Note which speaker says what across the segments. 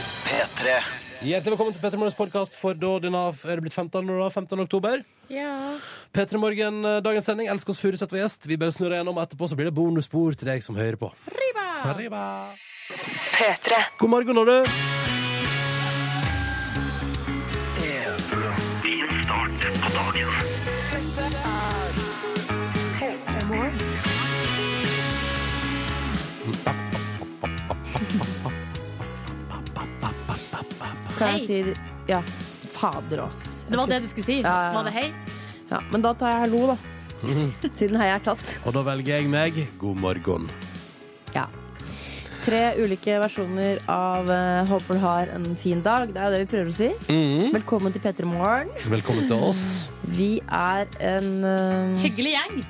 Speaker 1: P3.
Speaker 2: Hjertelig velkommen til Petter Morgens podkast for da denne, er det blitt 15. nå da? 15. oktober.
Speaker 3: Ja.
Speaker 2: Petter Morgen, eh, dagens sending. Elsker oss Furuseth var gjest. Vi bare snurrer gjennom, og etterpå så blir det bonusspor til deg som hører på. Arriba.
Speaker 4: P3.
Speaker 2: God morgen, når du.
Speaker 5: Kan
Speaker 3: Hei.
Speaker 5: jeg si Ja. Fader, ass. Jeg
Speaker 3: Det var
Speaker 5: skulle-
Speaker 3: det du skulle si?
Speaker 5: Ja, ja, ja.
Speaker 3: Var det hei?
Speaker 5: Ja, men da tar jeg hallo, da. Siden hei er tatt.
Speaker 2: Og da velger jeg meg. God morgen.
Speaker 5: Ja. Tre ulike versjoner av eh, 'Håper du har en fin dag'. Det er jo det vi prøver å si.
Speaker 2: Mhm.
Speaker 5: Velkommen til P3 Morgen.
Speaker 2: Velkommen til oss.
Speaker 5: Vi er en eh,
Speaker 3: Hyggelig gjeng.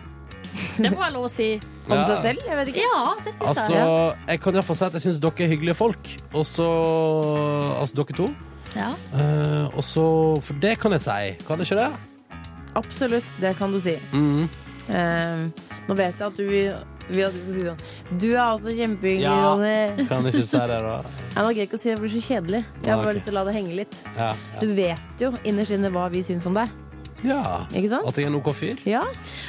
Speaker 3: Det må være lov å si.
Speaker 5: om
Speaker 2: Ja.
Speaker 5: seg selv, jeg vet ikke.
Speaker 3: Ja, det syns jeg.
Speaker 2: Altså, jeg kan iallfall si at jeg syns dere er hyggelige folk. Og så Altså, dere to.
Speaker 3: Ja.
Speaker 2: Eh, og så For det kan jeg si. Kan jeg ikke det?
Speaker 5: Absolutt, det kan du si.
Speaker 2: Mm.
Speaker 5: Eh, nå vet jeg at du vil, vil at vi skal si sånn Du er også kjempehyggelig,
Speaker 2: Ja.
Speaker 5: Ronny.
Speaker 2: Kan jeg ikke si det, da?
Speaker 5: Jeg må ikke å si det, det blir så kjedelig. Jeg har
Speaker 2: Ah,
Speaker 5: bare
Speaker 2: ok.
Speaker 5: lyst til å la det henge litt.
Speaker 2: Ja.
Speaker 5: Du vet jo innerst inne hva vi syns om deg,
Speaker 2: ja.
Speaker 5: ikke sant?
Speaker 2: At jeg er en OK fyr?
Speaker 5: Ja,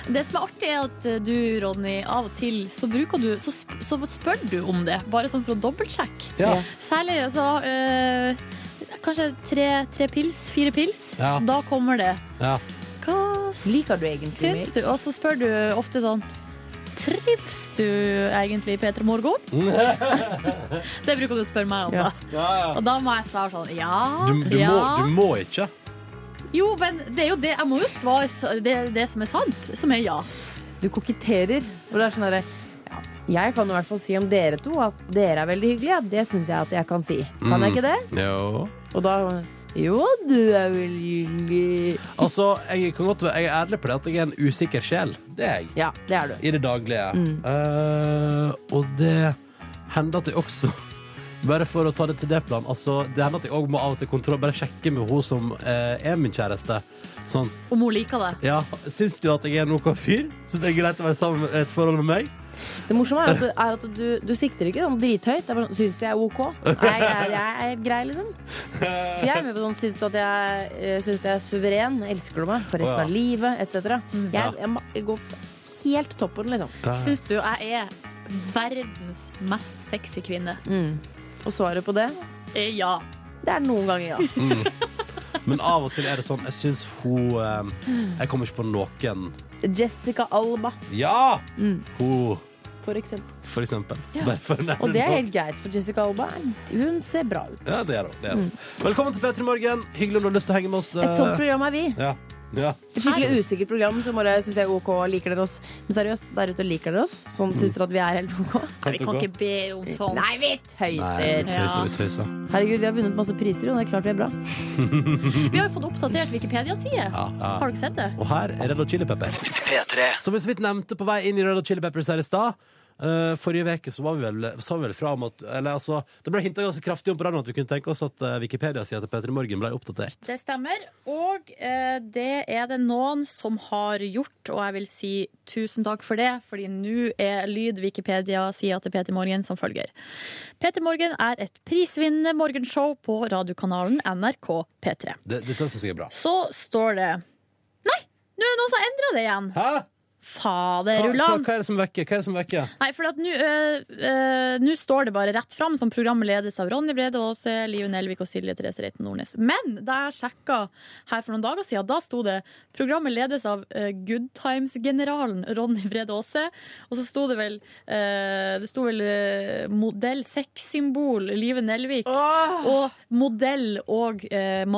Speaker 3: Det som er artig, er at du, Ronny, av og til så, bruker du, så, sp så spør du om det. Bare sånn for å dobbeltsjekke.
Speaker 2: Ja.
Speaker 5: Ja.
Speaker 3: Særlig altså eh, Kanskje tre, tre pils, fire pils.
Speaker 2: Ja.
Speaker 3: Da kommer det.
Speaker 2: ja.
Speaker 3: Hva
Speaker 5: Liker du egentlig
Speaker 3: syns du? Og så spør du ofte sånn Trives du egentlig, Peter Morgan? det bruker du å spørre meg om,
Speaker 5: Ja.
Speaker 3: da.
Speaker 2: ja, ja.
Speaker 3: Og da må jeg svare sånn ja.
Speaker 2: Du, du,
Speaker 3: ja.
Speaker 2: må, du må ikke.
Speaker 3: Jo, men det er jo det. Jeg må jo svare s- det, det som er sant, som er ja.
Speaker 5: du koketterer. Og det er sånn derre ja, Jeg kan i hvert fall si om dere to at dere er veldig hyggelige. Ja, det syns jeg at jeg kan si. Kan
Speaker 2: Mm.
Speaker 5: jeg ikke det?
Speaker 2: Jo.
Speaker 5: Og da Jo, du er veldig hyggelig.
Speaker 2: Altså, jeg, kan godt, være- jeg er ærlig på det at jeg er en usikker sjel. Det er jeg.
Speaker 5: Ja, det er du.
Speaker 2: I det daglige. Eh, og det hender at jeg også bare for å ta det til det plan altså, Det hender at jeg òg må av og til kontroll, bare sjekke med hun som eh, er min kjæreste. Sånn
Speaker 3: Om hun liker det.
Speaker 2: Ja, syns du at jeg er en OK fyr? Syns det er greit å være sammen med et forhold med meg?
Speaker 5: Det morsomme er at du, er at du, du sikter ikke sånn drithøyt. Det er bare sånn, Syns du jeg er OK? Nei, jeg, er- jeg er grei, liksom. For jeg er med på sånn Syns du at jeg, eh, syns du jeg er suveren? Elsker du meg for
Speaker 2: Å,
Speaker 5: resten
Speaker 2: ja.
Speaker 5: av livet? Etc.
Speaker 2: Ja.
Speaker 5: Jeg, jeg må- jeg går helt toppen, liksom.
Speaker 3: Syns du jeg er verdens mest sexy kvinne?
Speaker 5: Og svaret på det,
Speaker 3: Eh, Ja.
Speaker 5: det er noen ganger ja.
Speaker 2: Men av og til er det sånn Jeg syns hun eh, Jeg kommer ikke på noen
Speaker 5: Jessica Alba,
Speaker 2: Ja! Hun,
Speaker 5: for eksempel.
Speaker 2: for eksempel. Bare for å nevne
Speaker 5: Og det er
Speaker 2: noe.
Speaker 5: helt greit, for Jessica Alba hun ser bra ut.
Speaker 2: Ja, det er det. det, er det. Velkommen til P3 Morgen. Hyggelig om du har lyst til å henge med oss.
Speaker 5: Mm. Et sånt
Speaker 2: eh,
Speaker 5: program er vi.
Speaker 2: ja. Ja.
Speaker 5: Et skikkelig usikkert program som bare syns jeg er OK, liker dere oss. Men seriøst, der ute liker dere oss.
Speaker 2: Mm.
Speaker 5: Sånn syns dere at vi er helt OK.
Speaker 3: Nei, vi kan ikke Eh, be om sånt.
Speaker 5: Nei, vi
Speaker 2: Nei,
Speaker 5: tøyser.
Speaker 2: vi tøyser, vi tøyser.
Speaker 5: Herregud, vi har vunnet masse priser, og det er klart vi er bra.
Speaker 3: Vi har jo fått oppdatert Wikipedia-side.
Speaker 2: Ja, ja.
Speaker 3: Har dere sett det?
Speaker 2: Og her er Red Hot Chili Pepper.
Speaker 1: P3.
Speaker 2: Som vi så vidt nevnte på vei inn i Red Hot Chili Peppers her i stad. eh, forrige uke så var vi vel, sa vi vel fra om at Eller altså, det ble hinta ganske kraftig om på radioen at vi kunne tenke oss at eh, Wikipedia-sida til P3 Morgen ble oppdatert.
Speaker 3: Det stemmer. Og eh, det er det noen som har gjort, og jeg vil si tusen takk for det, fordi nå er lyd Wikipedia-sida til Peter Morgen som følger. Peter Morgen er et prisvinnende morgenshow på radiokanalen NRK P3.
Speaker 2: Det, dette syns jeg er bra.
Speaker 3: Så står det Nei! Nå er det noen som har endra det igjen!
Speaker 2: Hæ? Hva, hva,
Speaker 3: Faderullan!
Speaker 2: hva er det som vekker? Hva er det som vekker?
Speaker 3: Nei, for at nå øh, øh, nå står det bare rett fram, som programmet ledes av Ronny Brede Aase, Liv Nelvik og Silje Therese Reiten Nordnes. Men da jeg sjekka her for noen dager siden, da sto det programmet ledes av øh, Good Times-generalen Ronny Brede Aase. Og så sto det vel øh, Det sto vel øh, modell sexsymbol Live Nelvik. Og modell og uh,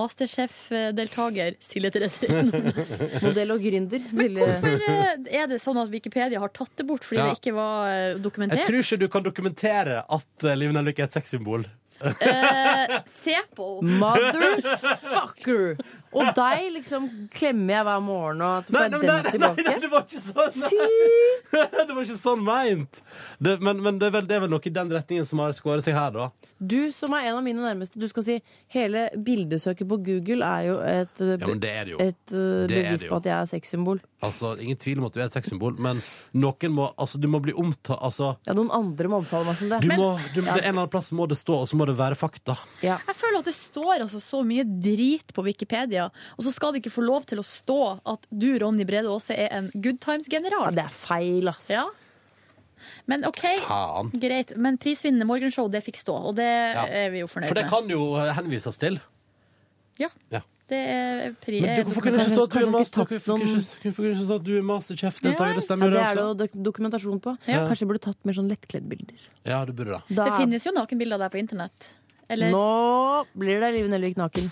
Speaker 3: masterchef-deltaker Silje Therese Reiten Nordnes.
Speaker 5: Modell og gründer. Silje.
Speaker 3: Hvorfor øh, er det sånn at Wikipedia har tatt det bort fordi
Speaker 2: Ja.
Speaker 3: det ikke var
Speaker 6: eh,
Speaker 3: øh,
Speaker 2: Jeg
Speaker 3: dokumentert?
Speaker 2: tror ikke du kan dokumentere at uh, Liv Nelvik er et sexsymbol.
Speaker 3: Eh, se på henne.
Speaker 5: Motherfucker! Og deg liksom klemmer jeg hver morgen, og så får
Speaker 2: Nei,
Speaker 5: jeg
Speaker 2: nei,
Speaker 5: den
Speaker 2: nei, nei, nei, nei,
Speaker 5: tilbake.
Speaker 2: det var ikke sånn! Nei.
Speaker 5: Fy!
Speaker 2: Det var ikke sånn meint! Det, men men det, er vel, det er vel noe i den retningen som har skåret seg her, da.
Speaker 5: Du som er en av mine nærmeste, du skal si hele bildesøket på Google er jo et, eh,
Speaker 2: Ja, men det er det jo.
Speaker 5: et eh,
Speaker 2: Det er det
Speaker 5: bevis
Speaker 2: jo.
Speaker 5: på at jeg er sexsymbol.
Speaker 2: Altså, Ingen tvil om at du er et sexsymbol, men noen må Altså, du må bli omtalt Altså,
Speaker 5: Ja, noen andre må omtale meg som det.
Speaker 2: du må du, det er En eller annen plass må det stå, og så må det være fakta.
Speaker 5: Ja.
Speaker 6: Jeg føler at det står altså så mye drit på Wikipedia, og så skal det ikke få lov til å stå at du, Ronny Brede Aase, er en good
Speaker 5: ja,
Speaker 6: times-general.
Speaker 5: det er feil, ass.
Speaker 6: Ja. Men OK,
Speaker 2: Faen.
Speaker 6: greit. Men prisvinnende morgenshow, det fikk stå, og det
Speaker 2: Ja.
Speaker 6: er vi jo fornøyd
Speaker 2: For det
Speaker 6: med.
Speaker 2: kan jo eh, henvises til.
Speaker 6: Ja.
Speaker 2: Ja.
Speaker 6: Det er pri...
Speaker 2: Men du, hvorfor kunne det ikke stå at du er master- hvorfor kunne det ikke- hvorfor kunne det ikke stå at du er masterchef-deltaker? Det
Speaker 5: Ja,
Speaker 2: stemmer jo,
Speaker 5: det
Speaker 2: det altså.
Speaker 5: er det
Speaker 2: også.
Speaker 5: jo dok dokumentasjon på.
Speaker 2: Ja.
Speaker 5: Kanskje jeg burde tatt mer sånn lettkledde bilder.
Speaker 2: Ja, du burde det.
Speaker 5: Da,
Speaker 6: Det finnes jo nakenbilder av deg på internett. Eller
Speaker 5: Nå blir det Liv Nelvik naken.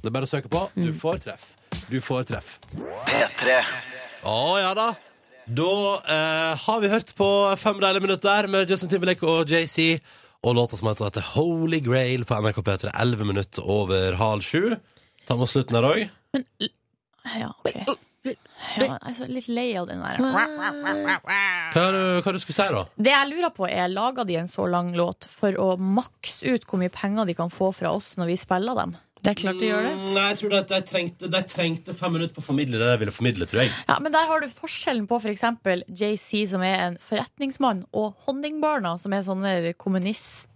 Speaker 2: Det er bare å søke på. Du
Speaker 5: Mm.
Speaker 2: får treff. Du får treff.
Speaker 1: P3
Speaker 2: Å ja da. Da eh, har vi hørt på fem deilige minutter med Justin Timberlake og JC. Og låta som heter heter Holy Grail på NRK P3. 11 minutter over halv sju. Ta med oss slutten her òg.
Speaker 6: Ja, OK. Ja, jeg er så litt lei av den der.
Speaker 2: Hva, er det- hva er det du skulle si, da?
Speaker 6: Det jeg lurer på, er laga de en så lang låt for å makse ut hvor mye penger de kan få fra oss når vi spiller dem? Det er klart de gjør det.
Speaker 2: Mm, Nei, jeg tror at de trengte, de trengte fem minutter på å formidle det de ville formidle, tror jeg.
Speaker 6: Ja, men der har du forskjellen på f.eks. JC, som er en forretningsmann, og Honningbarna, som er sånne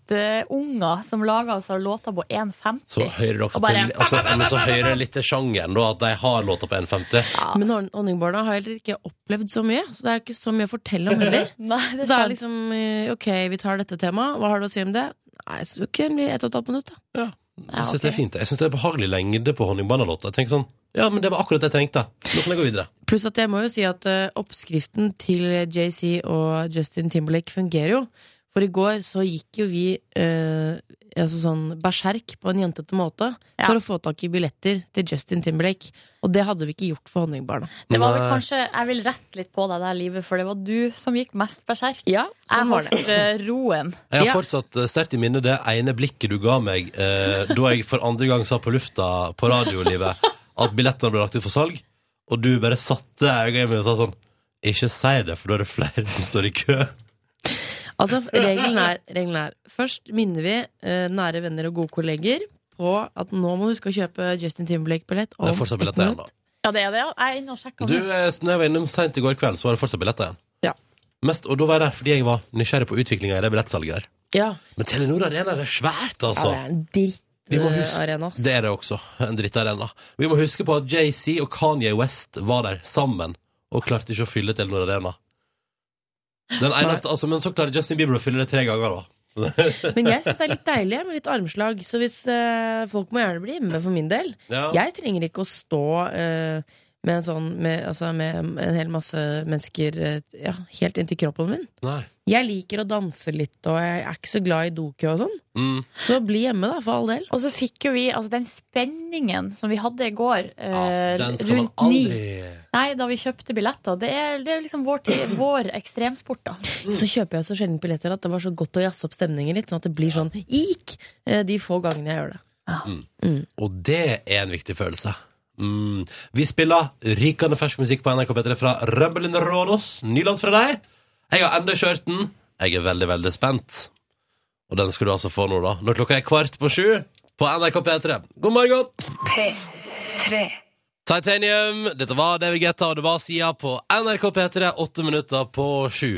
Speaker 6: kommunistunger som lager altså låter på 1,50.
Speaker 2: Så hører dere
Speaker 6: Og bare-
Speaker 2: til altså, men så hører jeg litt til sjangeren, da, at de har låta på 1,50.
Speaker 5: Men hon- honningbarna har heller ikke opplevd så mye, så det er ikke så mye å fortelle om heller.
Speaker 6: Nei,
Speaker 5: Så
Speaker 6: det er
Speaker 5: det er
Speaker 6: sant.
Speaker 5: liksom eh, OK, vi tar dette temaet. Hva har du å si om det? Nei, så kan vi ett og et halvt minutt, da.
Speaker 2: Ja. Jeg
Speaker 6: Ja,
Speaker 2: syns det er
Speaker 6: ok.
Speaker 2: fint. Jeg synes det er behagelig lengde på Honningbarna-låta. Jeg tenker sånn Ja, men det var akkurat det jeg trengte. Nå kan jeg gå videre.
Speaker 5: Pluss at jeg må jo si at eh, oppskriften til JC og Justin Timberlake fungerer jo. For i går så gikk jo vi eh, altså sånn berserk på en jentete måte
Speaker 6: Ja.
Speaker 5: for å få tak i billetter til Justin Timberlake. Og det hadde vi ikke gjort for Honningbarna.
Speaker 6: Det var vel
Speaker 2: Nei.
Speaker 6: kanskje, Jeg vil rette litt på deg der, livet, for det var du som gikk mest berserk.
Speaker 5: Ja,
Speaker 6: Jeg
Speaker 5: sånn var det.
Speaker 6: holdt eh, roen.
Speaker 2: Jeg har
Speaker 5: Ja.
Speaker 2: fortsatt eh, sterkt i minne det ene blikket du ga meg eh, da jeg for andre gang sa på lufta på radiolivet at billettene ble lagt ut for salg, og du bare satte øynene i meg og sa sånn Ikke si det, for da er det flere som står i kø.
Speaker 5: Altså, regelen er, regelen er Først minner vi eh, nære venner og gode kolleger på at nå må du huske å kjøpe Justin Timberlake-billett om
Speaker 2: Det er fortsatt
Speaker 5: ett
Speaker 2: billetter igjen, da.
Speaker 5: minutt.
Speaker 6: Ja, det er det. ja. Jeg er inne og sjekker.
Speaker 2: Du,
Speaker 6: nå.
Speaker 2: eh, når jeg var innom seint i går kveld, så var det fortsatt billetter igjen.
Speaker 5: Ja.
Speaker 2: Mest, og da var jeg der fordi jeg var nysgjerrig på utviklinga i det billettsalget der.
Speaker 5: Ja.
Speaker 2: Men Telenor Arena, det er svært,
Speaker 5: ja,
Speaker 2: altså.
Speaker 5: det er en
Speaker 2: Vi må huske-
Speaker 5: drittarena, ass.
Speaker 2: Det er det også. En drittarena. Vi må huske på at JC og Kanye West var der sammen og klarte ikke å fylle Telenor Arena. Den eneste, altså, men så klarer Justin Bieber å fylle det tre ganger, da.
Speaker 5: Men jeg syns det er litt deilig med litt armslag. Så hvis eh, folk må gjerne bli hjemme for min del.
Speaker 2: Ja.
Speaker 5: Jeg trenger ikke å stå eh, med, en sånn, med, altså, med en hel masse mennesker eh, ja, helt inntil kroppen min.
Speaker 2: Nei.
Speaker 5: Jeg liker å danse litt, og jeg er ikke så glad i dokø og sånn.
Speaker 2: Mm.
Speaker 5: Så bli hjemme, da, for all del.
Speaker 6: Og så fikk jo vi altså, den spenningen som vi hadde i går
Speaker 2: Ja,
Speaker 6: eh,
Speaker 2: den skal man
Speaker 6: rundt
Speaker 2: aldri
Speaker 6: ni. Nei, da vi kjøpte billetter. Det er, det er liksom vår, tid, vår ekstremsport, da.
Speaker 5: Så kjøper jeg så sjelden billetter at det var så godt å jazze opp stemningen litt, sånn at det blir sånn ik eh, de få gangene jeg gjør det.
Speaker 2: Og det er en viktig følelse. Mm. Vi spiller rykende fersk musikk på NRK P3 fra Rebelen Rådås. Ny låt fra deg. Jeg har ennå ikke hørt den. Jeg er veldig, veldig spent. Og den skal du altså få nå, da. Når klokka er kvart på sju på NRK P3. God morgen!
Speaker 7: P3
Speaker 2: Titanium, dette var David Guetta, og det var sida på NRK P3, åtte minutter på sju.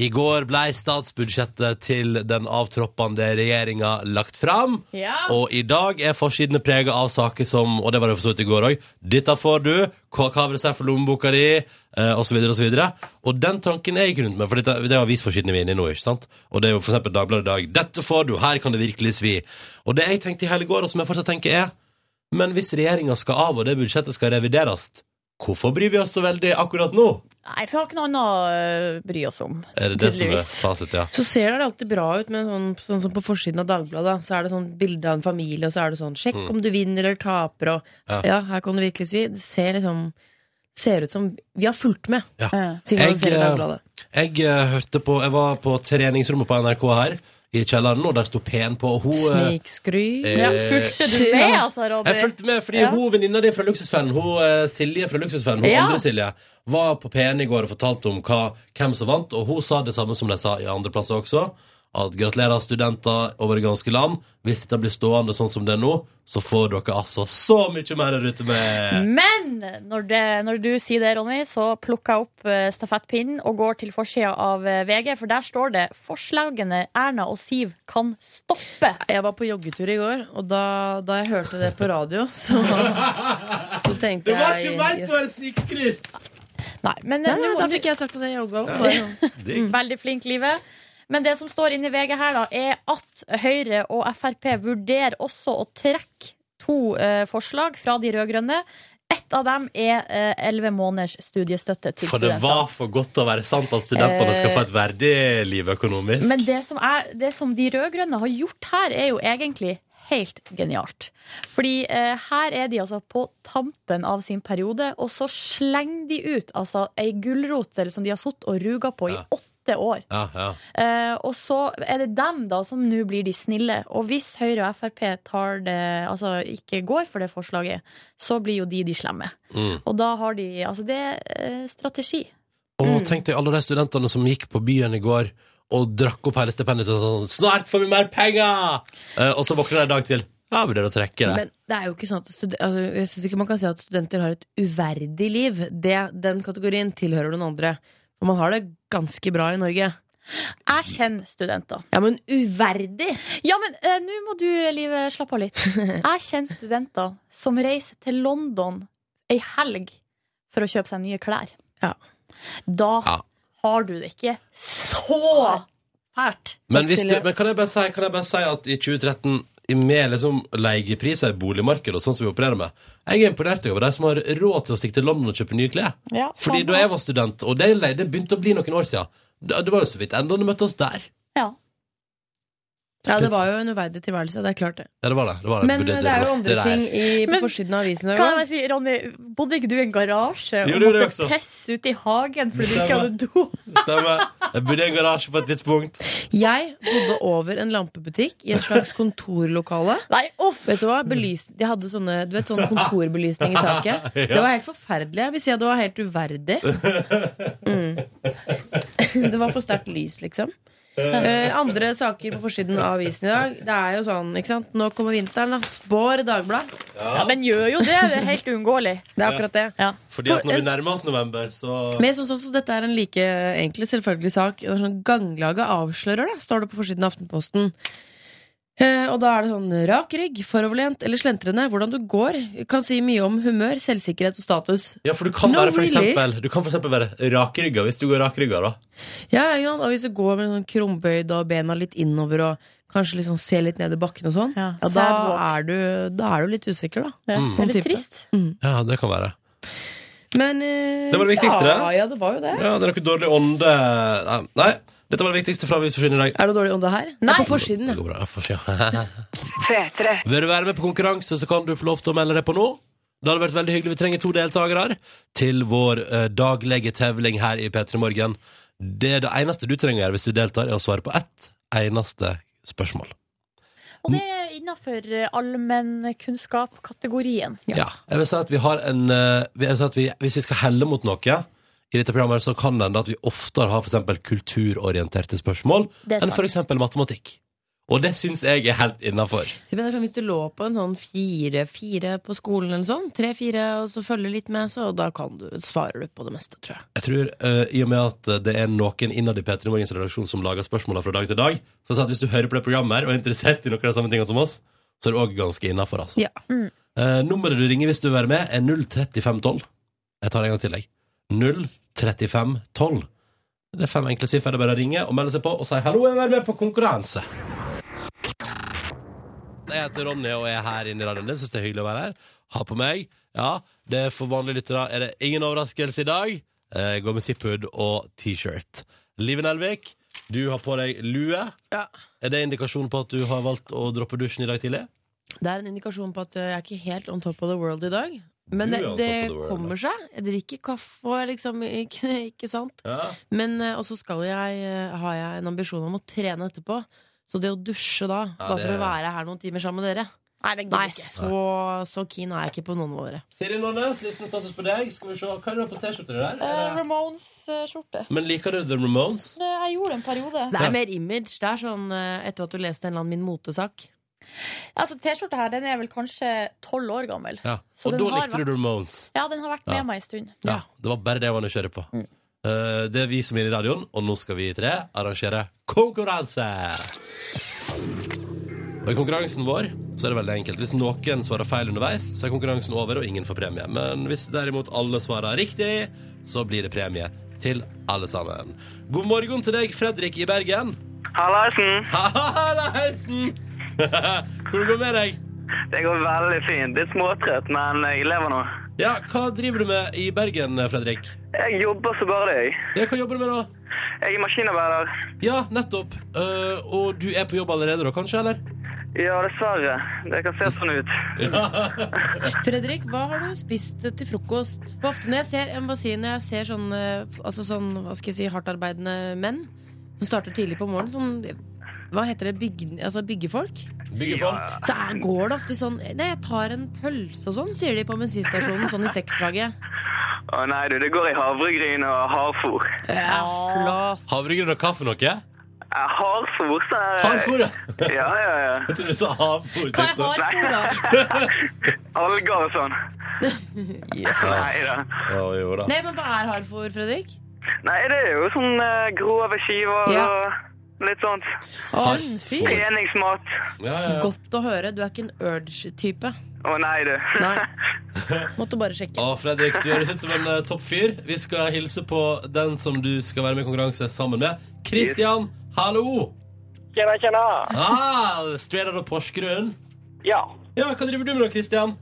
Speaker 2: I går blei statsbudsjettet til den avtroppende regjeringa lagt fram.
Speaker 6: Ja.
Speaker 2: Og i dag er forsidene prega av saker som, og det var det for så vidt i går òg, 'Dette får du', 'Hva hva vil det si for lommeboka di', eh, osv., osv. Og den tanken er jeg ikke rundt med, for dette, det er avisforsidene vi er inne i nå, ikke sant? Og det er jo for eksempel Dagbladet i dag 'Dette får du, her kan det virkelig svi'. Og det jeg tenkte i hele går, og som jeg fortsatt tenker, er men hvis regjeringa skal av, og det budsjettet skal revideres, hvorfor bryr vi oss så veldig akkurat nå?
Speaker 6: Nei, for vi har ikke noe annet å eh, bry oss om.
Speaker 2: Er det det som er
Speaker 6: Tydeligvis.
Speaker 2: fasit, ja?
Speaker 5: Så ser det alltid bra ut, men sånn, sånn som på forsiden av Dagbladet, så er det sånn bilde av en familie, og så er det sånn 'sjekk om du vinner eller taper', og
Speaker 2: Mm. Ja.
Speaker 5: ja, her kan du virkelig si. Det ser liksom Ser ut som Vi har fulgt med,
Speaker 2: Ja.
Speaker 5: siden man
Speaker 2: Jeg,
Speaker 5: ser i
Speaker 2: eh,
Speaker 5: Dagbladet.
Speaker 2: Jeg eh, hørte på Jeg var på treningsrommet på NRK her i kjelleren, og der sto pen på. Og hun, eh,
Speaker 5: Snikskryt.
Speaker 6: Ja,
Speaker 2: eh,
Speaker 6: fulgte du med, altså,
Speaker 2: jeg
Speaker 6: Ronny?
Speaker 2: fulgte med, fordi
Speaker 6: Ja.
Speaker 2: hun venninna di fra Luksusfellen, hun eh, Silje fra Luksusfellen, hun
Speaker 6: Ja.
Speaker 2: andre Silje, var på P1 i går og fortalte om hva, hvem som vant, og hun sa det samme som de sa i andre plasser også. At gratulerer studenter over det ganske land. Hvis dette blir stående sånn som det er nå, så får dere altså så mye mer der ute med
Speaker 6: Men når, det, når du sier det, Ronny, så plukker jeg opp eh, stafettpinnen og går til forsida av eh, VG, for der står det 'Forslagene Erna og Siv kan stoppe'.
Speaker 5: Jeg var på joggetur i går, og da, da jeg hørte det på radio, så, så tenkte
Speaker 2: Det
Speaker 5: jeg
Speaker 2: var ikke meint å
Speaker 5: yes.
Speaker 2: være snikskryt!
Speaker 6: Nei, men
Speaker 5: Nei,
Speaker 6: eh,
Speaker 5: nei,
Speaker 6: nå-
Speaker 5: Da fikk jeg sagt at jeg jogga opp. Bare. sånn.
Speaker 2: Digg.
Speaker 6: Veldig flink, Live. Men det som står inne i VG her, da, er at Høyre og Frp vurderer også å trekke to eh, forslag fra de rød-grønne. Ett av dem er eh, elleve måneders studiestøtte til
Speaker 2: For det
Speaker 6: studenter. Eh.
Speaker 2: var for godt å være sant at studentene skal få et verdig liv økonomisk.
Speaker 6: Men det som, er, det som de rød-grønne har gjort her, er jo egentlig helt genialt. Fordi eh, her er de altså på tampen av sin periode, og så slenger de ut altså, ei gulrot eller som de har sittet og ruga på i
Speaker 2: Ja.
Speaker 6: åtte år.
Speaker 2: Ja, ja.
Speaker 6: Eh, og så er det dem da som nå blir de snille. Og hvis Høyre og Frp tar det, altså ikke går for det forslaget, så blir jo de de slemme.
Speaker 2: Mm.
Speaker 6: Og da har de Altså, det er eh, strategi.
Speaker 2: Og
Speaker 5: Mm.
Speaker 2: tenk deg alle de studentene som gikk på byen i går og drakk opp hele stipendet sitt og sånn 'Snart får vi mer penger!' Eh, og så våkner de en dag til. Ja, vurderer å trekke det.
Speaker 5: Men det er jo ikke sånn at stud- altså, jeg syns ikke man kan si at studenter har et uverdig liv. Det, den kategorien tilhører noen andre. For man har det ganske bra i Norge.
Speaker 6: Jeg kjenner studenter.
Speaker 5: Ja, men uverdig!
Speaker 6: Ja, men eh, nå må du, Live, slappe av litt. Jeg kjenner studenter som reiser til London ei helg for å kjøpe seg nye klær.
Speaker 5: Ja.
Speaker 6: Da
Speaker 2: Ja.
Speaker 6: har du det ikke så fælt.
Speaker 2: Men, hvis du, men kan, jeg bare si, kan jeg bare si at i 2013, i med liksom leiepriser i boligmarkedet og sånn som vi opererer med Jeg er imponert over de som har råd til å stikke til London og kjøpe nye klær.
Speaker 6: Ja,
Speaker 2: Fordi
Speaker 6: samme
Speaker 2: da
Speaker 6: her.
Speaker 2: jeg var student, og det, le- det begynte å bli noen år siden da- Det var jo så vidt enda du møtte oss der.
Speaker 6: ja.
Speaker 5: Ja, det var jo en uverdig tilværelse. Det er klart, det.
Speaker 2: Ja, det var det. det, var det.
Speaker 5: Men
Speaker 2: Burde-
Speaker 5: det er jo
Speaker 2: det
Speaker 5: andre
Speaker 2: der.
Speaker 5: ting i, på
Speaker 6: Men-
Speaker 5: forsiden av avisen. i
Speaker 6: Kan jeg
Speaker 5: dag
Speaker 6: bare si, Ronny, bodde ikke du i en garasje
Speaker 2: Jo, det
Speaker 6: og
Speaker 2: gjorde jeg
Speaker 6: måtte
Speaker 2: også.
Speaker 6: pisse ute i hagen fordi du ikke
Speaker 2: Stemmer.
Speaker 6: hadde do?
Speaker 2: Stemmer. Jeg bodde i en garasje på et tidspunkt.
Speaker 5: Jeg bodde over en lampebutikk i et slags kontorlokale.
Speaker 6: Nei, uff!
Speaker 5: Vet du hva? Belys de hadde sånne, du vet, sånn kontorbelysning i taket. Det var helt forferdelig. Jeg vil si at det var helt uverdig. Mm. Det var for sterkt lys, liksom. Eh, andre saker på forsiden av avisen i dag. Det er jo sånn, ikke sant? Nå kommer vinteren, da. Spår Dagbladet.
Speaker 6: Ja, men gjør jo det. Det er helt uunngåelig.
Speaker 5: Det er akkurat det.
Speaker 6: Ja.
Speaker 2: Fordi at når vi nærmer oss november, så
Speaker 5: Men jeg synes også dette er en like enkel, selvfølgelig sak. Det er sånn Ganglaget avslører det, står det på forsiden av Aftenposten. Eh, og da er det sånn rak rygg, foroverlent eller slentrende. Hvordan du går kan si mye om humør, selvsikkerhet og status.
Speaker 2: Ja, for du kan
Speaker 5: No,
Speaker 2: være for
Speaker 5: really?
Speaker 2: eksempel, Du kan for eksempel være rakrygga hvis du går rakrygga, da.
Speaker 5: Ja, ikke sant? Og hvis du går med sånn krumbøyd og bena litt innover og kanskje liksom ser litt ned i bakken og sånn, ja, da,
Speaker 6: Ja, sad
Speaker 5: er du, da er du litt usikker, da.
Speaker 6: Det
Speaker 2: Mm.
Speaker 6: er
Speaker 5: Sånn
Speaker 6: litt
Speaker 5: type.
Speaker 6: trist.
Speaker 2: Ja, det kan være.
Speaker 5: Men eh,
Speaker 2: Det var det viktigste,
Speaker 5: ja,
Speaker 2: det.
Speaker 5: ja, det var jo det.
Speaker 2: Ja, det er noe dårlig ånde Nei, Nei, dette var det viktigste fra Avis Forsyn i dag.
Speaker 5: Er det dårlig ånde her? Nei! På forsiden,
Speaker 2: Det
Speaker 5: ja.
Speaker 2: går bra, jeg får se.
Speaker 1: P3.
Speaker 2: Vil du være med på konkurranse, så kan du få lov til å melde deg på nå. Det hadde vært veldig hyggelig. Vi trenger to deltakere til vår eh, daglige tevling her i P3 Morgen. Det, er det eneste du trenger å gjøre hvis du deltar, er å svare på ett eneste spørsmål.
Speaker 6: Og det er innafor
Speaker 3: eh,
Speaker 6: allmennkunnskap-kategorien.
Speaker 2: Ja. Jeg vil si at vi har en eh, jeg vil si at vi, Hvis vi skal helle mot noe i dette programmet, så kan det hende at vi oftere har for eksempel kulturorienterte spørsmål
Speaker 6: Det er
Speaker 2: enn
Speaker 6: sant.
Speaker 2: for eksempel matematikk. Og det syns jeg er helt innafor.
Speaker 5: Så det er sånn, Hvis du lå på en sånn fire, fire på skolen eller sånn, tre-fire, og så følger litt med, så da kan du, svarer du på det meste, tror jeg.
Speaker 2: Jeg tror, eh, I og med at eh, det er noen innad i P3 Morgens redaksjon som lager spørsmåla fra dag til dag, så jeg sa at hvis du hører på det programmet her og er interessert i noen av de samme tingene som oss, så er det òg ganske innafor, altså.
Speaker 5: Ja.
Speaker 2: Eh, nummeret du ringer hvis du vil være med, er 03512. Jeg tar det en gang til, jeg. 03512. Det er fem enkle siffer. Det er bare å ringe og melde seg på og si 'hallo, jeg vil være med på konkurranse'. Jeg heter Ronny og er her inne i radioen din. Syns det er hyggelig å være her. Ha på meg. Ja, det er for vanlige lyttere er det ingen overraskelse i dag. Eh, Jeg går med zip-hood og T-shirt. Live Nelvik, du har på deg lue.
Speaker 5: Ja.
Speaker 2: Er det indikasjon på at du har valgt å droppe dusjen i dag tidlig?
Speaker 5: Det er en indikasjon på at eh, jeg er ikke helt on top of the world i dag. Men
Speaker 2: Du
Speaker 5: det,
Speaker 2: er on
Speaker 5: det
Speaker 2: top of the world,
Speaker 5: kommer seg. Jeg drikker kaffe og jeg liksom ikke, ikke sant.
Speaker 2: Ja.
Speaker 5: Men eh, og så skal jeg, eh, har jeg en ambisjon om å trene etterpå. Så det å dusje da, bare for
Speaker 2: det-
Speaker 5: å være her noen timer sammen med dere
Speaker 3: Nei, det
Speaker 5: Nei,
Speaker 3: gidder ikke.
Speaker 5: så, så keen er jeg ikke på noen av dere.
Speaker 2: Siri Nordnes, liten status på deg. Skal vi se, Hva er det på T-skjorta di der?
Speaker 3: Eh,
Speaker 2: Er det-
Speaker 3: Ramones-skjorte.
Speaker 2: Men liker du The Ramones?
Speaker 3: Jeg gjorde det en periode.
Speaker 5: Det er mer image. Det er sånn eh, etter at du leste en eller annen Min motesak.
Speaker 3: Altså, T-skjorta her den er vel kanskje tolv år gammel.
Speaker 2: Ja.
Speaker 3: Så
Speaker 2: Og da
Speaker 3: den har
Speaker 2: likte du The Ramones.
Speaker 3: Ja, den har vært med
Speaker 2: Ja.
Speaker 3: meg en stund.
Speaker 2: Ja, Det var bare det jeg var nysgjerrig på. Eh, det er vi som er i radioen, og nå skal vi tre arrangere konkurranse! Og I konkurransen vår så er det veldig enkelt. Hvis noen svarer feil underveis, så er konkurransen over, og ingen får premie. Men hvis derimot alle svarer riktig, så blir det premie til alle sammen. God morgen til deg, Fredrik i Bergen.
Speaker 8: Hallaisen!
Speaker 2: Hallaisen! Hvordan går det med deg?
Speaker 8: Det går veldig fint. Litt småtrøtt, men jeg lever nå.
Speaker 2: Ja, Hva driver du med i Bergen, Fredrik?
Speaker 8: Jeg jobber så bare det, jeg.
Speaker 2: Ja, hva jobber du med da?
Speaker 8: Jeg er maskinarbeider.
Speaker 2: Ja, nettopp. Eh, og du er på jobb allerede da, kanskje? eller?
Speaker 8: Ja, dessverre. Det kan se sånn ut.
Speaker 5: Fredrik, hva har du spist til frokost? For ofte når jeg ser, jeg må bare si, når jeg ser sånne, altså sånn, hva skal jeg si, hardtarbeidende menn som starter tidlig på morgenen, sånn, hva heter det, Bygg, altså byggefolk?
Speaker 2: Byggefond?
Speaker 5: Så er, går det ofte sånn Nei, jeg tar en pølse og sånn, sier de på bensinstasjonen, sånn i sekstraget.
Speaker 8: Å nei, du. Det går i havregryn og hardfôr.
Speaker 5: Ja, flott.
Speaker 2: Havregryn og kaffe noe?
Speaker 8: Eh, Hardfôr, så er
Speaker 2: Hardfôr, ja!
Speaker 8: Ja, ja, ja.
Speaker 2: Jeg tror du sa havfôr.
Speaker 3: Hva er
Speaker 2: tenkte jeg.
Speaker 3: hardfôr, da?
Speaker 8: Alger og sånn. Nei da.
Speaker 2: Å, jo da.
Speaker 5: Nei, men hva er hardfor, Fredrik?
Speaker 8: Nei, det er jo sånn eh, grove skiver
Speaker 5: Ja.
Speaker 8: og litt sånt.
Speaker 2: Salt fôr. Ja,
Speaker 8: Treningsmat.
Speaker 2: ja, ja.
Speaker 5: Godt å høre. Du er ikke en urge-type.
Speaker 8: Å nei, du.
Speaker 5: Nei. Måtte bare sjekke.
Speaker 2: Å, Fredrik, du høres ut som en eh, topp fyr. Vi skal hilse på den som du skal være med i konkurranse sammen med. Kristian, hallo!
Speaker 8: Tjena, tjena.
Speaker 2: Ah, straight out of Porsgrunn.
Speaker 8: Ja.
Speaker 2: Ja, hva driver du med da, Kristian?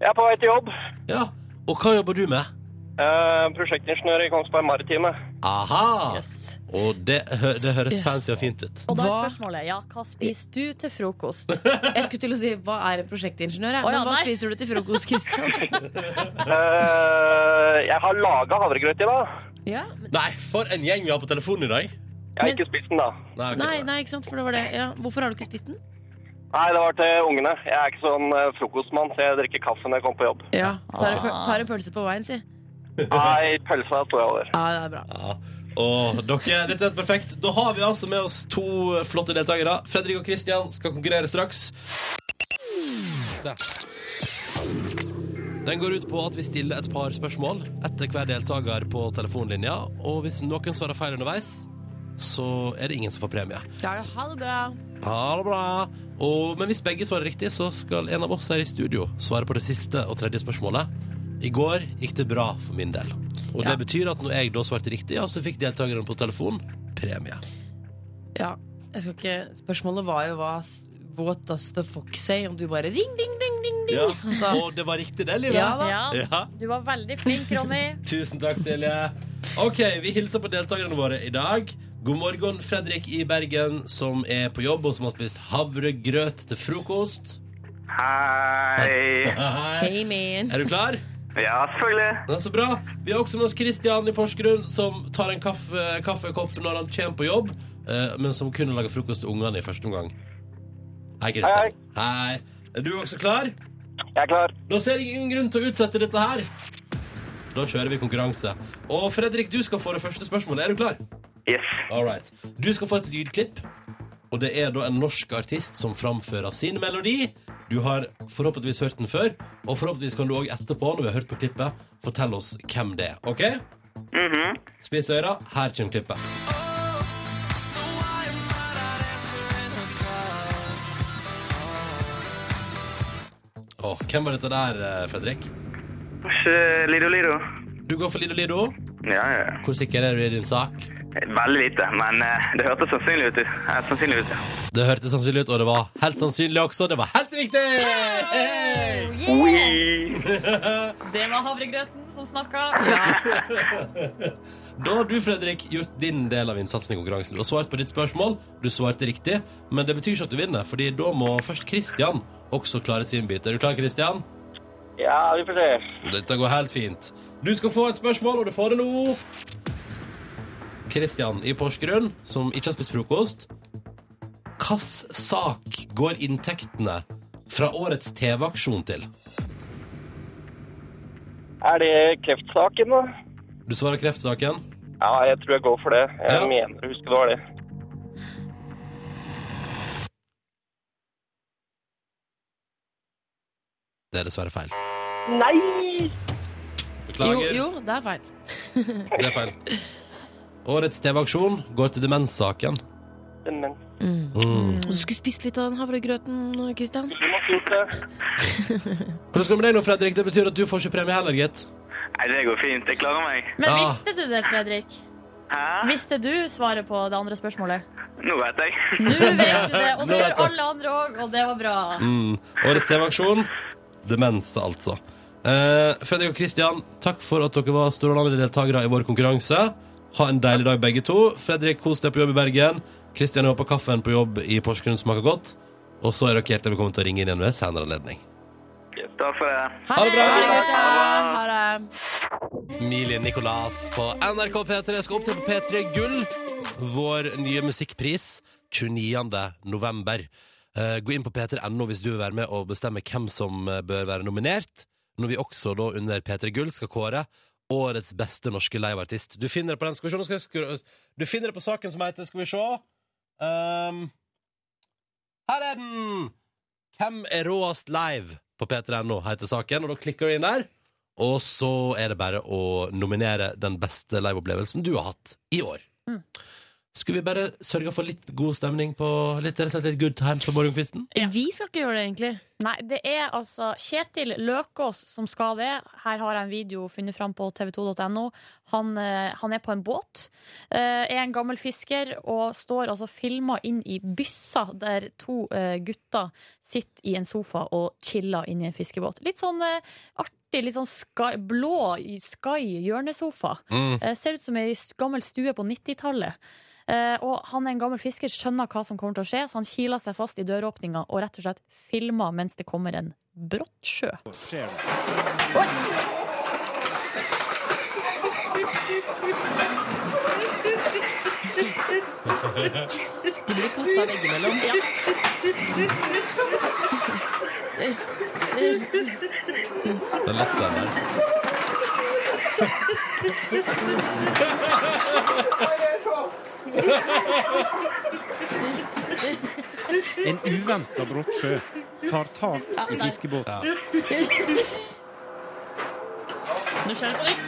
Speaker 8: Jeg er på vei til jobb.
Speaker 2: Ja, og hva jobber du med?
Speaker 9: Eh,
Speaker 8: Prosjektingeniør i Kongsberg Maritime.
Speaker 2: Aha! Og det, hø- det høres fancy og fint ut.
Speaker 3: Og da er
Speaker 5: Hva?
Speaker 3: spørsmålet ja, hva spiser du til frokost?
Speaker 5: Jeg skulle til å si hva er en prosjektingeniør, jeg,
Speaker 3: Å, ja,
Speaker 5: men hva
Speaker 3: nei.
Speaker 5: spiser du til frokost, Kristian?
Speaker 9: Eh, jeg har laga havregrøt i dag.
Speaker 5: Ja.
Speaker 2: Nei, for en gjeng vi har på telefonen i dag.
Speaker 9: Jeg har
Speaker 5: Men-
Speaker 9: ikke spist den, da.
Speaker 2: Nei, ok,
Speaker 5: Nei,
Speaker 2: bra.
Speaker 5: nei, ikke sant, for det var det. Ja. Hvorfor har du ikke spist den?
Speaker 9: Nei, det var til ungene. Jeg er ikke sånn eh, frokostmann, så jeg drikker kaffe når jeg kommer på jobb.
Speaker 5: Ja, Tar en, pøl- tar en pølse på veien, si.
Speaker 9: Nei, pølsa står jeg over.
Speaker 5: Ja, det er bra.
Speaker 2: Ja. Åh, dere, dette er perfekt. Da har vi altså med oss to flotte deltakere. Fredrik og Kristian skal konkurrere straks. Se. Den går ut på at vi stiller et par spørsmål etter hver deltaker på telefonlinja. Og hvis noen svarer feil underveis, så er det ingen som får premie.
Speaker 5: Da er det ha det bra.
Speaker 2: Ha det bra. Og, men hvis begge svarer riktig, så skal en av oss her i studio svare på det siste og tredje spørsmålet. I går gikk det bra for min del. Og det betyr at når jeg da svarte riktig, ja, så fikk deltakerne på telefon premie.
Speaker 5: Ja, jeg skal ikke Spørsmålet var jo hva s- What does the fox say? Om du bare ring, ding, ding, ding, ding.
Speaker 2: Ja.
Speaker 5: Altså,
Speaker 2: Og det var riktig, det, Live.
Speaker 5: Ja da.
Speaker 3: Ja,
Speaker 2: Ja.
Speaker 3: du var veldig flink, Ronny.
Speaker 2: Tusen takk, Silje. OK, vi hilser på deltakerne våre i dag. God morgen, Fredrik i Bergen, som er på jobb, og som har spist havregrøt til frokost.
Speaker 8: Hei.
Speaker 2: Hei.
Speaker 5: hey man.
Speaker 2: Er du klar?
Speaker 8: Ja, selvfølgelig.
Speaker 2: Det er så bra. Vi har også med oss Kristian i Porsgrunn, som tar en kaffe, kaffekopp når han kommer på jobb, eh, men som kunne lage frokost til ungene i første omgang. Hei, Kristian. Hei. Er du også klar?
Speaker 9: Jeg er klar.
Speaker 2: Da ser jeg ingen grunn til å utsette dette her. Da kjører vi konkurranse. Og Fredrik, du skal få det første spørsmålet. Er du klar?
Speaker 8: Yes.
Speaker 2: All right. Du skal få et lydklipp. Og det er da en norsk artist som framfører sin melodi. Du har forhåpentligvis hørt den før, og forhåpentligvis kan du òg etterpå, når vi har hørt på klippet, fortelle oss hvem det er. OK?
Speaker 8: Mhm.
Speaker 2: Spis øra. Her kommer klippet. Åh, hvem var dette der, eh, Fredrik?
Speaker 8: Ikke eh, Lido Lido.
Speaker 2: Du går for Lido Lido.
Speaker 8: Ja, ja. ja.
Speaker 2: Hvor sikker er du i din sak?
Speaker 8: Veldig lite, men eh, det hørtes sannsynlig ut. Eh, sannsynlig ut. ja.
Speaker 2: Det hørtes sannsynlig ut, og det var helt sannsynlig også. Det var helt riktig! Hey!
Speaker 8: Ui.
Speaker 3: Det var havregrøten som snakka.
Speaker 2: Da har du, Fredrik, gjort din del av innsatsen i konkurransen. Du har svart på ditt spørsmål, du svarte riktig, men det betyr ikke at du vinner, fordi da må først Kristian også klare sin bit. Er du klar, Kristian?
Speaker 9: Ja, vi får se.
Speaker 2: Dette går helt fint. Du skal få et spørsmål, og du får det nå. Kristian i Porsgrunn, som ikke har spist frokost, hvilken sak går inntektene fra årets TV-aksjon til?
Speaker 9: Er det kreftsaken, da?
Speaker 2: Du svarer kreftsaken.
Speaker 9: Ja, jeg tror jeg går for det. Jeg
Speaker 2: Ja.
Speaker 9: mener å huske det var det.
Speaker 2: Det er dessverre feil.
Speaker 9: Nei!
Speaker 5: Jo,
Speaker 2: Beklager.
Speaker 5: jo, det er feil.
Speaker 2: Det er feil. Årets TV-aksjon går til demenssaken.
Speaker 9: Men, men.
Speaker 2: Mm.
Speaker 5: Og du skulle spist litt av den havregrøten, Kristian.
Speaker 9: Du eh. måtte gjort det.
Speaker 2: Hvordan går det med deg nå, Fredrik? Det betyr at du får ikke premie heller, gitt.
Speaker 8: Nei, det går fint. Jeg klarer meg.
Speaker 3: Men
Speaker 2: Ja.
Speaker 3: visste du det, Fredrik?
Speaker 8: Hæ?
Speaker 3: Visste du svaret på det andre spørsmålet?
Speaker 8: Nå vet jeg.
Speaker 3: Nå vet du det, og det gjør alle andre òg, og det var bra.
Speaker 2: Mm. Årets TV-aksjon demens, altså. Eh, Fredrik og Kristian, takk for at dere var strålende deltakere i vår konkurranse. Ha en deilig dag, begge to. Fredrik, kos deg på jobb i Bergen. Kristian er på kaffen på jobb i Porsgrunn, smaker godt. Og så er dere hjertelig velkommen til å ringe inn igjen ved senere anledning.
Speaker 8: Takk for det.
Speaker 2: Ha det bra!
Speaker 5: Ha det.
Speaker 2: Emilie Nicolas på NRK P3 Jeg skal opptre på P3 Gull Vår nye musikkpris 29. november Eh, Gå inn på p3.no hvis du vil være med Og bestemme hvem som eh, bør være nominert Når vi også da under P3 Gull Skal kåre årets beste norske liveartist Du finner det på den Skal vi se nå skal jeg skru- Du finner det på saken som heter Skal vi se Ehm, Her er den Hvem er råest live På p3.no heter saken Og da klikker du inn der og så er det bare å nominere den beste liveopplevelsen du har hatt i år. Skulle vi bare sørge for litt god stemning på litt, rett og slett litt good times på morgenkvisten?
Speaker 5: Vi skal ikke gjøre det, egentlig.
Speaker 3: Nei, det er altså Kjetil Løkås som skal det. Her har jeg en video funnet fram på tv2.no. Han, eh, han er på en båt, eh, er en gammel fisker og står altså filma inn i byssa der to eh, gutter sitter i en sofa og chiller inni en fiskebåt. Litt sånn eh, artig, litt sånn sky, blå sky hjørnesofa. Eh, Ser ut som ei s- gammel stue på 90-tallet. Eh, og han er en gammel fisker, skjønner hva som kommer til å skje, så han kiler seg fast i døråpninga og rett og slett filmer mens det kommer en brått sjø.
Speaker 5: De blir kasta veggimellom. Ja.
Speaker 2: Den latteren der.
Speaker 10: En uventa brått sjø tar tak i fiskebåten.
Speaker 5: Nå skjer det på nytt.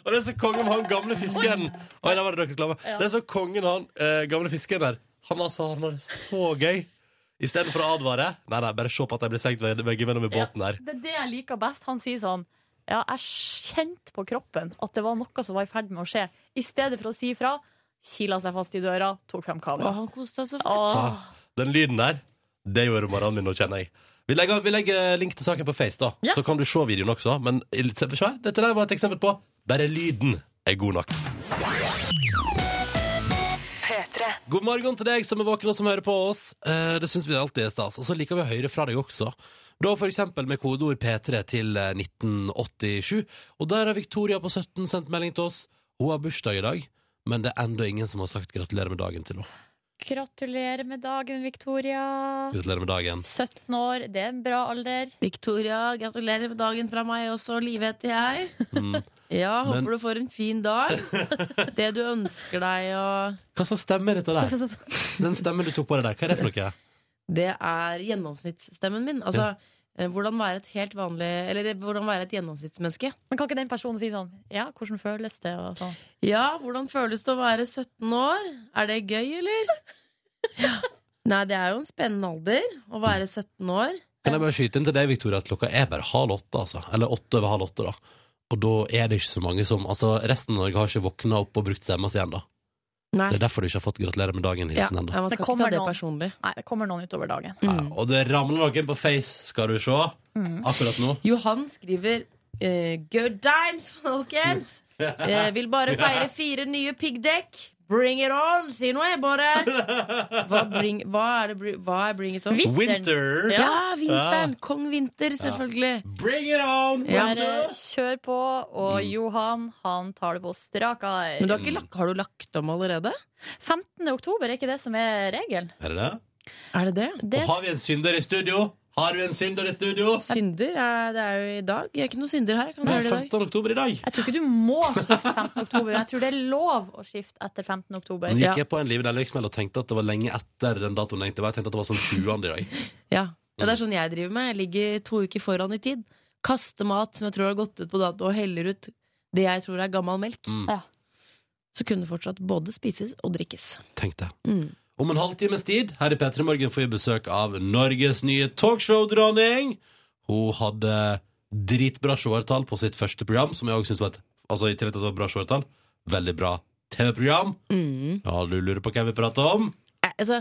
Speaker 2: Og det er så kongen med han gamle fisken Oi, der var det dere klare. Det er så kongen han eh, gamle fisken der. Han altså, han har det så gøy. Istedenfor å advare. Nei, nei, bare se på at de blir senkt veg- veggimellom i båten der.
Speaker 3: Det er det jeg liker best. Han sier sånn Ja, jeg kjente på kroppen at det var noe som var i ferd med å skje. I stedet for å si ifra, kila seg fast i døra, tok frem
Speaker 5: Å,
Speaker 3: kamera.
Speaker 5: han koste seg så fælt.
Speaker 3: Åh.
Speaker 2: Ah, den lyden der, det gjorde morgenen min nå, kjenner jeg. Vi legger, vi legger link til saken på Face, da.
Speaker 3: Ja.
Speaker 2: Så kan du se videoen også. Men i- se her, dette der var et eksempel på bare lyden er god nok.
Speaker 4: P3.
Speaker 2: God morgen til deg som er våken og som hører på oss. Eh, det syns vi alltid er stas. Og så liker vi å høre fra deg også. Da for eksempel med kodeord P3 til eh, 1987. Og der har Victoria på 17 sendt melding til oss. Hun har bursdag i dag, men det er ennå ingen som har sagt gratulerer med dagen til henne.
Speaker 3: Gratulerer med dagen, Victoria.
Speaker 2: Gratulerer med dagen.
Speaker 3: 17 år, det er en bra alder.
Speaker 5: Victoria, gratulerer med dagen fra meg også. Live heter jeg. Ja, håper
Speaker 2: Mm. Men-
Speaker 5: du får en fin dag. Det du ønsker deg og
Speaker 2: Hva slags stemme er dette der? Den stemmen du tok på deg der, hva er det for noe?
Speaker 5: Det er gjennomsnittsstemmen min. Altså, eh, hvordan være et helt vanlig Eller eh, hvordan være et gjennomsnittsmenneske.
Speaker 3: Men kan ikke den personen si sånn Ja, hvordan føles det? Og sånn.
Speaker 5: Ja, hvordan føles det å være 17 år? Er det gøy, eller? Ja. Nei, det er jo en spennende alder å være 17 år.
Speaker 2: Kan jeg bare skyte inn til deg, Victoria, at klokka er bare halv åtte, altså. Eller åtte over halv åtte, da. Og da er det ikke så mange som Altså, resten av Norge har ikke våkna opp og brukt stemma si ennå.
Speaker 5: Nei.
Speaker 2: Det er derfor du ikke har fått 'gratulerer med
Speaker 5: Ja,
Speaker 2: dagen'-hilsen ennå.
Speaker 5: nei, man
Speaker 3: Det
Speaker 5: skal ikke
Speaker 3: kommer
Speaker 5: ta det
Speaker 3: noen.
Speaker 5: personlig.
Speaker 3: Nei, det kommer noen utover dagen.
Speaker 2: Ja, og det ramler noen på face, skal du se.
Speaker 5: Mm.
Speaker 2: Akkurat nå.
Speaker 5: Johan skriver eh, Good times, folkens! Eh, vil bare feire fire nye piggdekk. Bring it on! Si noe, Båre! Hva, bring, hva, er det, br- hva er bring it on?
Speaker 3: Vinteren.
Speaker 2: Winter!
Speaker 5: Ja, vinteren! Kong Vinter, selvfølgelig.
Speaker 2: Bring it on!
Speaker 5: Ja.
Speaker 11: Bare kjør på,
Speaker 3: Mm.
Speaker 11: og Johan han tar det på strak
Speaker 5: Men
Speaker 11: arm.
Speaker 5: du har, ikke lagt, har du lagt om allerede?
Speaker 11: 15. oktober, er ikke det som er regelen?
Speaker 2: Er det det?
Speaker 5: Er det det?
Speaker 11: Det
Speaker 2: Og har vi en synder i studio? Har du en synder i studio?
Speaker 5: Synder? Er, det er jo i dag. Jeg er ikke noen synder her. Kan du
Speaker 2: Nei,
Speaker 5: høre det i dag?
Speaker 2: 15. oktober i dag.
Speaker 11: Jeg tror ikke du må skifte 15. oktober. Jeg tror det er lov å skifte etter 15. oktober.
Speaker 2: Nå
Speaker 5: Ja.
Speaker 2: gikk jeg på en Live Nelvik-smell og tenkte at det var lenge etter den datoen. Jeg tenkte Jeg tenkte at det var sånn 20. i dag.
Speaker 5: Ja. ja, det er sånn jeg driver med. Jeg ligger to uker foran i tid. Kaster mat som jeg tror har gått ut på dato, og heller ut det jeg tror er gammel melk.
Speaker 2: Mm.
Speaker 11: Ja.
Speaker 5: Så kunne det fortsatt både spises og drikkes.
Speaker 2: Tenkte jeg.
Speaker 5: Mm.
Speaker 2: Om en halvtimes tid her i P3 Morgen får vi besøk av Norges nye talkshow-dronning. Hun hadde dritbra seertall på sitt første program, som jeg også synes var et altså i tillegg til at det var bra seertall, veldig bra TV-program.
Speaker 5: Mm.
Speaker 2: Ja, du lurer på hvem vi prater om?
Speaker 5: Eh, Altså,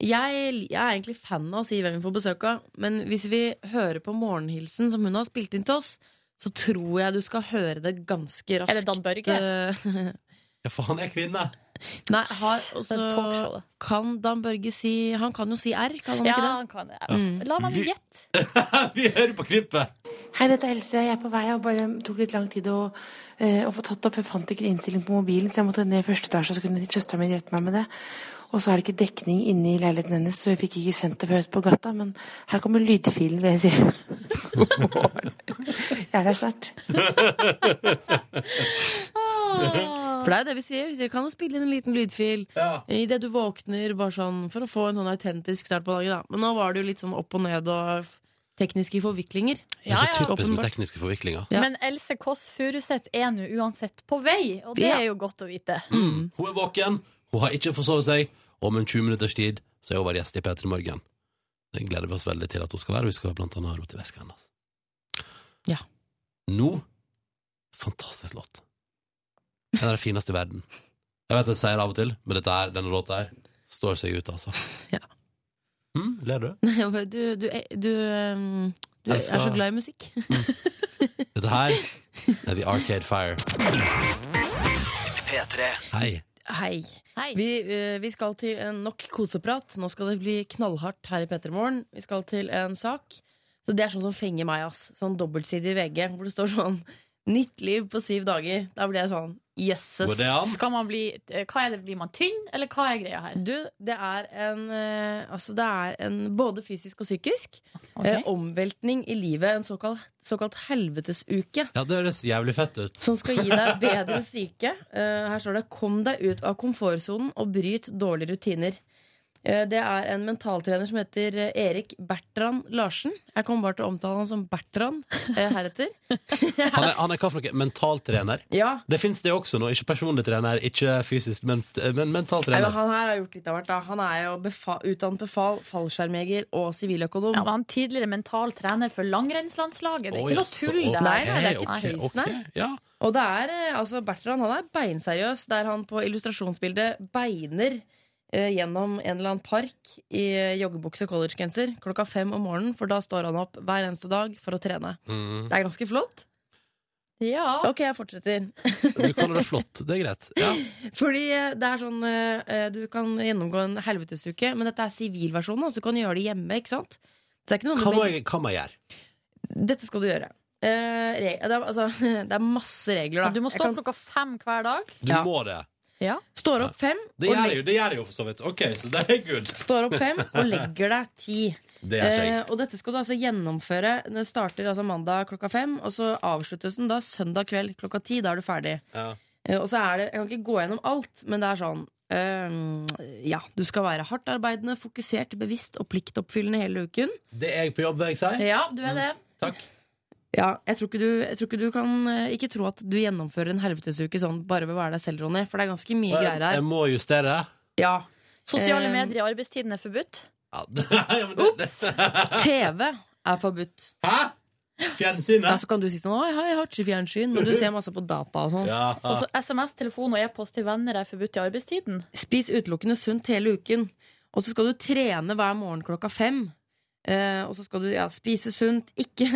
Speaker 5: jeg, jeg er egentlig fan av å si hvem vi får besøk av, men hvis vi hører på morgenhilsen som hun har spilt inn til oss, så tror jeg du skal høre det ganske raskt.
Speaker 11: Er det Dan Børge?
Speaker 5: Eh,
Speaker 2: Ja, for han er kvinne.
Speaker 5: Nei, har
Speaker 11: Det er et
Speaker 5: også
Speaker 11: talkshow, det.
Speaker 5: Kan Dan Børge si Han kan jo si R, kan han
Speaker 11: Ja,
Speaker 5: eh, ikke det?
Speaker 11: han kan det. La meg
Speaker 2: Vi-
Speaker 11: gjette.
Speaker 2: vi hører på klippet!
Speaker 12: Hei, dette er Else. Jeg er på vei og bare tok litt lang tid å, eh, å få tatt opp. Jeg fant ikke innstilling på mobilen, så jeg måtte ned i første etasje, og så kunne søsteren min hjelpe meg med det. Og så er det ikke dekning inne i leiligheten hennes, så vi fikk ikke sendt det før ute på gata. Men her kommer lydfilen, vil jeg si. God morgen. Jeg er der snart.
Speaker 5: For det er jo det vi sier. Vi sier kan jo spille inn en liten lydfil
Speaker 2: Ja.
Speaker 5: I idet du våkner, bare sånn for å få en sånn autentisk start på dagen. Da. Men nå var det jo litt sånn opp og ned og f- tekniske forviklinger.
Speaker 2: Det er så typisk med
Speaker 5: Åpenbart.
Speaker 2: tekniske forviklinger.
Speaker 5: Ja.
Speaker 11: Men Else Kåss Furuseth er nå uansett på vei, og det
Speaker 5: Ja.
Speaker 11: er
Speaker 5: Mm.
Speaker 11: jo godt å vite.
Speaker 2: Hun er våken, hun har ikke forsovet seg. Om en 20 minutters tid så er hun vår gjest i P3 Morgen. Det gleder vi oss veldig til at hun skal være. Vi skal blant annet ha rot i veska hennes.
Speaker 5: Ja.
Speaker 2: Nå Fantastisk låt. En av de fineste i verden. Jeg vet jeg sier det av og til, men dette her, denne låta her står seg ut, altså.
Speaker 5: Ja.
Speaker 2: Mm, ler du?
Speaker 5: Du, du, eh, du, ehm, du er
Speaker 2: Jeg skal-
Speaker 5: så glad i musikk.
Speaker 2: Dette her er The Arcade Fire. Hei.
Speaker 5: Hei.
Speaker 11: Hei.
Speaker 5: Vi, eh, vi skal til en nok koseprat. Nå skal det bli knallhardt her i P3 Morgen. Vi skal til en sak. Så Det er sånn som fenger meg. ass Sånn dobbeltsidig VG hvor det står sånn 'Nytt liv på syv dager'. Da blir jeg sånn
Speaker 2: Går det
Speaker 5: Jøsses.
Speaker 2: an?
Speaker 11: Skal man bli, eh, hva er det, blir man tynn, eller hva er greia her?
Speaker 5: Du, det er en eh, Altså, det er en både fysisk og psykisk
Speaker 11: Ok.
Speaker 5: eh, omveltning i livet. En såkalt, såkalt helvetesuke.
Speaker 2: Ja, det høres jævlig fett ut.
Speaker 5: Som skal gi deg bedre syke. Eh, her står det 'Kom deg ut av komfortsonen og bryt dårlige rutiner'. Eh, det er en mentaltrener som heter eh, Erik Bertrand Larsen. Jeg kommer bare til å omtale han som Bertrand eh, heretter.
Speaker 2: Han er, han er hva for noe? Mentaltrener?
Speaker 5: Ja,
Speaker 2: Det fins det også nå. Ikke personlig trener, ikke fysisk, men, men mental
Speaker 5: Nei,
Speaker 2: trener.
Speaker 5: men Han her har gjort litt av hvert. da Han er jo befa utdannet befal, fallskjermjeger og siviløkonom.
Speaker 11: Ja, var han tidligere mental trener for langrennslandslaget? Det er
Speaker 2: Å,
Speaker 11: ikke noe
Speaker 2: jaså,
Speaker 11: tull, det
Speaker 2: ok,
Speaker 5: Nei,
Speaker 11: her.
Speaker 5: nei, det er ikke
Speaker 2: ok,
Speaker 5: tøys,
Speaker 2: ok.
Speaker 5: nei.
Speaker 2: Ja.
Speaker 5: Og det er, eh, altså Bertrand han er beinseriøs, der han på illustrasjonsbildet beiner eh, gjennom en eller annen park i eh, joggebukse og collegegenser klokka fem om morgenen, for da står han opp hver eneste dag for å trene.
Speaker 2: Mm.
Speaker 5: Det er ganske flott.
Speaker 11: Ja.
Speaker 5: Ok, jeg fortsetter.
Speaker 2: Du kaller det flott. Det er greit. Ja.
Speaker 5: Fordi eh, det er sånn eh, eh, Du kan gjennomgå en helvetesuke, men dette er sivilversjonen, altså du kan gjøre det hjemme, ikke sant? Så det er ikke noe
Speaker 2: Hva, må jeg, hva må jeg gjøre?
Speaker 5: Dette skal du gjøre. Eh, re det, er, altså, det er masse regler, da.
Speaker 11: Du må
Speaker 5: Jeg
Speaker 11: stå
Speaker 5: kan-
Speaker 11: opp klokka fem hver dag.
Speaker 2: Du
Speaker 5: Ja.
Speaker 2: må det.
Speaker 5: står opp fem,
Speaker 2: Det
Speaker 5: og
Speaker 2: gjør
Speaker 5: legg-
Speaker 2: jeg jo, det gjør jeg jo for så vidt. Ok, så det er good.
Speaker 5: står opp fem og legger deg ti.
Speaker 2: Det gjør ikke jeg.
Speaker 5: Eh, og dette skal du altså gjennomføre. Det starter altså mandag klokka fem, og så avsluttes den da søndag kveld klokka ti. Da er du ferdig.
Speaker 2: Ja.
Speaker 5: Eh, og så er det, Jeg kan ikke gå gjennom alt, men det er sånn eh, Ja, du skal være hardtarbeidende, fokusert, bevisst og pliktoppfyllende hele uken.
Speaker 2: Det er jeg på jobb, vil jeg si.
Speaker 11: Ja, du er det.
Speaker 2: Takk.
Speaker 5: Ja, jeg tror, ikke du, jeg tror ikke du kan eh, Ikke tro at du gjennomfører en helvetesuke sånn bare ved å være deg selv, Ronny, for det er ganske mye greier
Speaker 2: Jeg
Speaker 5: her.
Speaker 2: må justere.
Speaker 5: Ja.
Speaker 11: Sosiale
Speaker 5: Eh,
Speaker 11: medier i arbeidstiden er forbudt.
Speaker 2: Ja, det, ja, men det, det.
Speaker 5: TV er forbudt.
Speaker 2: Hæ?
Speaker 5: Ja,
Speaker 2: Fjernsynet?
Speaker 5: så kan du si sånn Oi, hei, jeg har ikke fjernsyn, men du ser masse på data og sånn.
Speaker 2: Ja.
Speaker 11: Også SMS, telefon og e-post til venner er forbudt i arbeidstiden.
Speaker 5: Spis utelukkende sunt hele uken. Og så skal du trene hver morgen klokka fem. Eh, og så skal du ja, spise sunt. Ikke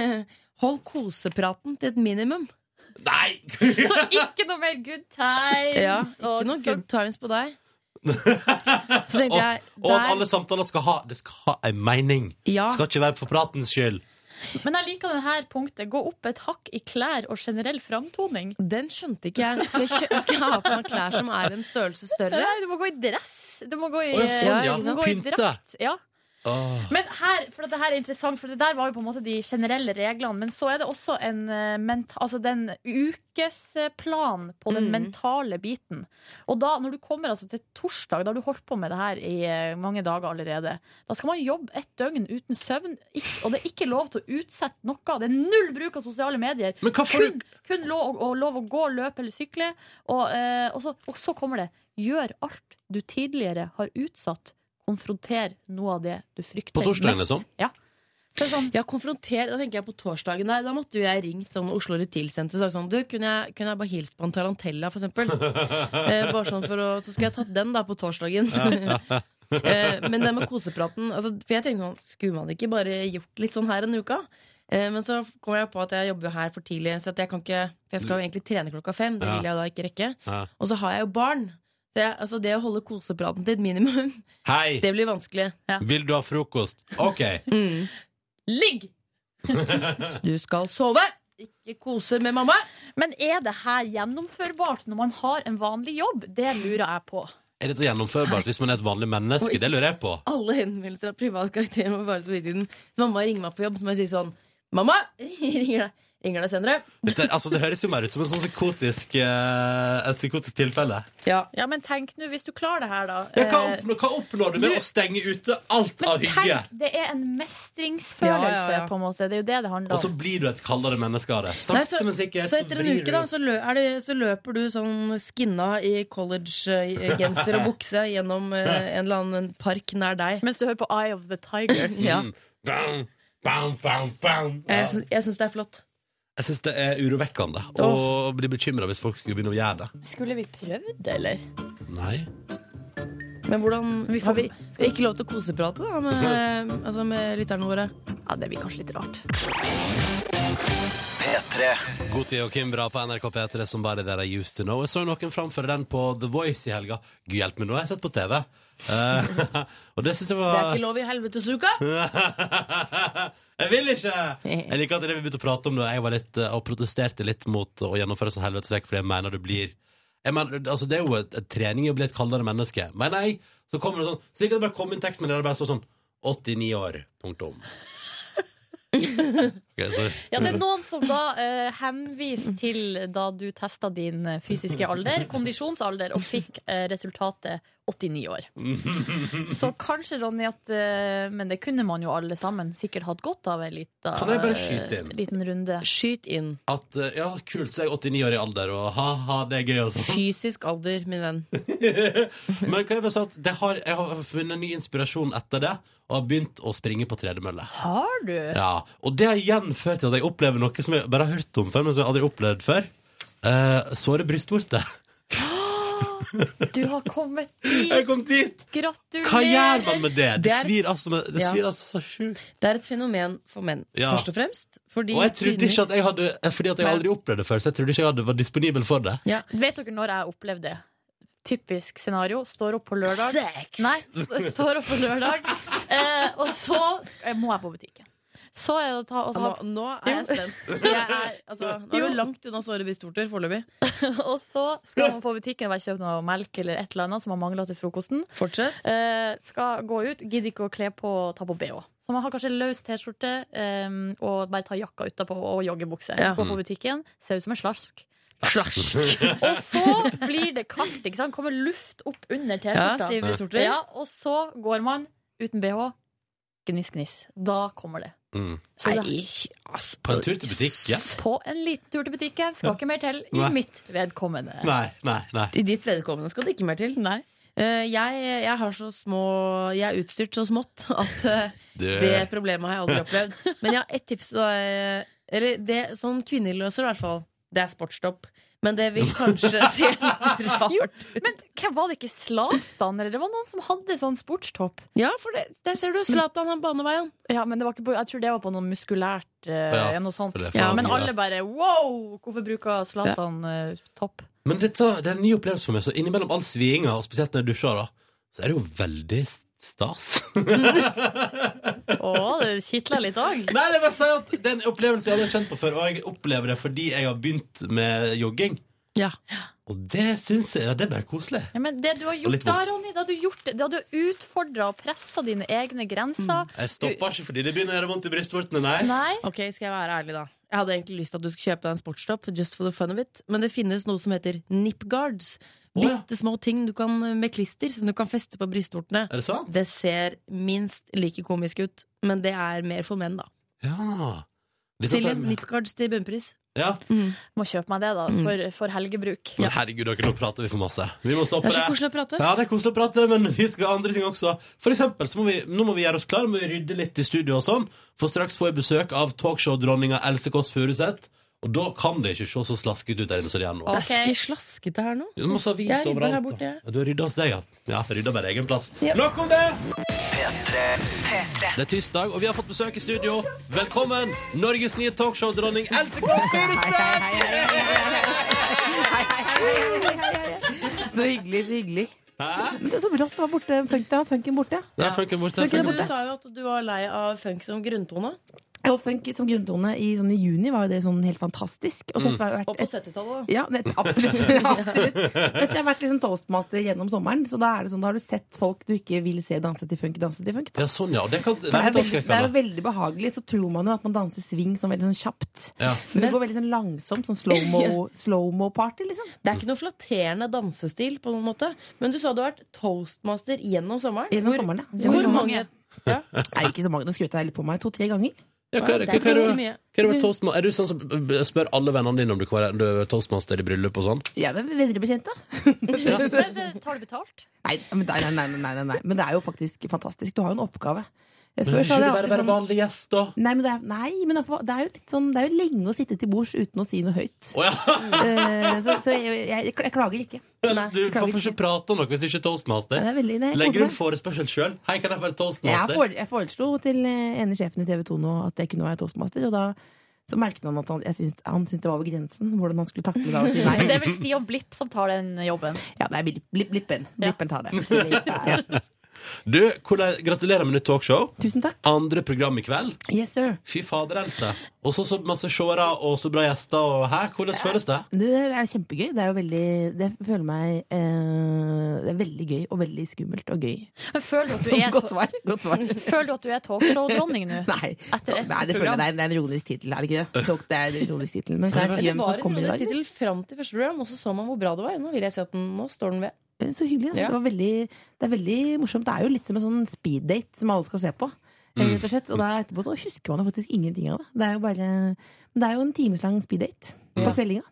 Speaker 5: Hold kosepraten til et minimum.
Speaker 2: Nei!
Speaker 3: Så ikke noe mer good times.
Speaker 5: Ja, ikke
Speaker 3: og-
Speaker 5: noe
Speaker 3: så-
Speaker 5: good times på deg. Så tenkte jeg
Speaker 2: Og at
Speaker 5: der,
Speaker 2: alle samtaler skal ha Det skal ha en mening.
Speaker 5: Ja.
Speaker 2: Skal ikke være for pratens skyld.
Speaker 3: Men jeg liker dette punktet. Gå opp et hakk i klær og generell framtoning.
Speaker 5: Den skjønte ikke jeg. Skal jeg, kjø skal jeg ha på meg klær som er en størrelse større?
Speaker 3: Nei, du må gå i dress. Du må gå i,
Speaker 2: Å, ja, sånn, ja.
Speaker 3: du må gå i
Speaker 2: Pynte.
Speaker 3: drakt. Ja.
Speaker 2: Åh.
Speaker 3: Men her, for at det her er interessant, for det der var jo på en måte de generelle reglene, men så er det også en eh, menta, altså den ukesplan på den
Speaker 5: Mm.
Speaker 3: mentale biten. Og da, når du kommer altså til torsdag, da har du holdt på med det her i eh, mange dager allerede, da skal man jobbe et døgn uten søvn, ikk- og det er ikke lov til å utsette noe. Det er null bruk av sosiale medier.
Speaker 2: Men hva får du
Speaker 3: Kun, kun lov, og lov å gå, løpe eller sykle. Og, eh, og, så, og så kommer det Gjør alt du tidligere har utsatt. Konfronter noe av det du frykter
Speaker 2: På torsdagen,
Speaker 3: mest.
Speaker 2: liksom?
Speaker 3: Ja. Så det er sånn,
Speaker 5: Ja, konfronter, Da tenker jeg på torsdagen der. Da måtte jo jeg ringt sånn Oslo Rutilsenter og sagt sånn Du, kunne jeg, kunne jeg bare hilst på en tarantella, for eksempel? eh, bare sånn for å, så skulle jeg tatt den da på torsdagen. eh, men det med kosepraten altså, For jeg tenkte sånn Skulle man ikke bare gjort litt sånn her en uke? Eh, men så kom jeg på at jeg jobber jo her for tidlig, så at jeg kan ikke For jeg skal jo egentlig trene klokka fem. Det
Speaker 2: Ja.
Speaker 5: vil jeg da ikke rekke.
Speaker 2: Ja.
Speaker 5: Og så har jeg jo barn. Så jeg, altså, det å holde kosepraten til et minimum,
Speaker 2: Hei,
Speaker 5: det blir vanskelig.
Speaker 2: vil du ha frokost? OK.
Speaker 5: Ligg! du skal sove! Ikke kose med mamma.
Speaker 3: men er det her gjennomførbart når man har en vanlig jobb? Det lurer jeg på.
Speaker 2: Er dette gjennomførbart hvis man er et vanlig menneske? Det lurer jeg på.
Speaker 5: Alle henvendelser av privat karakter må bare så vidt i den. Så mamma ringer meg på jobb, så må jeg si sånn Mamma! Ringer deg, ringer deg senere.
Speaker 2: Dette, altså, det høres jo mer ut som en sånn psykotisk, eh, et psykotisk tilfelle.
Speaker 5: Ja.
Speaker 3: Ja, men tenk nå, hvis du klarer det her, da.
Speaker 2: Ja, hva,
Speaker 3: eh,
Speaker 2: oppnår, hva oppnår du med
Speaker 3: du-
Speaker 2: å stenge ute alt
Speaker 3: men
Speaker 2: av hygge?
Speaker 3: tenk, det er en mestringsfølelse,
Speaker 5: Ja, ja, ja.
Speaker 3: på en måte. Det er jo det det handler
Speaker 2: Og så
Speaker 3: om.
Speaker 2: blir du et kaldere menneske av det.
Speaker 5: Nei,
Speaker 2: Sakte,
Speaker 5: så,
Speaker 2: men sikkert.
Speaker 5: så etter en
Speaker 2: vrir
Speaker 5: uke da
Speaker 2: du-
Speaker 5: så, lø, er det, så løper du sånn skinna i college-genser og bukse gjennom eh, en eller annen park nær deg.
Speaker 3: Mens du hører på Eye of the Tiger.
Speaker 5: Ja.
Speaker 2: Mm. Bam, bam, bam, bam.
Speaker 5: Jeg,
Speaker 2: Ja.
Speaker 5: syns- jeg syns det er flott.
Speaker 2: Jeg syns det er urovekkende å bli bekymra hvis folk skulle begynne å gjøre det.
Speaker 3: Skulle vi prøvd det, eller?
Speaker 2: Nei.
Speaker 5: Men hvordan
Speaker 3: Vi får-
Speaker 5: har vi, vi ikke lov til å koseprate da med, altså med lytterne våre?
Speaker 3: Ja, det blir kanskje litt rart.
Speaker 2: Goti og Kimbra på NRK P3 som bare der I used to know. Jeg så noen framføre den på The Voice i helga. Gud hjelpe meg, nå har jeg sett på TV. Eh, og det syns jeg
Speaker 5: Det er
Speaker 2: var
Speaker 5: ikke lov i helvetesuka!
Speaker 2: Jeg vil ikke! Jeg liker at det vi begynte å prate om da jeg var litt, eh, og protesterte litt mot å gjennomføre sånn helvetesvekk, fordi jeg mener du blir jeg mener, altså Det er jo et, et trening i å bli et kaldere menneske. Men nei, så kommer det sånn Slik at det bare kom inn tekstmelding der det bare står sånn 89 år. Punktum. Ok, så,
Speaker 3: Ja, det er noen som da eh, henviser til da du testa din eh, fysiske alder, kondisjonsalder, og fikk eh, resultatet 89 år. Så kanskje, Ronny, at eh, Men det kunne man jo alle sammen sikkert hatt godt av en lita,
Speaker 2: Kan jeg bare skyte inn?
Speaker 3: eh, liten runde.
Speaker 5: Skyt inn.
Speaker 2: at eh, Ja, kult, så er jeg 89 år i alder, og ha-ha, det er gøy, og sånn.
Speaker 5: Fysisk alder, min venn.
Speaker 2: Men kan jeg bare si at det har, jeg har funnet ny inspirasjon etter det, og har begynt å springe på tredemølle.
Speaker 3: Har du?
Speaker 2: Ja, og det har igjen ført til at jeg opplever noe som jeg bare har hørt om før, men som jeg aldri har opplevd før. Eh, såre brystvorte.
Speaker 3: Du har kommet dit!
Speaker 2: Jeg kom dit!
Speaker 3: Gratulerer!
Speaker 2: Hva gjør man med det? Det
Speaker 5: Det er-
Speaker 2: svir altså, med- det
Speaker 5: Ja.
Speaker 2: svir altså så sjukt.
Speaker 5: Det er et fenomen for menn,
Speaker 2: Ja.
Speaker 5: først og fremst. Fordi
Speaker 2: Og jeg trodde ikke at jeg hadde eh, Fordi at jeg aldri opplevde det før, så jeg trodde ikke jeg hadde var disponibel for det.
Speaker 3: Vet dere når jeg opplevde det? Typisk scenario. Står opp på lørdag.
Speaker 5: Sex!
Speaker 3: Nei, s- står opp på lørdag. Eh, og så sk- eh, må jeg på butikken. Så er det å ta og,
Speaker 5: nå,
Speaker 3: så,
Speaker 5: nå er jeg
Speaker 3: Jo.
Speaker 5: spent. Jeg er, altså, nå er
Speaker 3: Jo.
Speaker 5: du langt unna såre brystvorter foreløpig.
Speaker 3: og så skal man på butikken og kjøpe noe melk eller et eller annet som man mangler til frokosten.
Speaker 5: Fortsett.
Speaker 3: Eh, skal gå ut, gidder ikke å kle på ta på bh. Så man har kanskje løs T-skjorte eh, og bare tar jakka utapå og joggebukse.
Speaker 5: Ja.
Speaker 3: Gå på butikken, ser ut som en slask. Og så blir det kaldt, ikke sant? Kommer luft opp under
Speaker 5: Ja,
Speaker 3: T-skjorta.
Speaker 5: stive brystvorter.
Speaker 3: Ja, og så går man uten BH. Gniss, gniss. Da kommer det.
Speaker 2: Mm.
Speaker 3: Så det
Speaker 5: Nei, ass.
Speaker 2: På en tur til butikken?
Speaker 3: på en liten tur til butikken skal ikke mer til i
Speaker 2: Nei.
Speaker 3: mitt vedkommende.
Speaker 2: Nei, nei, nei.
Speaker 5: I ditt vedkommende skal det ikke mer til.
Speaker 3: Nei.
Speaker 5: Eh, jeg, jeg, har så små, jeg er utstyrt så smått at eh,
Speaker 2: Du,
Speaker 5: det problemet har jeg aldri eh, opplevd. Men jeg har ett tips til deg. Eller det, sånn kvinneløser, i hvert fall. Det er sportstopp. Men det vil kanskje se litt rart
Speaker 3: Jo, men hvem var det ikke Zlatan, eller det var noen som hadde sånn sportstopp?
Speaker 5: Ja, for det, der ser du Zlatan, han baneveien.
Speaker 3: Ja, men det var ikke på, jeg tror det var på noe muskulært, eh,
Speaker 2: Ja,
Speaker 3: noe sånt.
Speaker 2: for det er
Speaker 3: Ja,
Speaker 2: faen
Speaker 3: men
Speaker 2: mye,
Speaker 3: alle bare wow, hvorfor bruker Zlatan eh, topp?
Speaker 2: Men dette, det er en ny opplevelse for meg. Så innimellom all svinga, og spesielt når jeg dusjer, da, så er det jo veldig stas.
Speaker 3: Å, det kitler litt òg.
Speaker 2: Nei, det er bare å si at det er en opplevelse jeg aldri har kjent på før, og jeg opplever det fordi jeg har begynt med jogging.
Speaker 5: Ja.
Speaker 2: Og det syns jeg Det er bare koselig.
Speaker 3: Ja, men det du har
Speaker 2: Og litt
Speaker 3: gjort da, Ronny, da har du gjort det. Da har du utfordra og pressa dine egne grenser.
Speaker 2: Jeg stopper ikke fordi det begynner å gjøre vondt i brystvortene, nei.
Speaker 3: Mm. Nei.
Speaker 5: Ok, skal jeg være ærlig, da. Jeg hadde egentlig lyst til at du skulle kjøpe deg en sportstopp, just for the fun of it, men det finnes noe som heter nip guards.
Speaker 2: Å, ja.
Speaker 5: Bitte små ting du kan med klister som du kan feste på brystvortene.
Speaker 2: Er det sant?
Speaker 5: Det ser minst like komisk ut, men det er mer for menn, da.
Speaker 2: Ja. Det er sant,
Speaker 5: Silje,
Speaker 2: det er-
Speaker 5: nip guards til bunnpris.
Speaker 2: ja.
Speaker 3: Må kjøpe meg det, da,
Speaker 2: Mm.
Speaker 3: for, for helgebruk.
Speaker 2: Men herregud, dere, nå prater vi for masse. Vi må
Speaker 5: Det
Speaker 2: stoppe
Speaker 5: er
Speaker 2: det.
Speaker 5: så koselig å prate.
Speaker 2: Ja, det er koselig å prate, men vi skal ha andre ting også. For eksempel, så må vi, nå må vi gjøre oss klare med å rydde litt i studio og sånn, for straks får jeg besøk av talkshow-dronninga Else Kåss Furuseth, og da kan det ikke se så slasket ut der inne som det er nå.
Speaker 5: Det
Speaker 3: Ok.
Speaker 5: er ikke slaskete her nå.
Speaker 2: Det er masse avis
Speaker 5: Jeg rydder
Speaker 2: overalt,
Speaker 5: her
Speaker 2: da.
Speaker 5: borte, jeg.
Speaker 2: Ja, du har rydda hos deg, ja. Ja, rydda bare egen plass. Nok om det! Det er tirsdag, og vi har fått besøk i studio. Velkommen, Norges nye talkshow-dronning Else Kåss Furuseth!
Speaker 13: Så hyggelig, så hyggelig.
Speaker 2: Hæ?
Speaker 13: Så, så rått å være borte. Funk, da. Funken borte.
Speaker 2: Der funker den borte.
Speaker 13: Funker den
Speaker 5: Du
Speaker 13: borte.
Speaker 5: sa jo at du var lei av funk som grunntone.
Speaker 13: Og funk som grunntone i, sånn, i juni var jo det sånn helt fantastisk. Og så etter
Speaker 2: Eh,
Speaker 13: hvert-
Speaker 5: Og på 70-tallet.
Speaker 13: Ja, nett, absolutt. absolutt. Vet du, Jeg har vært liksom toastmaster gjennom sommeren, så da, er det sånn, da har du sett folk du ikke vil se danse til funk, danse til funk. Da.
Speaker 2: Ja, sånn, ja. Det kan
Speaker 13: For
Speaker 2: være
Speaker 13: det, er veldig, det er jo
Speaker 2: avskrekkende.
Speaker 13: veldig behagelig, så tror man jo at man danser swing sånn veldig sånn kjapt.
Speaker 2: Ja.
Speaker 13: Men det går veldig sånn langsomt, sånn slow-mo- slow-mo-party, liksom.
Speaker 5: Det er ikke noe flatterende dansestil, på noen måte. Men du sa du har vært toastmaster gjennom sommeren.
Speaker 13: Gjennom
Speaker 5: Hvor-
Speaker 13: sommeren, ja.
Speaker 5: Hvor
Speaker 13: Gjennom
Speaker 5: mange? Ja,
Speaker 13: Nei, ikke så mange. Nå skrøt jeg litt på meg to-tre ganger.
Speaker 2: Ja, hva er det-
Speaker 5: det er
Speaker 2: hva er det-
Speaker 5: ganske mye.
Speaker 2: hva er det med toastma- Er du sånn som b- b- spør alle vennene dine om du kan være- du er toastmaster i bryllup og sånn?
Speaker 13: Jeg er veldig bekjent, da.
Speaker 3: Men, eh, Tar du betalt?
Speaker 13: Nei, men, nei, nei, nei, nei, nei, nei. men det er jo faktisk fantastisk. Du har jo en oppgave.
Speaker 2: Men
Speaker 13: Før
Speaker 2: ikke
Speaker 13: så hadde
Speaker 2: du
Speaker 13: jeg
Speaker 2: bare
Speaker 13: alltid
Speaker 2: være
Speaker 13: sånn
Speaker 2: vanlig gjest, da?
Speaker 13: Nei, men det er, nei, men det er jo litt sånn Det er jo lenge å sitte til bords uten å si noe høyt.
Speaker 2: Å ja!
Speaker 13: Eh, så så jeg, jeg, jeg klager ikke.
Speaker 2: Du får
Speaker 13: klager
Speaker 2: ikke prate om noe hvis du ikke er toastmaster.
Speaker 13: Nei, det er veldig- nei, jeg
Speaker 2: Legger
Speaker 13: koser
Speaker 2: du en forespørsel sjøl? Hei, kan jeg få være
Speaker 13: Jeg,
Speaker 2: toastmaster?
Speaker 13: fore, jeg foreslo til eh, ene sjefen i TV 2 nå at jeg kunne være toastmaster, og da så merket han at han, jeg syns- han syntes det var over grensen hvordan han skulle takle det. Og si nei.
Speaker 3: Men det er vel Stian Blipp som tar den jobben.
Speaker 13: Ja, nei, blipp, blipp, blippen. Blippen tar det. Ja.
Speaker 2: Du, hvordan, gratulerer med nytt talkshow.
Speaker 13: Tusen takk.
Speaker 2: Andre program i kveld.
Speaker 13: Yes, sir.
Speaker 2: Fy fader, Else. Og så så masse seere og så bra gjester. Og hæ, hvordan føles det?
Speaker 13: Det er kjempegøy. Det er jo veldig Det føler meg eh, Det er veldig gøy og veldig skummelt og gøy.
Speaker 3: Men føler du at du
Speaker 13: Så
Speaker 3: er,
Speaker 13: godt svar. Godt svar.
Speaker 3: føler du at du er talkshow-dronning nå?
Speaker 13: Nei,
Speaker 3: Etter ett
Speaker 13: nei det, føler jeg,
Speaker 3: program.
Speaker 13: det er- det er en ironisk tittel, er det ikke det? Tok, Det er en ironisk tittel. Men kan jeg si
Speaker 5: Det
Speaker 13: hvem
Speaker 5: var
Speaker 13: som
Speaker 5: en
Speaker 13: kommer i dag?
Speaker 5: ironisk tittel fram til første program, og så så man hvor bra det var. Nå vil jeg si at den, nå står den ved.
Speaker 13: eller? Så hyggelig. da.
Speaker 5: Ja.
Speaker 13: Det, var veldig, det er veldig morsomt. Det er jo litt som en sånn speeddate som alle skal se på. eh,
Speaker 5: Mm.
Speaker 13: Rett og slett. Og da etterpå så husker man jo faktisk ingenting av det. Det er jo bare Men det er jo en timeslang speeddate på kveldinga.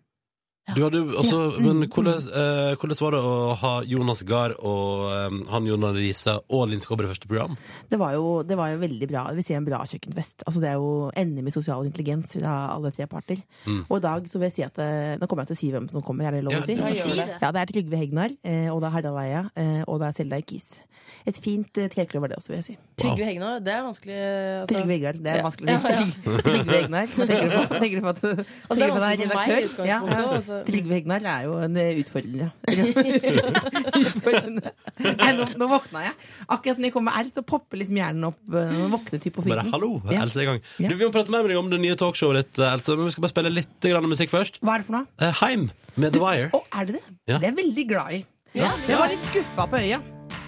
Speaker 2: Du hadde, jo også, men hvordan, eh, hvordan var det å ha Jonas Gahr og eh, han Jonas Riise og Linn Skåber i første program?
Speaker 13: Det var jo, det var jo veldig bra. Det vil si en bra kjøkkenfest. Altså, det er jo NM i sosial intelligens fra alle tre parter. Og i dag så vil jeg si at eh, Nå kommer jeg til å si hvem som kommer, er det lov
Speaker 2: Mm. Ja,
Speaker 13: å si?
Speaker 2: du må
Speaker 3: si det.
Speaker 13: Ja, det er Trygve Hegnar, eh, og det er Herdal Eia, eh, og det er Selda Ekiz. Et fint eh, trekløver, det også, vil jeg si.
Speaker 5: Trygve Hegna, det er vanskelig altså.
Speaker 13: Trygve Hegnar. Det er
Speaker 5: Ja.
Speaker 13: vanskelig å si.
Speaker 5: Ja, ja.
Speaker 13: Trygve Hegnar. Tenker du på, tenker du på at
Speaker 5: Altså, det
Speaker 13: tenker
Speaker 5: er
Speaker 13: du på at
Speaker 5: vanskelig for meg i utgangspunktet
Speaker 13: Ja, ja.
Speaker 5: også, altså.
Speaker 13: Trygve Hegnar er jo en eh, utfordrende. utfordrende. Nei, nå, nå våkna jeg. Akkurat når jeg kommer med R, så popper liksom hjernen opp. eh, Nå våkner typ på
Speaker 2: Bare
Speaker 13: fysen.
Speaker 2: hallo, altså.
Speaker 13: Ja.
Speaker 2: Else er i gang.
Speaker 13: Ja.
Speaker 2: Du, vi må prate mer med deg om det nye talkshowet ditt, eh, Else, men vi skal bare spille litt grann musikk først.
Speaker 13: Hva er det for noe?
Speaker 2: Eh, Heim med The Wire.
Speaker 13: Å, er det det?
Speaker 2: Ja.
Speaker 13: Det er jeg veldig glad i. Jeg var litt skuffa på øya.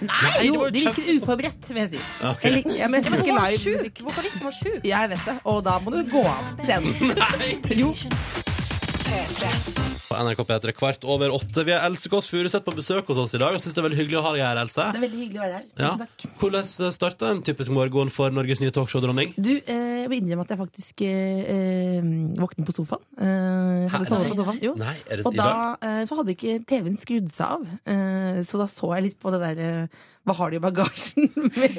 Speaker 13: Nei,
Speaker 2: det
Speaker 13: jo,
Speaker 2: var
Speaker 13: det virker uforberedt, vil jeg si.
Speaker 2: Ok.
Speaker 13: Jeg liker, ja, men jeg
Speaker 3: Men
Speaker 13: liker
Speaker 3: hun var
Speaker 13: live
Speaker 3: sjuk!
Speaker 13: musikk.
Speaker 3: Vokalisten var sjuk!
Speaker 13: Jeg vet det. Og da må du gå av scenen. Jo,
Speaker 2: På NRK P3 kvart over åtte. Vi har Else Kåss Furuseth på besøk hos oss i dag. Jeg synes det er veldig hyggelig å ha deg her, Else.
Speaker 13: det er veldig hyggelig å være her.
Speaker 2: Ja. eh,
Speaker 13: Tusen takk.
Speaker 2: Hvordan starta en typisk morgen for Norges nye talkshow-dronning?
Speaker 13: Du, eh, jeg må innrømme at jeg faktisk eh, eh, våknet på sofaen. Eh,
Speaker 2: Hæ,
Speaker 13: hadde sovnet
Speaker 2: nei.
Speaker 13: på sofaen. Jo.
Speaker 2: Nei, er det-
Speaker 13: og
Speaker 2: i
Speaker 13: da
Speaker 2: dag?
Speaker 13: eh, så hadde ikke TV-en skrudd seg av. Eh, så da så jeg litt på det der eh, Hva har du i bagasjen? med,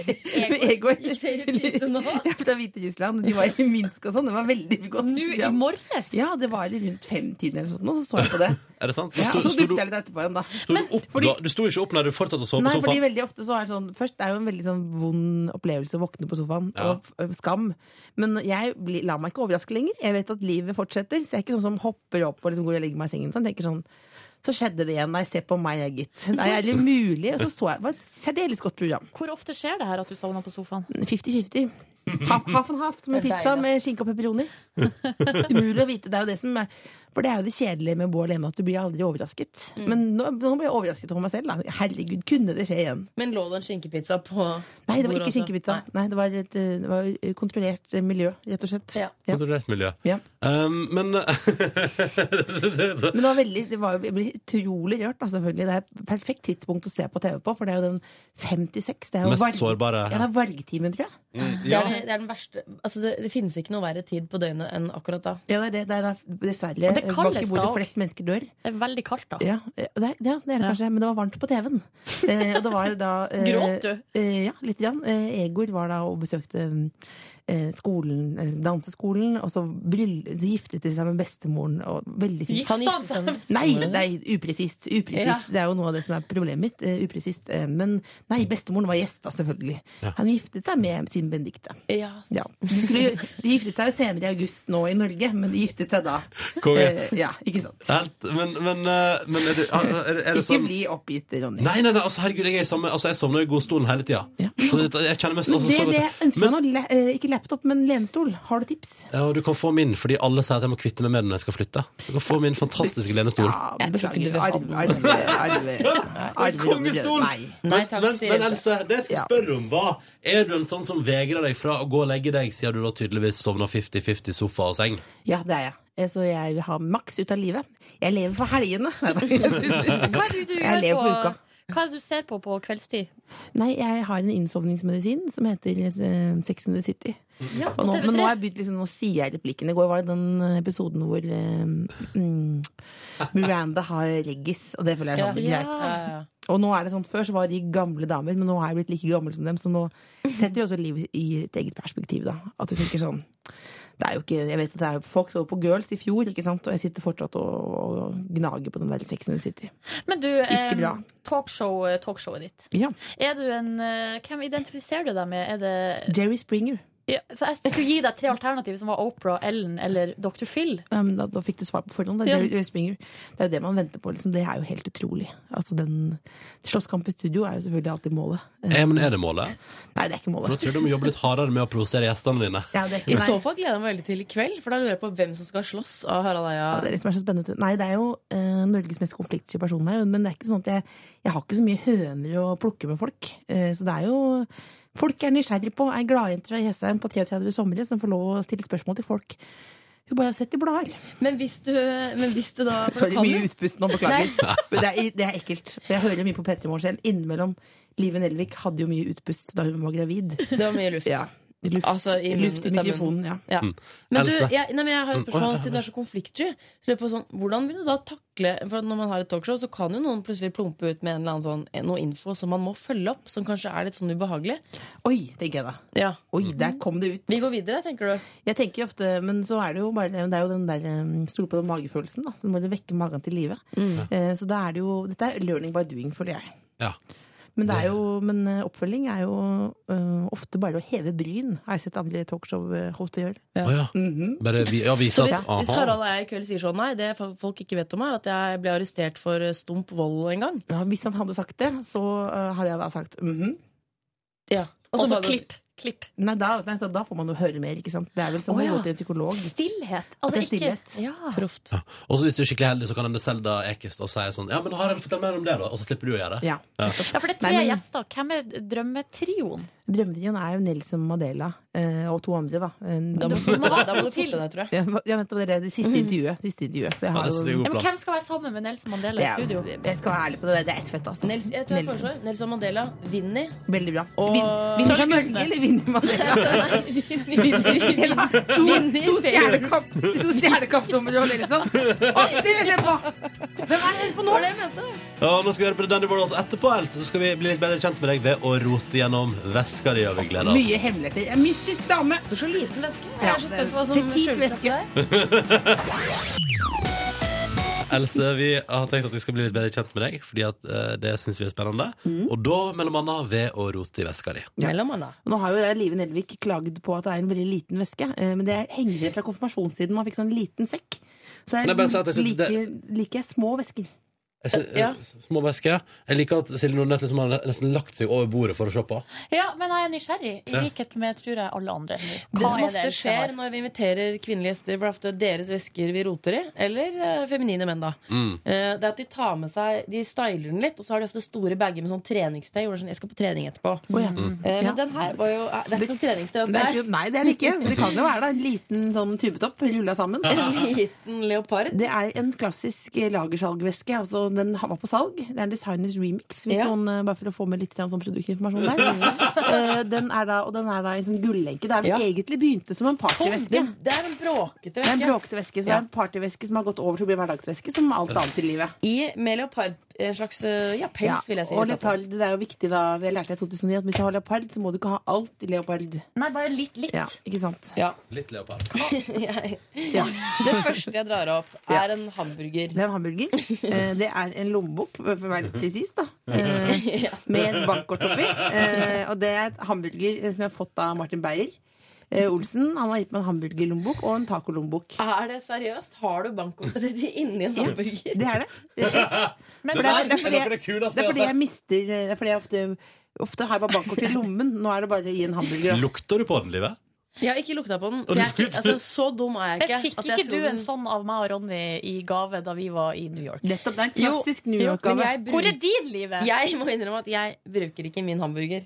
Speaker 13: med Egor. Gikk det i reprise nå? Ja, fra Hviterussland. De var i Minsk og sånn. Det var veldig godt. Nå i
Speaker 11: morges?
Speaker 13: Ja, det var rundt femtiden eller noe sånt. Og så så jeg på det.
Speaker 2: Er det sant?
Speaker 13: Ja,
Speaker 2: Sto-
Speaker 13: og så
Speaker 2: sto du-
Speaker 13: dukket jeg litt etterpå igjen, da.
Speaker 2: sto du opp da? Du sto ikke opp når du fortsatte å sove
Speaker 13: Nei,
Speaker 2: på
Speaker 13: fordi
Speaker 2: sofaen?
Speaker 13: veldig ofte så er det sånn Først det er jo en veldig sånn vond opplevelse å våkne på sofaen,
Speaker 2: Ja.
Speaker 13: og f- skam. Men jeg blir- lar meg ikke overraske lenger. Jeg vet at livet fortsetter, så jeg er ikke sånn som hopper opp og liksom går og legger meg i sengen. Sånn. Jeg tenker sånn så skjedde det igjen. Nei, se på meg, jeg, gitt. Nei, er det mulig? Og så så jeg Det var et særdeles godt program.
Speaker 11: Hvor ofte skjer det her at du sovner på sofaen?
Speaker 13: 50-50. Half, half and half, som en
Speaker 11: Det er
Speaker 13: pizza
Speaker 11: deilig,
Speaker 13: med skinke og pepperoni. Umulig å vite. Det er jo det som er For det er jo det kjedelige med Bård Lene, at du blir aldri overrasket.
Speaker 11: Mm.
Speaker 13: Men nå, nå ble jeg overrasket over meg selv. Da. Herregud, kunne det skje igjen?
Speaker 5: Men lå det en skinkepizza på
Speaker 13: Nei, det var
Speaker 5: bordet
Speaker 13: ikke
Speaker 5: også?
Speaker 13: skinkepizza. Nei. det var et eh, det var et kontrollert eh, miljø, rett og slett. Ja.
Speaker 2: Kontrollert miljø.
Speaker 13: Ja.
Speaker 2: Um, men
Speaker 13: Men det var veldig, det var, jo- jeg ble utrolig rørt, da, selvfølgelig. Det er et perfekt tidspunkt å se på TV på, for det er jo den 56. Det er jo
Speaker 2: Mest sårbare.
Speaker 13: Ja, det er vargtimen, tror jeg.
Speaker 5: Det, er, det er den verste altså det, det finnes ikke noe verre tid på døgnet enn akkurat da.
Speaker 13: Ja, det er det. Det er der- dessverre
Speaker 5: Og det kaldes
Speaker 13: bak i bordet
Speaker 5: da også.
Speaker 13: flest mennesker dør.
Speaker 11: Det er veldig kaldt, da.
Speaker 13: Ja, eh, det er, ja, det er det kanskje, men det var varmt på TV-en. Eh, og det var da eh,
Speaker 11: Gråt du?
Speaker 13: Eh, ja, litt. Grann. Eh, Egor var da og besøkte eh, skolen, eller danseskolen, og så, bryll, så giftet de seg med bestemoren. Og veldig fint.
Speaker 5: Giftet Han giftet seg med
Speaker 13: Nei,
Speaker 5: bestemoren?
Speaker 13: nei, upresist.
Speaker 5: Ja.
Speaker 13: upresist. Det er jo noe av det som er problemet mitt. Eh, upresist. Eh, men nei, bestemoren var gjest, da, selvfølgelig. Han giftet seg med sin Benedicte.
Speaker 5: Ja.
Speaker 13: De, skulle, jo- de giftet seg jo senere i august nå i Norge, men de giftet seg da.
Speaker 2: Konge.
Speaker 13: Eh, ja, ikke sant?
Speaker 2: Helt, men, men, eh, men er, det, er, er, er det
Speaker 13: Ikke
Speaker 2: sånn
Speaker 13: bli oppgitt, Ronny.
Speaker 2: Nei, nei, nei, altså herregud, jeg, er i samme, altså, jeg sovner i godstolen hele tida. Så det- jeg kjenner mest
Speaker 13: Men
Speaker 2: altså,
Speaker 13: det
Speaker 2: så
Speaker 13: er
Speaker 2: godt-
Speaker 13: det jeg ønsker meg nå. Le- eh, Ikke laptop, men lenestol. Har du tips?
Speaker 2: Ja, og du kan få min, fordi alle sier at jeg må kvitte meg med den når jeg skal flytte. Du kan få min fantastiske lenestol.
Speaker 13: Jeg tror ikke du arve, arve, arve, arve,
Speaker 2: Kongestol!
Speaker 13: Nei.
Speaker 2: Men, men, men Else, det jeg skulle
Speaker 13: Ja.
Speaker 2: spørre om, var Er du en sånn som vegrer deg fra å gå og legge deg, siden du da tydeligvis sovna 50-50 sofa og seng?
Speaker 13: Ja, det er jeg. Eh, Så jeg vil ha maks ut av livet. Jeg lever for helgene. Nei, da.
Speaker 11: Hva er det du
Speaker 13: Jeg
Speaker 11: gjør
Speaker 13: lever
Speaker 11: på,
Speaker 13: for uka.
Speaker 11: hva er det du ser på på kveldstid?
Speaker 13: Nei, jeg har en innsovningsmedisin som heter eh, Sex and the City.
Speaker 11: Ja,
Speaker 13: Og nå,
Speaker 11: TV3.
Speaker 13: men nå har jeg begynt liksom, nå sier jeg replikkene. I går var det den episoden hvor eh, mm, Miranda har reggis, og det føler jeg er sånn,
Speaker 5: Ja.
Speaker 13: greit.
Speaker 5: Ja, ja, ja.
Speaker 13: Og nå er det sånn, Før så var de gamle damer, men nå har jeg blitt like gammel som dem. Så nå setter de også livet i et eget perspektiv. da At du tenker sånn det er jo ikke, jeg vet at det er Folk så på Girls i fjor, ikke sant? og jeg sitter fortsatt og, og gnager på den der Sex and the City.
Speaker 11: Men du,
Speaker 5: Um,
Speaker 13: Ikke bra.
Speaker 11: eh, talkshow, talkshowet ditt.
Speaker 13: Ja.
Speaker 11: Er du en, eh, hvem identifiserer du deg med? Er det
Speaker 13: Jerry Springer.
Speaker 11: ja, for Jeg skulle gi deg tre alternativer, som var Oprah, Ellen eller Dr. Phil.
Speaker 13: Um, da, da fikk du svar på forhånd. Det
Speaker 11: Ja.
Speaker 13: er, Jerry Springer. det er jo det man venter på. Liksom. Det er jo helt utrolig. Altså, den Slåsskamp i studio er jo selvfølgelig alltid målet.
Speaker 2: Eh, men er det målet?
Speaker 13: Nei, det er ikke
Speaker 2: For
Speaker 13: målet.
Speaker 2: da tror jeg du må jobbe litt hardere med å provosere gjestene dine.
Speaker 13: Ja, det er
Speaker 5: I
Speaker 13: ikke,
Speaker 5: så fall gleder jeg meg veldig til i kveld, for da lurer jeg på hvem som skal slåss av Harald Eia.
Speaker 13: Ja, det er det som er så spennende. Nei, det er jo eh, Norges mest konfliktsky person her, men det er ikke sånn at jeg, jeg har ikke så mye høner å plukke med folk. Eh, så det er jo Folk er nysgjerrig på ei gladjente fra Jessheim på 33 somre som får lov å stille spørsmål til folk. Hun bare setter blader.
Speaker 5: Men hvis du, men hvis du da for
Speaker 13: Sorry,
Speaker 5: du kan
Speaker 13: mye
Speaker 5: jo-
Speaker 13: utpust nå, beklager. Men det er, det er ekkelt. For jeg hører mye på P3 Morgen selv. Innimellom Live Nelvik hadde jo mye utpust da hun var gravid.
Speaker 5: Det var mye luft.
Speaker 13: Ja. Luft,
Speaker 5: Altså, i munnen,
Speaker 13: luft i
Speaker 5: ut av
Speaker 13: mikrofonen,
Speaker 5: munnen.
Speaker 13: ja.
Speaker 5: Ja.
Speaker 2: Mm.
Speaker 5: Men du,
Speaker 2: Else.
Speaker 5: jeg, nei, men jeg har et
Speaker 2: Mm, å, ja,
Speaker 5: spørsmål
Speaker 2: ja,
Speaker 5: Siden du er så konfliktsky, så lurer jeg på sånn, hvordan vil du da takle For at Når man har et talkshow, så kan jo noen plutselig plumpe ut med en eller annen sånn, noe info som man må følge opp, som kanskje er litt sånn ubehagelig.
Speaker 13: Oi, tenker jeg da.
Speaker 5: Ja.
Speaker 13: Oi, der kom det ut.
Speaker 5: Vi går videre, tenker du.
Speaker 13: Jeg tenker jo ofte, men så er det jo bare Det er jo den der um, stole på den magefølelsen, da. Så må du vekke magen til live. Eh, Så da er det jo Dette er learning by doing, føler jeg.
Speaker 2: Ja.
Speaker 13: Men, det er jo, men eh, oppfølging er jo eh, ofte bare å heve bryn, har jeg sett andre talkshow-hoster gjøre.
Speaker 2: Å ja.
Speaker 13: Mm-hmm.
Speaker 2: Bare vi, ja, vise
Speaker 5: Så
Speaker 2: at
Speaker 5: hvis, hvis
Speaker 2: aha.
Speaker 5: Harald og jeg i kveld sier sånn Nei, det fo- folk ikke vet om, er at jeg ble arrestert for eh, stump vold en gang.
Speaker 13: Ja, hvis han hadde sagt det, så eh, hadde jeg da sagt mhm.
Speaker 5: Ja.
Speaker 11: Og så klipp. klipp.
Speaker 13: Nei, da, nei, da får man jo høre mer, ikke sant. Det er vel som
Speaker 11: Å,
Speaker 13: å
Speaker 11: ja.
Speaker 13: gå til en psykolog.
Speaker 11: Stillhet.
Speaker 13: At det
Speaker 11: Altså,
Speaker 13: er
Speaker 11: ikke,
Speaker 13: stillhet.
Speaker 11: ja.
Speaker 5: Proft.
Speaker 2: Og så hvis du er skikkelig heldig, så kan hende Selda Ekest og si sånn Ja, men Harald, fortell mer om det, da. Og så slipper du å gjøre det.
Speaker 13: Ja.
Speaker 2: Ja.
Speaker 11: ja, for det er tre
Speaker 13: Nei, men-
Speaker 11: gjester. Hvem er drømmetrioen?
Speaker 13: Drømmetrioen er jo Nelson Mandela eh, og to andre, da. En-
Speaker 14: Da må- da må du forte deg, tror jeg.
Speaker 13: Ja, men- Ja, vent, det var det, det siste intervjuet. Det siste intervjuet så jeg har jo,
Speaker 11: Ja, men hvem skal være sammen med Nelson Mandela i
Speaker 13: Ja,
Speaker 11: studio?
Speaker 13: Jeg skal være ærlig på det, det er ett fett, altså.
Speaker 5: Nels, jeg tror jeg
Speaker 13: Nelson.
Speaker 5: foreslår Nelson Mandela, Vinni
Speaker 13: Veldig bra.
Speaker 5: og
Speaker 13: Vin- Vinner fra Norge, eller vinner Mandela? Eller to to stjernekamp- to stjernekampnummer og Nelson. Å, det vil jeg se på! Hvem er det jeg hører på nå?
Speaker 2: Og nå skal vi høre på Danny Warhols etterpå, Else. Så skal vi bli litt bedre kjent med deg ved å rote gjennom veska di. og vi gleder oss.
Speaker 13: Mye hemmeligheter. En mystisk dame. Du har så liten veske.
Speaker 5: Jeg er så spent på hva som
Speaker 13: Petit
Speaker 5: skjuler seg
Speaker 13: veske.
Speaker 2: Else, vi har tenkt at vi skal bli litt bedre kjent med deg, fordi at eh, det syns vi er spennende.
Speaker 13: Mm.
Speaker 2: Og da mellom annet ved å rote i veska di.
Speaker 13: Nå har jo jeg, Live Nelvik klagd på at det er en veldig liten veske, eh, men det henger igjen fra konfirmasjonstiden. Man fikk sånn liten sekk. Så jeg,
Speaker 2: Men jeg bare sier at jeg synes
Speaker 13: liker, liker jeg små vesker.
Speaker 2: Jeg sy- eh, Små vesker. Jeg liker at Silje Nordnes liksom har nesten lagt seg over bordet for å se på.
Speaker 11: Ja, men jeg er nysgjerrig, i
Speaker 2: Ja.
Speaker 11: likhet med tror jeg alle andre. nå.
Speaker 5: Det
Speaker 11: Hva
Speaker 5: som
Speaker 11: er
Speaker 5: ofte
Speaker 11: Else har?
Speaker 5: skjer når vi inviterer kvinnelige gjester, for det er ofte deres vesker vi roter i, eller eh, feminine menn, da,
Speaker 2: Mm.
Speaker 5: eh, det er at de tar med seg De styler den litt, og så har de ofte store bager med sånn treningstøy. Hvor det er sånn, jeg skal på trening etterpå.
Speaker 13: Mm.
Speaker 5: Eh, men
Speaker 13: Ja.
Speaker 5: den her var jo eh, Det er ikke noe treningstøy
Speaker 13: Det
Speaker 5: oppi
Speaker 13: er
Speaker 5: her.
Speaker 13: ikke, nei, det er det ikke. Det kan jo være da, en liten sånn tubetopp rulla sammen.
Speaker 5: En liten leopard.
Speaker 13: Det er en klassisk eh, lagersalgveske. Altså, den var på salg. Det er en designers remix, hvis
Speaker 5: Ja.
Speaker 13: noen, eh, bare for å få med litt grann sånn produktinformasjon der. Eh, den er da, og den er da i en sånn gullenke. Det er vel
Speaker 5: Ja.
Speaker 13: egentlig begynte som en
Speaker 5: Det,
Speaker 13: partyveske.
Speaker 5: det er en bråkete
Speaker 13: Det er en
Speaker 5: veske.
Speaker 13: bråkete veske, så det er en partyveske som har gått over til å bli hverdagsveske, som alt annet i livet.
Speaker 5: I med leopard en slags eh, ja, pels, vil jeg si.
Speaker 13: Og leopard, det er jo viktig da, vi lærte det i 2009 at hvis du har leopard, så må du ikke ha alt i leopard.
Speaker 11: Nei, bare litt. litt.
Speaker 13: Ja, ikke sant?
Speaker 2: Litt leopard.
Speaker 5: Jeg-
Speaker 13: Ja.
Speaker 5: Det første jeg drar opp, er en hamburger.
Speaker 13: Det er en hamburger. Eh, Det er en lommebok, for å være litt presis, da. Eh, Med et bankkort oppi. Eh, Og det er et hamburger eh, som jeg har fått av Martin Beyer. eh, Olsen han har gitt meg en hamburgerlommebok og en tacolommebok.
Speaker 5: Er det seriøst? Har du bankkortet ditt inni en hamburger?
Speaker 13: Det er det. Det er sant.
Speaker 11: Men
Speaker 13: For
Speaker 11: det
Speaker 13: det er fordi jeg-
Speaker 2: det kuleste
Speaker 13: det er
Speaker 2: jeg har
Speaker 13: fordi jeg mister eh, Det er fordi jeg ofte, ofte har jeg bare bankkortet i lommen. Nå er det bare i en hamburger.
Speaker 2: Lukter du på den, Live?
Speaker 5: Jeg har ikke lukta på den.
Speaker 2: Og du
Speaker 5: Jeg er ikke,
Speaker 2: skulle-
Speaker 5: altså, så dum er jeg
Speaker 11: Men
Speaker 5: ikke.
Speaker 11: fikk
Speaker 5: at jeg
Speaker 11: ikke
Speaker 5: tror
Speaker 11: du en
Speaker 5: den-
Speaker 11: sånn av meg og Ronny i gave da vi var i New York?
Speaker 13: Nettopp. Det er en
Speaker 5: Jo,
Speaker 13: klassisk New
Speaker 5: jo,
Speaker 13: York-gave.
Speaker 5: men jeg bruk-
Speaker 11: Hvor er din, Livet?
Speaker 5: Jeg må innrømme at jeg bruker ikke min hamburger.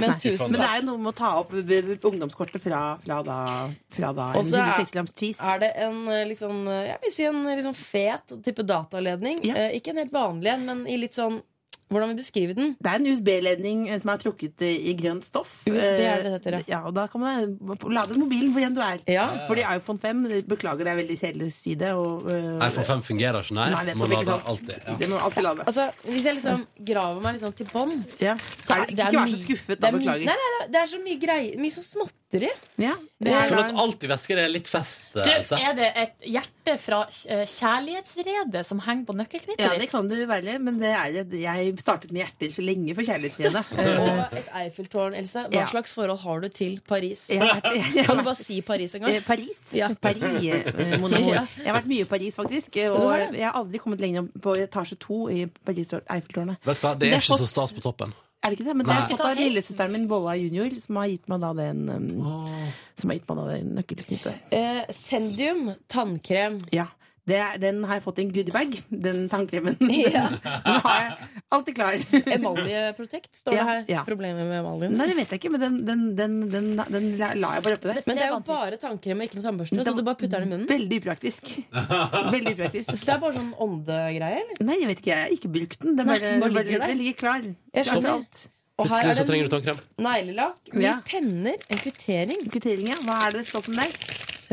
Speaker 5: Men tusen
Speaker 13: Men det
Speaker 5: takk.
Speaker 13: er jo noe med å ta opp b- b- ungdomskortet fra, fra da, fra da en
Speaker 5: Og så er-
Speaker 13: 160 grams cheese.
Speaker 5: Er det en eh, liksom, eh, jeg vil si en eh, liksom fet type dataledning?
Speaker 13: Ja.
Speaker 5: Eh, ikke en helt vanlig en, men i litt sånn Hvordan vil du beskrive den?
Speaker 13: det er en USB-ledning eh, som er trukket eh, i grønt stoff.
Speaker 5: USB er det
Speaker 13: Eh,
Speaker 5: dette, ja.
Speaker 13: ja, og da kan man eh, lade mobilen hvor enn du er.
Speaker 5: Ja.
Speaker 13: Fordi iPhone 5 eh, Beklager, det er veldig kjedelig å si det. Og, eh,
Speaker 2: iPhone 5 fungerer ikke, nei.
Speaker 13: Nei, nettopp,
Speaker 2: Man
Speaker 13: ikke
Speaker 2: lader
Speaker 13: sant.
Speaker 2: alltid. Ja.
Speaker 13: Det må man alltid lade.
Speaker 5: Altså, Hvis jeg liksom graver meg liksom til bånn
Speaker 13: Ja.
Speaker 5: så
Speaker 13: Er det, ikke vær så
Speaker 5: mye-
Speaker 13: skuffet,
Speaker 5: det
Speaker 13: da.
Speaker 5: er mye- Nei,
Speaker 13: Beklager.
Speaker 5: nei, nei, det er så mye greier. Mye sånn småtteri.
Speaker 13: Ja, det
Speaker 2: Jeg
Speaker 13: er
Speaker 2: føler
Speaker 13: da-
Speaker 2: at alt i vesker er litt fest, eh,
Speaker 11: Du,
Speaker 2: Else.
Speaker 11: er det et hjerte fra eh, kjærlighetsredet som henger på nøkkelknippet
Speaker 13: ja, det
Speaker 11: ditt?
Speaker 13: kan det være, men det er, et- jeg startet med hjerter så lenge for kjærlighetsredet. Eh,
Speaker 5: Og et Eiffeltårn, Else. Hva
Speaker 13: Ja.
Speaker 5: slags forhold har du til Paris?
Speaker 13: jeg har vært- jeg har
Speaker 5: Kan du bare si Paris en gang?
Speaker 13: Eh, Paris.
Speaker 5: Ja.
Speaker 13: Paris eh, mon amour.
Speaker 5: Ja.
Speaker 13: Jeg har vært mye i Paris, faktisk. eh,
Speaker 5: du
Speaker 13: Og
Speaker 5: har det?
Speaker 13: jeg har aldri kommet lenger på etasje to i Paris Eiffeltårnet.
Speaker 2: Vet du hva, Det
Speaker 13: Det
Speaker 2: er
Speaker 13: er
Speaker 2: ikke så
Speaker 13: fått-
Speaker 2: stas på toppen.
Speaker 13: Er det ikke det? Men det har
Speaker 2: Nei.
Speaker 13: jeg fått av lillesøsteren min, Bolla junior, som har gitt meg da den um, Som har gitt meg da den nøkkelknippet.
Speaker 5: Eh, sendium, tannkrem.
Speaker 13: Ja. Det er, den har jeg fått i en goodiebag, den tannkremen.
Speaker 5: Ja.
Speaker 13: Den, den har jeg alltid klar.
Speaker 5: Emaljeprotekt, står det
Speaker 13: Ja,
Speaker 5: her.
Speaker 13: ja.
Speaker 5: Problemet med emaljen.
Speaker 13: Nei, det vet jeg ikke, men den, den, den, den, den la la jeg bare oppi der.
Speaker 5: Men det er jo bare tannkrem og ikke noe tannbørste. Så du bare putter den i
Speaker 2: Mm.
Speaker 5: munnen.
Speaker 13: Veldig upraktisk. Veldig upraktisk.
Speaker 5: Så det er bare sånn åndegreier? eller?
Speaker 13: Altså, Nei, jeg vet ikke. Jeg har ikke brukt den. Den,
Speaker 5: Nei, bare
Speaker 13: bare, den, bare,
Speaker 5: ligger der.
Speaker 13: den ligger klar.
Speaker 5: Jeg
Speaker 13: Klar for
Speaker 5: skjønner.
Speaker 13: alt.
Speaker 5: Og her
Speaker 2: Plutselig
Speaker 5: er
Speaker 2: så trenger
Speaker 5: det
Speaker 2: du tannkrem.
Speaker 5: neglelakk, mye
Speaker 13: Ja.
Speaker 5: penner, en kvittering.
Speaker 13: Kvittering, ja. Hva er det det står på den der?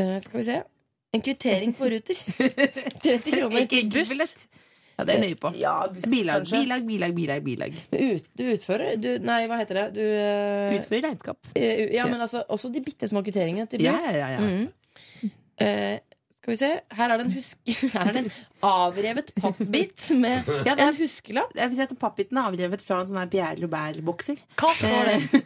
Speaker 5: Eh, skal vi se. En kvittering på Ruter. 30 kroner.
Speaker 13: Ikke enkeltbillett. Ja, det er jeg nøye på.
Speaker 5: Ja, buss,
Speaker 13: Bilag,
Speaker 5: kanskje.
Speaker 13: bilag, bilag, bilag. bilag.
Speaker 5: Ut, du utfører du, Nei, hva heter det? Du eh,
Speaker 13: Utfør regnskap.
Speaker 5: eh, Ja, men altså også de bitte små kvitteringene. til
Speaker 13: Ja,
Speaker 5: buss.
Speaker 13: ja, ja, ja.
Speaker 5: Mhm. Eh, skal vi se. Her er det en, husk her er det en avrevet pappbit med
Speaker 13: Ja, det er-
Speaker 5: en huskelapp.
Speaker 13: Jeg vil si at Pappbiten er avrevet fra en sånn her Pierre Loubert-bokser.
Speaker 11: Hva står det?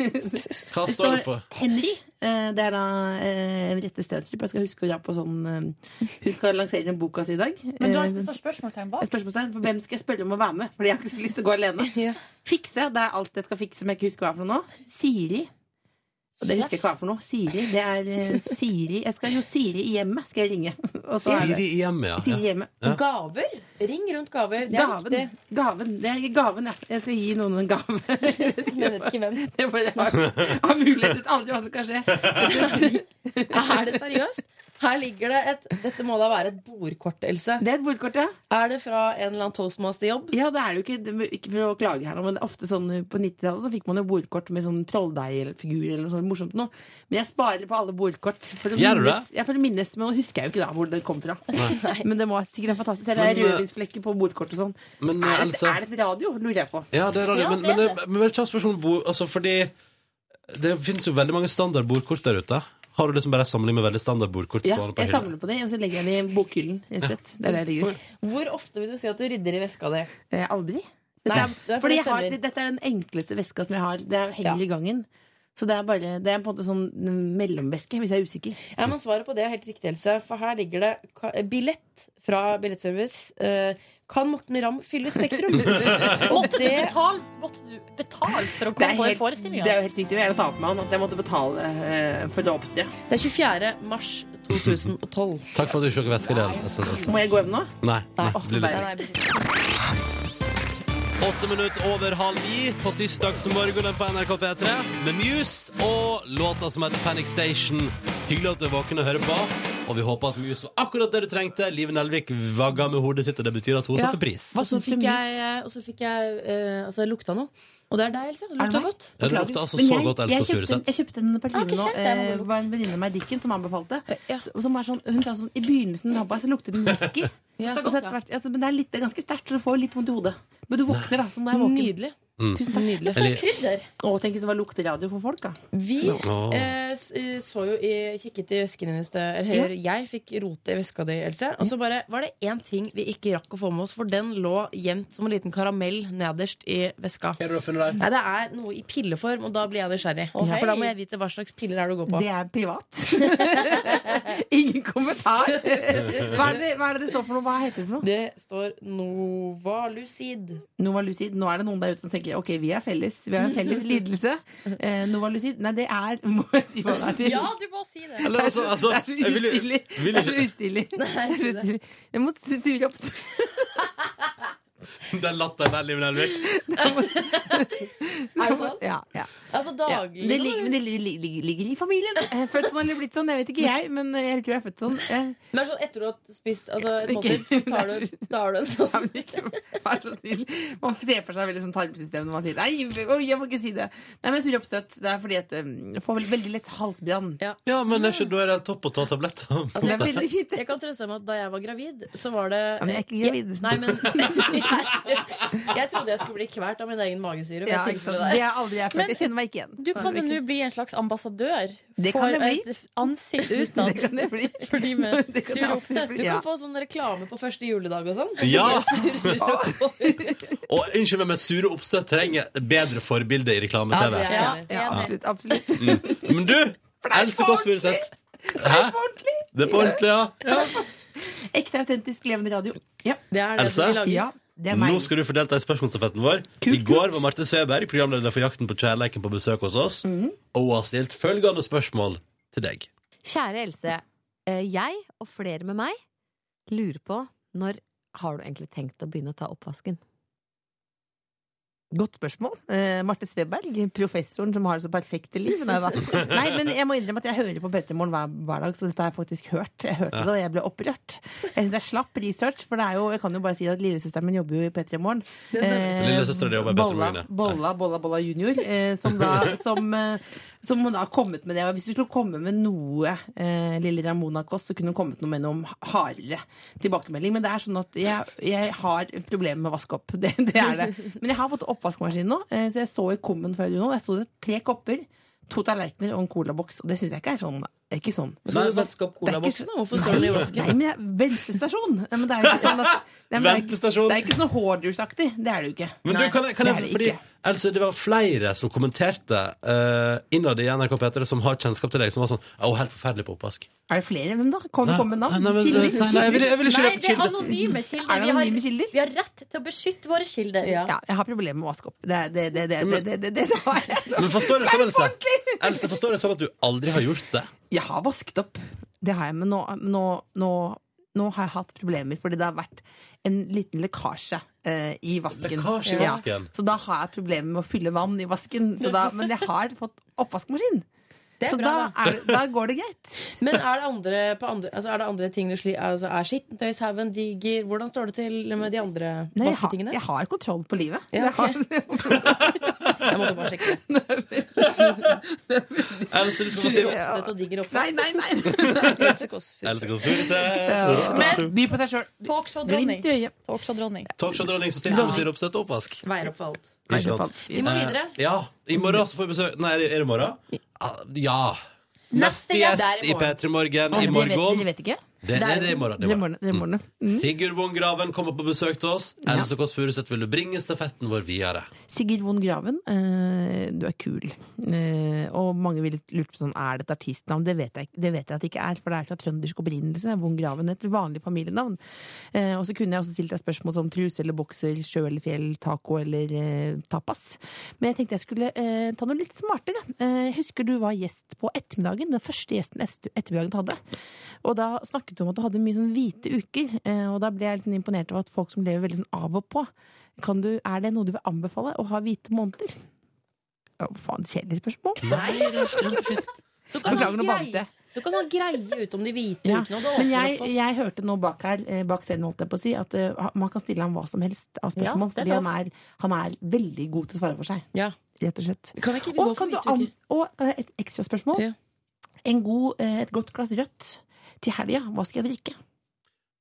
Speaker 2: Hva
Speaker 13: Det
Speaker 2: står det på?
Speaker 13: Henry. Eh, Det er da eh, Rette Stenstrup. Jeg skal huske å dra på sånn eh, Hun skal lansere en boka si i dag.
Speaker 11: Men du har liksom
Speaker 13: Eh,
Speaker 11: det står spørsmålstegn bak.
Speaker 13: Et spørsmålstegn, for Hvem skal jeg spørre om å være med? Fordi jeg har ikke så lyst til å gå alene.
Speaker 5: Ja.
Speaker 13: Fikse, det er alt jeg skal fikse som jeg ikke husker hva er for noe. Siri. Og det husker jeg ikke hva er for noe. Siri. Det er eh, Siri. Jeg skal jo Siri i hjemmet, skal jeg ringe. Og så er det-
Speaker 2: Siri i hjemmet, ja.
Speaker 13: Siri i hjemmet.
Speaker 2: Ja.
Speaker 5: Eh, Gaver? Ring rundt gaver. Det er
Speaker 13: Gaven.
Speaker 5: viktig.
Speaker 13: Gaven. Det er gaven, ja. Jeg skal gi noen en gave.
Speaker 5: Jeg vet ikke hvem.
Speaker 13: Det får jeg ha- ha mulighet til aldri hva som kan skje.
Speaker 5: Er det seriøst? Her ligger det et Dette må da være et bordkort, Else.
Speaker 13: Det er et bordkort, ja.
Speaker 5: Er det fra en eller annen toastmasterjobb?
Speaker 13: Ja, det er jo ikke, det- ikke for å klage her nå, men det er ofte sånn uh, på 90-tallet så fikk man jo bordkort med sånn trolldeigfigur eller noe sånt morsomt noe. Men jeg sparer på alle bordkort. For å
Speaker 2: Gjør du
Speaker 13: minnes,
Speaker 2: det?
Speaker 13: Ja, for å minnes, men nå husker jeg jo ikke da hvor det kom fra. Men det må være sikkert en fantastisk Det
Speaker 2: Men,
Speaker 13: er
Speaker 2: uh,
Speaker 13: rødvinsflekker på bordkort og sånn.
Speaker 2: Men, eh,
Speaker 13: er, det,
Speaker 2: Else-
Speaker 13: er det et radio, lurer jeg på.
Speaker 2: Ja, det er radio,
Speaker 13: Ja,
Speaker 2: men,
Speaker 13: det er
Speaker 2: men, men, men kjapt spørsmål om bord, altså, fordi det finnes jo veldig mange standard bordkort der ute. Har du liksom bare samling med veldig standard bordkort
Speaker 13: Ja,
Speaker 2: stående på
Speaker 13: jeg
Speaker 2: hylla?
Speaker 13: samler på det, og så legger jeg det i bokhyllen. Rett og slett. Det er der det ligger.
Speaker 5: Hvor ofte vil du si at du rydder i veska di?
Speaker 13: Eh, aldri.
Speaker 5: Nei,
Speaker 13: Dette er,
Speaker 5: det er for
Speaker 13: fordi
Speaker 5: det
Speaker 13: jeg har,
Speaker 5: stemmer.
Speaker 13: dette er den enkleste veska som jeg har. Det er, henger i gangen. Så det er bare Det er på en måte sånn mm, mellomveske, hvis jeg er usikker.
Speaker 5: Ja, men Svaret på det er helt riktig, Else. For her ligger det ka- eh, billett fra Billettservice. Eh, Kan Morten Ramm fylle Spektrum? Og
Speaker 11: Måtte du
Speaker 5: det-
Speaker 11: betale, måtte du betale for å
Speaker 13: Det er,
Speaker 11: komme på en
Speaker 13: helt,
Speaker 11: forestilling?
Speaker 13: det er jo helt riktig. Jeg vil gjerne ta opp med han at jeg måtte betale eh, for det opptre.
Speaker 5: Det er 24. mars 2012.
Speaker 2: Takk for at du ikke tok veska di. Else.
Speaker 13: Må jeg gå hjem nå?
Speaker 2: altså. Nei. nei, blir litt-
Speaker 5: Nei, nei,
Speaker 2: Åtte minutter over halv ni på tirsdagsmorgenen på NRK P3 med Muse og låta som heter Panic Station. Hyggelig at du er våken og hører på. Og vi håper at Muse var akkurat det du trengte. Liv Nelvik vagga med hodet sitt, og det betyr at hun
Speaker 5: Ja.
Speaker 2: satte pris.
Speaker 5: Og så fikk jeg, og så fikk jeg eh, Altså, jeg lukta noe. Og det er deg, Else. Det lukta godt.
Speaker 2: Ja, det lukta altså så godt elsk og
Speaker 13: jeg kjøpte,
Speaker 2: suresett.
Speaker 13: jeg kjøpte en
Speaker 5: Jeg har ikke
Speaker 13: parfyme nå.
Speaker 5: kjent det,
Speaker 13: eh,
Speaker 5: men det
Speaker 13: Det var en venninne av meg, Dikken, som anbefalte.
Speaker 5: Eh.
Speaker 13: Så- Som er sånn, hun sa sånn I begynnelsen av dabba, så lukter den whisky.
Speaker 5: Ja.
Speaker 13: Og så etter hvert- altså, men det er, litt, det er ganske sterkt, så du får jo litt vondt i hodet. Men du våkner, da. Så nå er jeg våken.
Speaker 5: Nydelig.
Speaker 2: Mm.
Speaker 13: Tusen takk.
Speaker 5: Nydelig.
Speaker 2: Eller-
Speaker 5: Krydder.
Speaker 13: Å, tenk hvis det var lukteradio for folk, da.
Speaker 5: Vi
Speaker 2: Åh.
Speaker 5: eh, s- eh, så jo i, kikket i vesken din i sted. Eller, hører, Jeg fikk rote i veska di, Else. Og så bare var det én ting vi ikke rakk å få med oss, for den lå gjemt som en liten karamell nederst i veska. Nei, det er noe i pilleform, og da blir jeg nysgjerrig.
Speaker 13: hei.
Speaker 5: For da må jeg vite hva slags piller er det du går på.
Speaker 13: Det er privat. Ingen kommentar. Hva er, det, hva er det det står for noe? Hva heter det for noe?
Speaker 5: Det står Novalucid.
Speaker 13: Novalucid. Nå er det noen der ute som tenker ok, vi er felles. Vi har en felles lidelse. Eh, Novalucid Nei, det er Må jeg si hva det er til?
Speaker 11: Ja, du må si det.
Speaker 2: Eller, altså, altså,
Speaker 13: det er så
Speaker 2: jeg vil-
Speaker 13: ustilig.
Speaker 2: vil
Speaker 13: Det er så
Speaker 2: ikke-
Speaker 13: ustilig. Det er så ustilig. Jeg må sure opp.
Speaker 2: Den latteren der, Liv Nelvik.
Speaker 13: Er
Speaker 5: det sant?
Speaker 13: Ja, ja.
Speaker 5: Altså
Speaker 13: Ja,
Speaker 5: daglig.
Speaker 13: det ligger, men det ligger, ligger, ligger i familien. Eh, Født sånn eller blitt sånn, jeg vet ikke jeg, men jeg tror jeg er født sånn. Eh,
Speaker 5: Men sånn etter du har spist altså, et
Speaker 13: Ikke-
Speaker 5: måltid, så tar du, da har du en
Speaker 13: Ja,
Speaker 5: sånn
Speaker 13: men ikke- Vær så snill. Man ser for seg veldig sånn tarmsystem når man sier Nei, oi, jeg må ikke si det. Nei, men surre oppstøtt. Det er fordi at um, jeg får veldig, veldig lett halsbrann.
Speaker 2: Ja, men det er ikke, da er det topp å ta tabletter.
Speaker 13: Det er veldig fint.
Speaker 5: Jeg kan trøste deg med at da jeg var gravid, så var det
Speaker 13: Ja, men jeg er ikke gravid.
Speaker 5: Jeg, nei, men jeg, jeg trodde jeg skulle bli kvert av min egen magesyre. For
Speaker 13: Ja,
Speaker 5: jeg tenkte
Speaker 13: ikke sant?
Speaker 5: på
Speaker 13: sånn, det
Speaker 5: det der.
Speaker 13: er aldri jeg
Speaker 11: Men-
Speaker 13: følt. Jeg kjenner meg ikke igjen.
Speaker 11: Du kan jo nå bli en slags ambassadør
Speaker 13: Det kan
Speaker 11: for
Speaker 13: jeg bli.
Speaker 11: et ansikt
Speaker 13: Det
Speaker 11: utad
Speaker 13: kan det bli.
Speaker 11: for de med
Speaker 13: Det kan jeg
Speaker 11: sur
Speaker 13: absolutt
Speaker 11: oppsett.
Speaker 5: Du
Speaker 13: bli. Ja.
Speaker 5: kan få sånn reklame på første juledag og sånn.
Speaker 2: Ja.
Speaker 5: Surrer og-
Speaker 2: Og unnskyld meg, men sure oppstøt trenger bedre forbilde i
Speaker 5: Ja, det
Speaker 2: reklame-TV.
Speaker 5: er jeg
Speaker 11: Ja,
Speaker 5: enig i.
Speaker 13: Ja,
Speaker 11: enig.
Speaker 13: absolutt. absolutt.
Speaker 2: Men du! Else Kåss Furuseth. Hæ? Det er på ordentlig, ja.
Speaker 13: Ekte, autentisk, levende radio. Ja.
Speaker 5: Det er det
Speaker 2: Else?
Speaker 5: vi lager.
Speaker 13: ja det er meg.
Speaker 2: Nå skal du få delta i spørsmålsstafetten vår. I går var Marte Sveberg, programleder for Jakten på kjærleiken, på besøk hos oss.
Speaker 13: Mhm.
Speaker 2: Og hun har stilt følgende spørsmål til deg.
Speaker 15: Kjære Else, eh, jeg og flere med meg lurer på når har du egentlig tenkt å begynne å ta oppvasken?
Speaker 13: Godt spørsmål. Eh, Marte Sveberg, professoren som har det så perfekte liv. Nei, da. Nei, men jeg må innrømme at jeg hører på Petter Morgen hver, hver dag, så dette har jeg faktisk hørt. Jeg hørte det, og jeg ble opprørt. Jeg syns det er slapp research, for det er jo, jeg kan jo bare si at lillesøsteren min jobber jo i Petter Morgen. Eh,
Speaker 2: Lillesøsteren din jobber i P3
Speaker 13: Bolla,
Speaker 2: Morgen, ja.
Speaker 13: Bolla, Bolla, Bolla junior, eh, som da som, eh, som hun da har kommet med det. Og hvis du skulle komme med noe, eh, lille Ramona Kåss, så kunne hun kommet noe med noe hardere tilbakemelding. Men det er sånn at jeg, jeg har problemer med å vaske opp. Det, det er det. Men jeg har fått oppvaskmaskin nå, eh, så jeg så i kummen før nå. Der sto det tre kopper, to tallerkener og en colaboks. Og det syns jeg ikke er sånn. det er Ikke sånn.
Speaker 5: Skal du vaske opp
Speaker 13: Det er ikke
Speaker 5: colaboksen? da? Hvorfor
Speaker 13: så-
Speaker 5: står den i
Speaker 13: Nei,
Speaker 5: vasken?
Speaker 13: Nei, men jeg, ventestasjon! Nei, Men det er jo ikke sånn at Nei, men det er ikke-
Speaker 2: Ventestasjon.
Speaker 13: Det er ikke sånn Hoarders-aktig. Det er det jo ikke.
Speaker 2: Men du,
Speaker 13: Nei,
Speaker 2: kan jeg, kan
Speaker 13: det
Speaker 2: jeg,
Speaker 13: er det
Speaker 2: fordi,
Speaker 13: ikke.
Speaker 2: Else, det var flere som kommenterte uh, innad i NRK P3 som har kjennskap til deg, som var sånn Å, helt forferdelig på oppvask.
Speaker 13: Er det flere? Hvem da? Kan du
Speaker 2: Nei,
Speaker 13: komme med navn?
Speaker 2: nei, men- eh,
Speaker 13: Kilder?
Speaker 2: nei, nei, jeg vil- jeg vil ikke
Speaker 11: Nei,
Speaker 2: røpe
Speaker 11: det er
Speaker 2: kilder.
Speaker 11: anonyme
Speaker 13: Er
Speaker 11: kilder.
Speaker 13: det
Speaker 11: Vi har,
Speaker 13: anonyme kilder?
Speaker 11: vi har rett til å beskytte våre kilder.
Speaker 13: Ja, jeg har problemer med å vaske opp. Det, det, det, det, det, det, det, det, det har jeg.
Speaker 2: Men forstår du sånn, Else? Else, forstår jeg sånn at du aldri har gjort det?
Speaker 13: Jeg har vasket opp. Det har jeg, men nå, nå, nå, nå har jeg hatt problemer, fordi det har vært en liten lekkasje eh, i vasken.
Speaker 2: Lekkasje i
Speaker 13: Ja.
Speaker 2: vasken?
Speaker 13: Så da har jeg problemer med å fylle vann i vasken. Så da, men jeg har fått oppvaskmaskin.
Speaker 5: Det er
Speaker 13: så
Speaker 5: bra,
Speaker 13: da,
Speaker 5: da.
Speaker 13: er, det- da går det greit.
Speaker 5: Men er det andre, på andre, altså er det andre ting du sliter altså Er skittentøyshaugen diger? Hvordan står det til med de andre
Speaker 13: Nei, jeg, har,
Speaker 5: vasketingene?
Speaker 13: jeg har kontroll på livet.
Speaker 5: Ja,
Speaker 13: Jeg har-
Speaker 5: Jeg måtte bare sjekke.
Speaker 2: Else, du skal få
Speaker 5: Sure
Speaker 2: si
Speaker 5: oppstøt og diger oppvask.
Speaker 13: Nei, nei, nei!
Speaker 5: Else Kåss
Speaker 2: Else Kåss Furuseth.
Speaker 13: Ja.
Speaker 3: Men-
Speaker 13: By på seg sjøl.
Speaker 3: Talkshow-dronning.
Speaker 13: Glimt i øyet.
Speaker 3: Talkshow-dronning.
Speaker 2: Talkshow-dronning som stiller med syreoppsett og oppvask.
Speaker 5: Veier opp for alt.
Speaker 2: Ikke sant?
Speaker 5: Vi må videre.
Speaker 2: Eh, ja. I morgen så får vi besøk Nei, er det- er det i morgen? Ah, Ja. Neste gjest i P3 Morgen i morgen.
Speaker 13: Dere vet ikke?
Speaker 2: Det- nei, det er i morgen, det er i morgen.
Speaker 13: Det er i morgen. Mm.
Speaker 2: Sigurd Von Graven kommer på besøk til oss. Else Kåss Furuseth, vil du bringe stafetten vår videre?
Speaker 13: Sigurd Von Graven, eh, du er kul. Eh, og mange ville lurt på sånn, er det et artistnavn. Det vet, jeg, det vet jeg at det ikke er, for det er fra trøndersk opprinnelse. Von Graven er et vanlig familienavn. Eh, og så kunne jeg også stilt deg spørsmål som truse eller bokser, sjø eller fjell, taco eller eh, tapas. Men jeg tenkte jeg skulle eh, ta noe litt smartere. Eh, husker du var gjest på ettermiddagen? Den første gjesten etter- ettermiddagen du hadde. Og da snakket du om at du hadde mye sånn hvite uker, eh, og da ble jeg litt sånn imponert over at folk som lever veldig sånn av og på, kan du, er det noe du vil anbefale å ha hvite måneder? Å, faen, kjedelig spørsmål.
Speaker 5: Du kan, ha
Speaker 13: Beklager, nå bandt
Speaker 5: greie,
Speaker 13: jeg.
Speaker 5: du kan ha greie ut om de hvite
Speaker 13: Ja.
Speaker 5: ukene. og det åpner
Speaker 13: Men jeg,
Speaker 5: opp for oss.
Speaker 13: jeg hørte nå bak her, eh, bak scenen holdt jeg på å si, at eh, ha- man kan stille ham hva som helst av
Speaker 5: Ja,
Speaker 13: spørsmål,
Speaker 5: det er
Speaker 13: fordi han er, han er veldig god til å svare for seg. Rett og slett.
Speaker 5: Kan vi ikke gå
Speaker 13: Og
Speaker 5: for
Speaker 13: kan, du
Speaker 5: hvite
Speaker 13: an
Speaker 5: uker?
Speaker 13: og kan jeg ha et ekstra spørsmål? En god, eh, et godt glass rødt til helga, hva skal jeg drikke?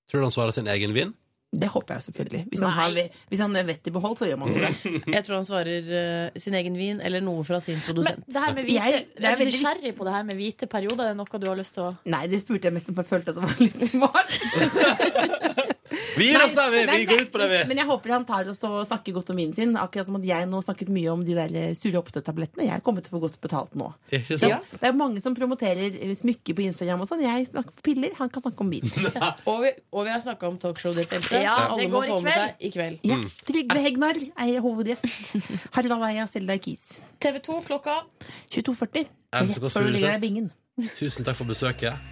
Speaker 2: Tror du han svarer sin egen vin?
Speaker 13: Det håper jeg selvfølgelig. Hvis han, har, hvis han har vett i behold, så gjør man det.
Speaker 5: Jeg tror han svarer eh, sin egen vin eller noe fra sin
Speaker 3: Men
Speaker 5: produsent.
Speaker 3: det her med hvite,
Speaker 13: Jeg- det er
Speaker 3: er du
Speaker 13: veldig-
Speaker 3: nysgjerrig på det her med hvite perioder? Er det noe du har lyst til å
Speaker 13: Nei, det spurte jeg mest om, for jeg følte at det var litt smart.
Speaker 2: Vi gir oss der, vi!
Speaker 13: Nei,
Speaker 2: Vi går ut på det, vi!
Speaker 13: Men jeg håper han tar oss og snakker godt om vinen sin. Akkurat som at jeg nå snakket mye om de der eh, sure oppstøttablettene. Jeg kommer til å få godt betalt nå.
Speaker 2: Ikke
Speaker 13: Så,
Speaker 2: sant?
Speaker 13: Det er mange som promoterer eh, smykker på Instagram og sånn. Jeg snakker om piller, han kan snakke om vin.
Speaker 5: Og vi, og vi har snakka om talkshow ditt, Else.
Speaker 13: Ja,
Speaker 5: som alle
Speaker 13: det
Speaker 5: må
Speaker 13: går i
Speaker 5: få med
Speaker 13: kveld.
Speaker 5: seg i kveld.
Speaker 13: Ja, Trygve Hegnar er hovedgjest. Harald Eia, Selda Kies.
Speaker 3: TV 2 klokka
Speaker 13: 22.40.
Speaker 2: Else
Speaker 13: Rett
Speaker 2: Kåss
Speaker 13: før du ligger
Speaker 2: Furuseth.
Speaker 13: deg i bingen.
Speaker 2: Tusen takk for besøket.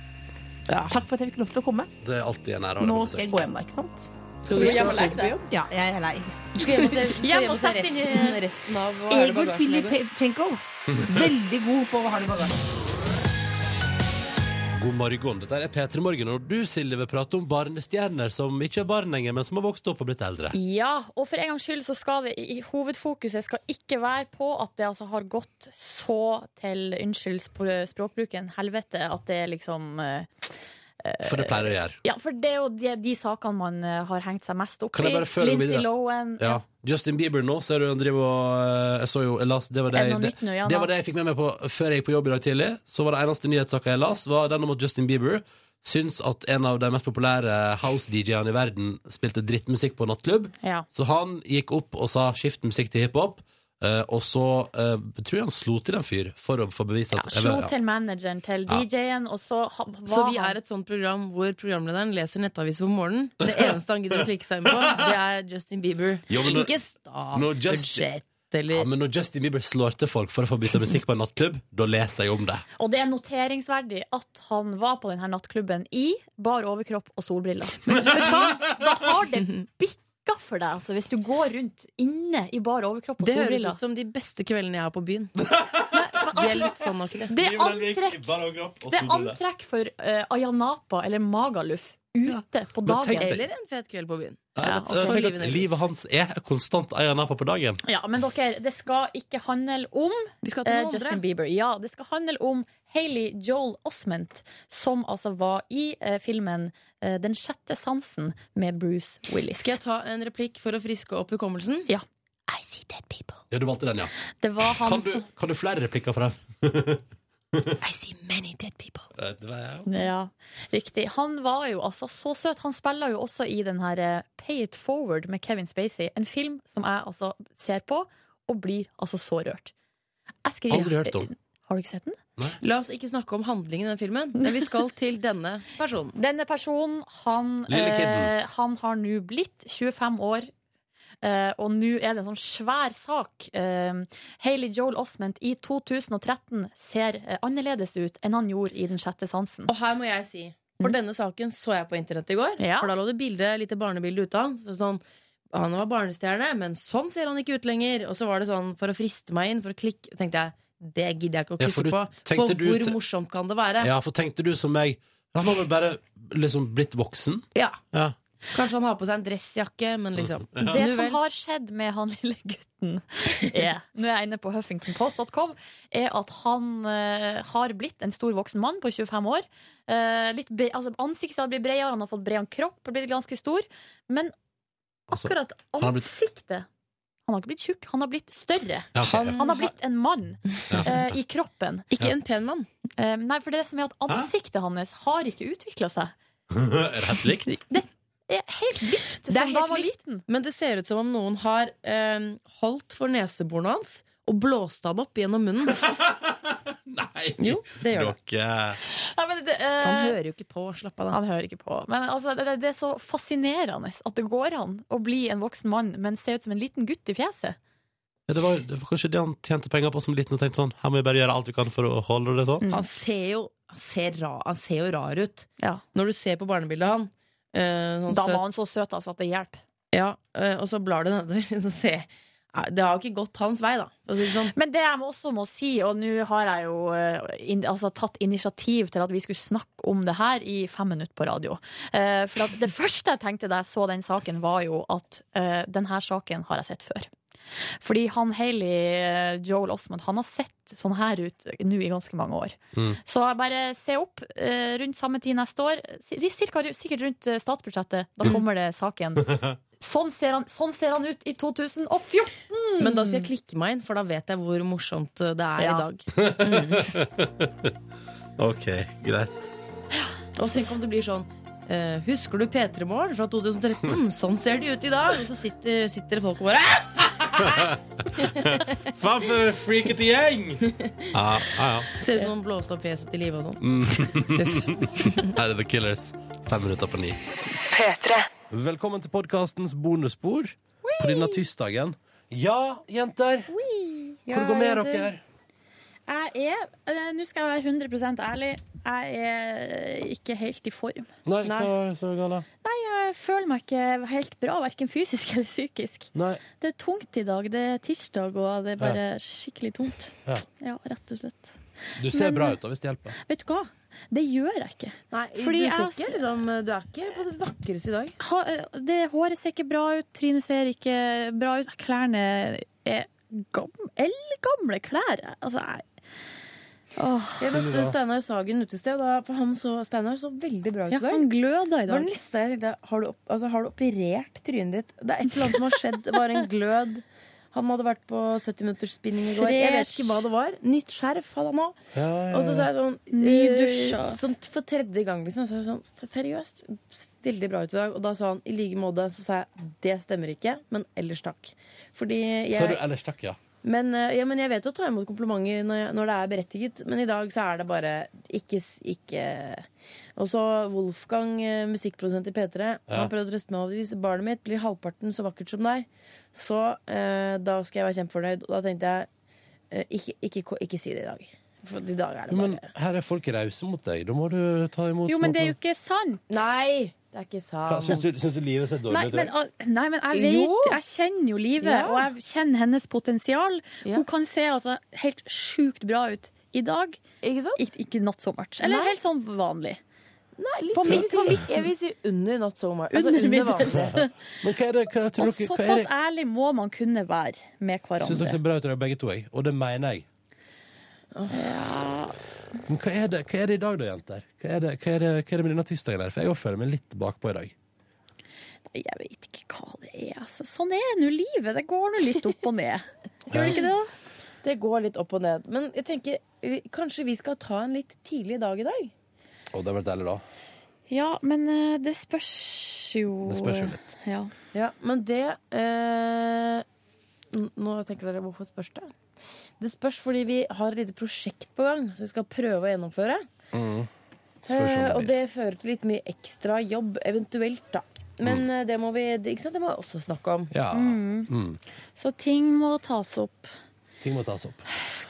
Speaker 13: Takk for at jeg fikk lov til å komme.
Speaker 2: Det er alltid en ære å ha deg
Speaker 13: Nå
Speaker 2: på besøk.
Speaker 13: skal jeg gå hjem, da, ikke sant?
Speaker 5: Skal du hjem og legge deg?
Speaker 13: Ja, jeg er lei.
Speaker 5: Du skal hjem og se, du skal
Speaker 3: Hjem
Speaker 5: hjem
Speaker 3: og
Speaker 5: og se
Speaker 3: sette inn i-
Speaker 5: resten, resten av hva er det
Speaker 13: Egor
Speaker 5: bagasjen
Speaker 13: Filip
Speaker 5: Egor?
Speaker 13: Tenko. Veldig god på å ha det i bagasjen.
Speaker 2: God morgen. Dette er P3 Morgen, og du, Silje, vil prate om barnestjerner som ikke er barn lenger, men som har vokst opp og blitt eldre.
Speaker 3: Ja, og for en gangs skyld så skal det i- hovedfokuset skal ikke være på at det altså har gått så til Unnskyld spr- språkbruken, helvete, at det er liksom eh, eh,
Speaker 2: For det pleier det å gjøre.
Speaker 3: Ja, for det er jo de, de sakene man eh, har hengt seg mest opp
Speaker 2: Kan jeg bare følge
Speaker 3: i. Lindsay
Speaker 2: videre?
Speaker 3: Lohan.
Speaker 2: Ja. Justin Bieber nå, ser du han driver og eh, Jeg så jo, jeg las, det var det,
Speaker 3: Er det noe
Speaker 2: det,
Speaker 3: nytt nå, ja,
Speaker 2: det
Speaker 3: da?
Speaker 2: var det jeg fikk med meg på før jeg gikk på jobb i dag tidlig. Så var det eneste nyhetssaka jeg las, var den om at Justin Bieber syns at en av de mest populære house-DJ-ene i verden spilte drittmusikk på nattklubb.
Speaker 3: Ja.
Speaker 2: Så han gikk opp og sa 'skift musikk til hiphop', eh, og så eh, tror jeg han slo til en fyr for å få bevist at
Speaker 3: Slo
Speaker 2: ja.
Speaker 3: til manageren, til
Speaker 2: Ja.
Speaker 3: DJ-en, og så ha- var
Speaker 5: Så vi
Speaker 3: han-
Speaker 5: er et sånt program hvor programlederen leser nettaviser på morgenen. Det eneste han gidder å klikke seg inn på, det er Justin Bieber.
Speaker 2: Jo, men nå-
Speaker 5: ikke
Speaker 2: Når Justin,
Speaker 5: statsbudsjett.
Speaker 2: ja, men når Justin Bieber slår til folk for å få bytta musikk på en nattklubb, da leser jeg om det.
Speaker 3: Og det er noteringsverdig at han var på denne nattklubben i bar overkropp og solbriller. Vet du hva? Da har det bikka for deg, altså, hvis du går rundt inne i bar overkropp og
Speaker 5: Det høres
Speaker 3: solbriller.
Speaker 5: ut som de beste kveldene jeg har på byen.
Speaker 3: Det
Speaker 5: er litt sånn aktig.
Speaker 3: Det er antrekk, det er antrekk for eh, Ayanapa eller Magaluf ute på
Speaker 2: Men tenk
Speaker 3: dagen.
Speaker 2: deg-
Speaker 5: Eller en fet kveld på byen.
Speaker 2: Ja,
Speaker 3: og så
Speaker 2: tenk
Speaker 3: livet
Speaker 2: at
Speaker 3: deres.
Speaker 2: livet hans er konstant Aya Napa på dagen.
Speaker 3: Ja, men dere, det skal ikke handle om
Speaker 5: skal til
Speaker 3: eh,
Speaker 5: noen andre.
Speaker 3: Justin Bieber. Ja, det skal handle om Hayley Joel Osment, som altså var i eh, filmen eh, Den sjette sansen med Bruce Willis.
Speaker 5: Skal jeg ta en replikk for å friske opp hukommelsen?
Speaker 3: Ja.
Speaker 2: Ja, du valgte den, ja.
Speaker 3: Det var han
Speaker 2: Kan du,
Speaker 3: som
Speaker 2: kan du flere replikker fra den?
Speaker 5: I see many dead people.
Speaker 2: Eh, det var jeg.
Speaker 3: ja, riktig. Han var jo altså så søt. Han spiller jo også i den her eh, Pay It Forward med Kevin Spacey. En film som jeg altså ser på og blir altså så rørt. Jeg skriver
Speaker 5: Aldri hørt om.
Speaker 3: Har du ikke sett den?
Speaker 5: La oss ikke snakke om handlingen i den filmen, men vi skal til denne personen.
Speaker 3: Denne personen, han,
Speaker 5: Lille kidden.
Speaker 3: han har nå blitt 25 år.
Speaker 11: Eh, og nå er det en sånn svær sak. Eh, Haley Joel Osment i 2013 ser eh, annerledes ut enn han gjorde i Den sjette sansen.
Speaker 5: Og her må jeg si For
Speaker 3: Mm.
Speaker 5: denne saken så jeg på internett i går. For da lå det bilde, lite barnebilde ute av han. Så sånn, han var barnestjerne, men sånn ser han ikke ut lenger. Og så var det sånn, for å friste meg inn, for å klikke, tenkte jeg det gidder jeg ikke å
Speaker 2: Ja,
Speaker 5: klikke
Speaker 2: for du-
Speaker 5: på.
Speaker 2: tenkte
Speaker 5: For
Speaker 2: du
Speaker 5: hvor
Speaker 2: te-
Speaker 5: morsomt kan det være?
Speaker 2: Ja, for tenkte du som meg Han har vel bare liksom blitt voksen?
Speaker 5: Ja.
Speaker 2: Ja.
Speaker 5: Kanskje han har på seg en dressjakke, men liksom
Speaker 2: Ja.
Speaker 11: Det
Speaker 5: Nu vel.
Speaker 11: som har skjedd med han lille gutten, er, nå er jeg inne på huffingtonpost.com, er at han eh, har blitt en stor voksen mann på 25 år. Eh, litt bre, altså, ansiktet har blitt bredere, han har fått bredere kropp, blitt ganske stor. Men
Speaker 2: Altså,
Speaker 11: akkurat
Speaker 2: han har blitt-
Speaker 11: ansiktet Han har ikke blitt tjukk, han har blitt større.
Speaker 2: Ja, ok,
Speaker 11: han,
Speaker 2: ja.
Speaker 11: han har blitt en mann eh, i kroppen. Eh,
Speaker 2: Ikke Ja. en
Speaker 5: pen mann.
Speaker 11: nei, for det som er at ansiktet hans har ikke utvikla seg.
Speaker 2: Rett likt?
Speaker 11: Er helt likt
Speaker 5: Det er
Speaker 11: som da
Speaker 5: helt
Speaker 11: var
Speaker 5: likt,
Speaker 11: liten.
Speaker 5: Men det ser ut som om noen har eh, holdt for neseborene hans og blåst han opp gjennom munnen.
Speaker 2: Nei!
Speaker 5: Jo, det gjør det.
Speaker 2: Dere
Speaker 11: Nei, men det, eh,
Speaker 5: Han hører jo ikke på. Slapp av, da.
Speaker 11: Han hører ikke på. Men altså, det, det er så fascinerende at det går an å bli en voksen mann, men se ut som en liten gutt i fjeset.
Speaker 2: ja, det, var, det var kanskje det han tjente penger på som liten og tenkte sånn Her må vi bare gjøre alt vi kan for å holde det sånn.
Speaker 5: Han ser jo han ser, ra, han ser jo rar ut.
Speaker 11: Ja.
Speaker 5: Når du ser på barnebildet han eh, sånn
Speaker 11: Da
Speaker 5: søt-
Speaker 11: var han så søt altså, at det hjelper.
Speaker 5: Ja, eh, og så blar du nedover, så ser jeg- Nei, Det har ikke gått hans vei, da. for å si det sånn.
Speaker 11: Men det jeg må- også må si, og nå har jeg jo eh, in, altså, tatt initiativ til at vi skulle snakke om det her i fem minutter på radio. Eh, for at det første jeg tenkte da jeg så den saken, var jo at eh, den her saken har jeg sett før. Fordi han Haley eh, Joel Osmond Han har sett sånn her ut nå i ganske mange år.
Speaker 6: Mm.
Speaker 11: Så jeg bare se opp eh, rundt samme tid neste år. si- Cirka, sikkert rundt eh, statsbudsjettet. Da kommer det saken. Sånn ser han, sånn ser han ut i 2014!
Speaker 5: Men da skal jeg klikke meg inn, for da vet jeg hvor morsomt eh, det er
Speaker 11: Mm. Ja.
Speaker 5: i dag. Mm.
Speaker 2: OK, greit.
Speaker 5: Og tenk om det blir sånn eh, Husker du P3 Morgen fra 2013? Sånn ser de ut i dag! Og så sitter, sitter folk og bare «Ah!»
Speaker 2: Faen for en freakete gjeng! Ja, ja, ja.
Speaker 5: Ser ut som noen blåste opp fjeset til live og sånn.
Speaker 2: Mm. Her er The Killers. Fem minutter på ni. Velkommen til podkastens bonusspor på denne tirsdagen. Ja, jenter. Hvor går med dere?
Speaker 3: Jeg er eh, Nå skal jeg være 100 ærlig. Jeg er ikke helt i form.
Speaker 2: Nei, hva er det så galt?
Speaker 3: Nei, jeg føler meg ikke helt bra, verken fysisk eller psykisk.
Speaker 2: Nei.
Speaker 3: Det er tungt i dag. Det er tirsdag, og det er bare skikkelig tungt.
Speaker 2: Ja.
Speaker 3: Ja, rett og slett.
Speaker 2: Du ser
Speaker 3: Men-
Speaker 2: bra ut da, hvis det hjelper.
Speaker 3: Vet du hva? Det gjør jeg ikke.
Speaker 5: du ser ikke,
Speaker 3: du er ikke på ditt vakreste i dag. Ha, det, håret ser ikke bra ut, trynet ser ikke bra ut. Klærne er gam- eldgamle klær. Altså, jeg
Speaker 5: Jeg møtte Steinar Sagen ute i sted, og da, for han så, Steinar så veldig bra ut
Speaker 3: Ja, han gløda i dag.
Speaker 5: Det var den neste jeg tenkte, har, du opp, altså, har du operert trynet ditt? Det er et eller annet som har skjedd. Det var en glød. Han hadde vært på 70 minutters spinning i går. Jeg vet ikke hva det var. Nytt skjerf hadde han òg. Og så sa jeg sånn,
Speaker 3: Nydusja.
Speaker 5: eh, sånn For tredje gang, liksom. Så sa jeg sånn, "Se- seriøst, s- veldig bra ut i dag. Og da sa han i like måte. Så sa jeg det stemmer ikke, men ellers takk. Fordi jeg
Speaker 2: Sa du ellers takk, ja?
Speaker 5: men, eh, ja, men jeg vet å ta imot komplimenter når, jeg, når det er berettiget, men i dag så er det bare ikke s- ikke Og så Wolfgang, eh, musikkprodusent i P3,
Speaker 6: Ja.
Speaker 5: han prøvde å trøste meg. og Hvis barnet mitt blir halvparten så vakkert som deg, så eh, da skal jeg være kjempefornøyd. Og da tenkte jeg eh, ikke, ikke, ko- ikke si det i dag. For i dag er det
Speaker 2: Jo,
Speaker 5: bare
Speaker 2: men her er folk rause mot deg. Da må du ta imot
Speaker 3: ikke sant!
Speaker 5: Nei! Det er ikke sant.
Speaker 2: Syns du, syns du livet ser
Speaker 3: Nei
Speaker 2: dårlig ut? i
Speaker 3: men,
Speaker 2: dag?
Speaker 3: al- nei, men jeg vet
Speaker 5: Jo.
Speaker 3: Jeg kjenner jo livet,
Speaker 5: Ja.
Speaker 3: og jeg kjenner hennes potensial. Hun kan se altså helt sjukt bra ut i dag.
Speaker 14: Ikke
Speaker 3: Ikke, not so much. Eller
Speaker 14: Nei.
Speaker 3: helt sånn vanlig.
Speaker 14: Nei,
Speaker 3: På mitt- på mitt-
Speaker 14: Jeg vil si under not so much. Altså,
Speaker 3: Under
Speaker 14: under
Speaker 3: middels.
Speaker 14: vanlig.
Speaker 2: Men hva er det, hva tror
Speaker 3: Og
Speaker 2: dere, hva er
Speaker 3: såpass
Speaker 2: det?
Speaker 3: ærlig må man kunne være med
Speaker 2: Syns dere
Speaker 3: hverandre.
Speaker 2: ser bra ut i dag, begge to, jeg. Og det mener jeg. Men hva er, det, hva er det i dag, da, jenter? Hva er det, hva er det, hva er det med denne tirsdagen her? For jeg føler meg litt bakpå i dag.
Speaker 3: Nei, Jeg vet ikke hva det er. Altså, sånn er nå livet. Det går nå litt opp og ned. Gjør det ikke det?
Speaker 5: Det går litt opp og ned. Men jeg tenker vi, kanskje vi skal ta en litt tidlig dag i dag?
Speaker 2: Å, det har vært deilig, da.
Speaker 3: Ja, men eh, det spørs jo eh,
Speaker 2: Det spørs jo litt.
Speaker 3: Ja.
Speaker 5: Ja, men det eh, n- Nå tenker dere hvorfor spørs det? Det spørs fordi vi har et lite prosjekt på gang som vi skal prøve å gjennomføre.
Speaker 2: Mm.
Speaker 5: Eh, og det fører til litt mye ekstra jobb, eventuelt, da. Men eh, det må vi ikke sant? Det må vi også snakke om.
Speaker 2: Ja.
Speaker 3: Mm.
Speaker 2: Mm.
Speaker 3: Så ting må tas opp.
Speaker 2: Ting må tas opp.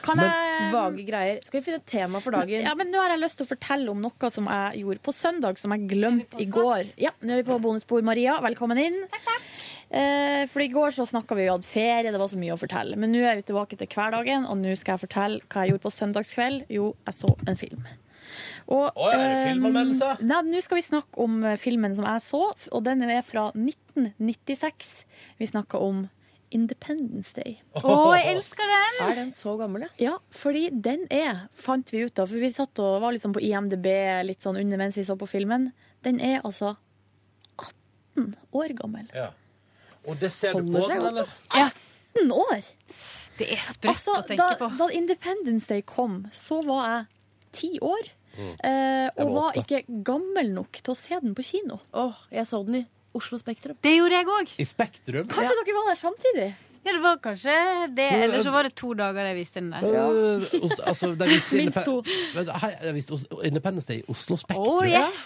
Speaker 3: Kan
Speaker 2: Men-
Speaker 3: jeg
Speaker 5: Vage greier. Skal vi finne et tema for dagen?
Speaker 3: Ja, men Nå har jeg lyst til å fortelle om noe som jeg gjorde på søndag, som jeg glemte i går. Ja, Nå er vi på bonusbord, Maria. Velkommen inn. Takk, takk. Eh, for i går så snakka vi jo hadde ferie, det var så mye å fortelle. Men nå er vi tilbake til hverdagen, og nå skal jeg fortelle hva jeg gjorde på søndagskveld. Jo, jeg så en film. Og,
Speaker 2: Å, er det filmanmeldelse?
Speaker 3: eh, Nei, nå skal vi snakke om eh, filmen som jeg så, f- og den er fra 1996. Vi snakker om Independence Day.
Speaker 11: Å, jeg elsker den!
Speaker 5: Er den så gammel, ja?
Speaker 3: Ja, fordi den er, fant vi ut av, for vi satt og var liksom på IMDb litt sånn under mens vi så på filmen. Den er altså 18 år gammel.
Speaker 2: Ja. Og det ser du
Speaker 3: Holder
Speaker 2: på
Speaker 3: seg
Speaker 2: den,
Speaker 3: godt.
Speaker 2: eller?
Speaker 3: Ja. 18 år!
Speaker 11: Det er sprøtt
Speaker 3: Altså,
Speaker 11: å tenke
Speaker 3: da,
Speaker 11: på.
Speaker 3: Da Independence Day kom, så var jeg ti år. eh,
Speaker 11: Mm. Jeg
Speaker 3: og
Speaker 11: var
Speaker 3: var
Speaker 11: åtte.
Speaker 3: ikke gammel nok til å se den på kino.
Speaker 5: jeg så den i Oslo Spektrum.
Speaker 11: Det gjorde jeg òg.
Speaker 2: I Spektrum?
Speaker 11: Kanskje
Speaker 3: dere var der samtidig?
Speaker 11: Ja, det var kanskje det. Eller så var det to dager jeg viste den der.
Speaker 2: Eh, Os- altså, de viste
Speaker 11: Minst
Speaker 2: Indepen-
Speaker 11: to.
Speaker 2: Men, Hei, de viste Os- Independence Day i Oslo Spektrum.
Speaker 11: Å,
Speaker 6: Oh,
Speaker 11: yes!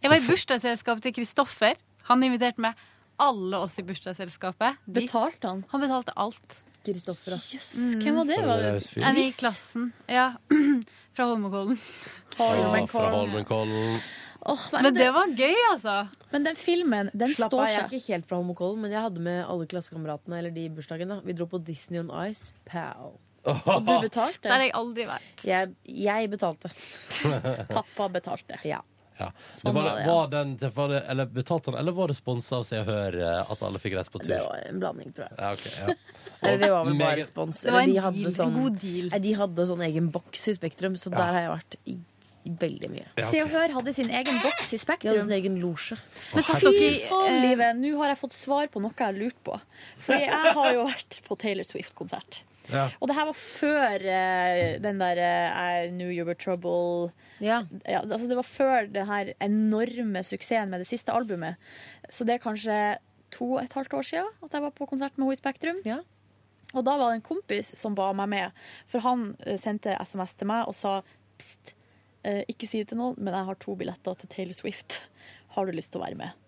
Speaker 11: Jeg var i bursdagsselskapet til Kristoffer. Han inviterte meg. Alle oss i bursdagsselskapet.
Speaker 3: Betalte han?
Speaker 11: Han betalte alt.
Speaker 5: Kristoffer,
Speaker 11: yes.
Speaker 3: Hvem var det? Var det
Speaker 2: raus fyr.
Speaker 11: En i klassen. Ja. Fra Holmenkollen.
Speaker 2: Ja, Ah, fra Holmenkollen.
Speaker 3: nei,
Speaker 11: men
Speaker 3: men
Speaker 11: det
Speaker 3: det-
Speaker 11: var gøy, altså.
Speaker 3: Men den filmen, den
Speaker 5: Slapp
Speaker 11: står
Speaker 5: av, jeg
Speaker 11: seg.
Speaker 5: er ikke helt fra Holmenkollen, men jeg hadde med alle klassekameratene eller de i bursdagen. da Vi dro på Disney on Ice. Pow. Og du betalte?
Speaker 11: Der har jeg aldri vært.
Speaker 5: Jeg, jeg betalte.
Speaker 3: Pappa betalte.
Speaker 5: Ja.
Speaker 2: Ja.
Speaker 5: Sånn
Speaker 2: det var,
Speaker 5: var det, ja.
Speaker 2: var den, det var det, eller betalte han, eller var det sponsa av Se og Hør eh, at alle fikk reist på tur?
Speaker 5: Det var en blanding, tror jeg.
Speaker 2: Ja, ok, ja.
Speaker 5: Eller det var vel bare
Speaker 2: Meget-
Speaker 5: spons.
Speaker 11: Det var
Speaker 5: Eller
Speaker 11: en
Speaker 5: hadde sånn-
Speaker 11: deal, en god deal.
Speaker 5: Nei, de hadde sånn egen boks i Spektrum, så
Speaker 11: Ja.
Speaker 5: der har jeg vært i, i veldig mye.
Speaker 11: Ja, ok. Se og
Speaker 3: Hør hadde sin egen boks i Spektrum.
Speaker 5: De hadde sin egen losje.
Speaker 11: Men satt
Speaker 3: Fy
Speaker 11: dere i-
Speaker 3: faen,
Speaker 11: eh,
Speaker 3: livet. Nå har jeg fått svar på noe jeg har lurt på. Fordi jeg har jo vært på Taylor Swift-konsert.
Speaker 2: Ja.
Speaker 3: Og det her var før eh, den der eh, I knew you were trouble. Ja, altså det var før den her enorme suksessen med det siste albumet. Så det er kanskje to og et halvt år siden at jeg var på konsert med henne i Spektrum. Og da var det en kompis som ba meg med, for han eh, sendte SMS til meg og sa Pst, eh, ikke si det til noen, men jeg har to billetter til Taylor Swift. Har du lyst til å være med?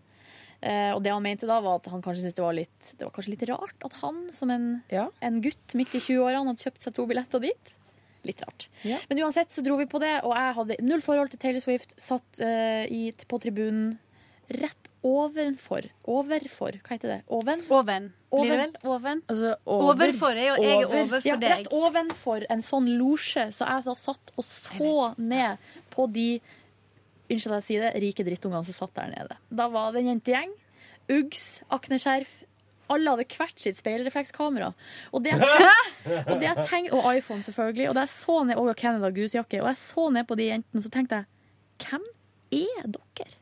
Speaker 3: Eh, og det han mente da, var at han kanskje syntes det var litt, det var kanskje litt rart at han som en, en gutt midt i 20-årene hadde kjøpt seg to billetter dit. Litt rart. Men uansett så dro vi på det, og jeg hadde null forhold til Taylor Swift. Satt eh, i, på tribunen rett ovenfor. Overfor, hva heter det? Oven?
Speaker 11: Oven. Blir det vel? Oven?
Speaker 5: Altså,
Speaker 11: Overfor er jo- jeg er overfor
Speaker 3: ja,
Speaker 11: deg.
Speaker 3: Rett ovenfor en sånn losje. Så jeg da satt og så ned på de Unnskyld at jeg sier det, rike drittungene som satt der nede. Da var det en jentegjeng. Uggs, akneskjerf. Alle hadde hvert sitt speilreflekskamera. Og det og, det jeg tenk, og iPhone, selvfølgelig. Og da jeg så ned, og Canada Goose-jakke. Og jeg så ned på de jentene, så tenkte jeg Hvem er dere?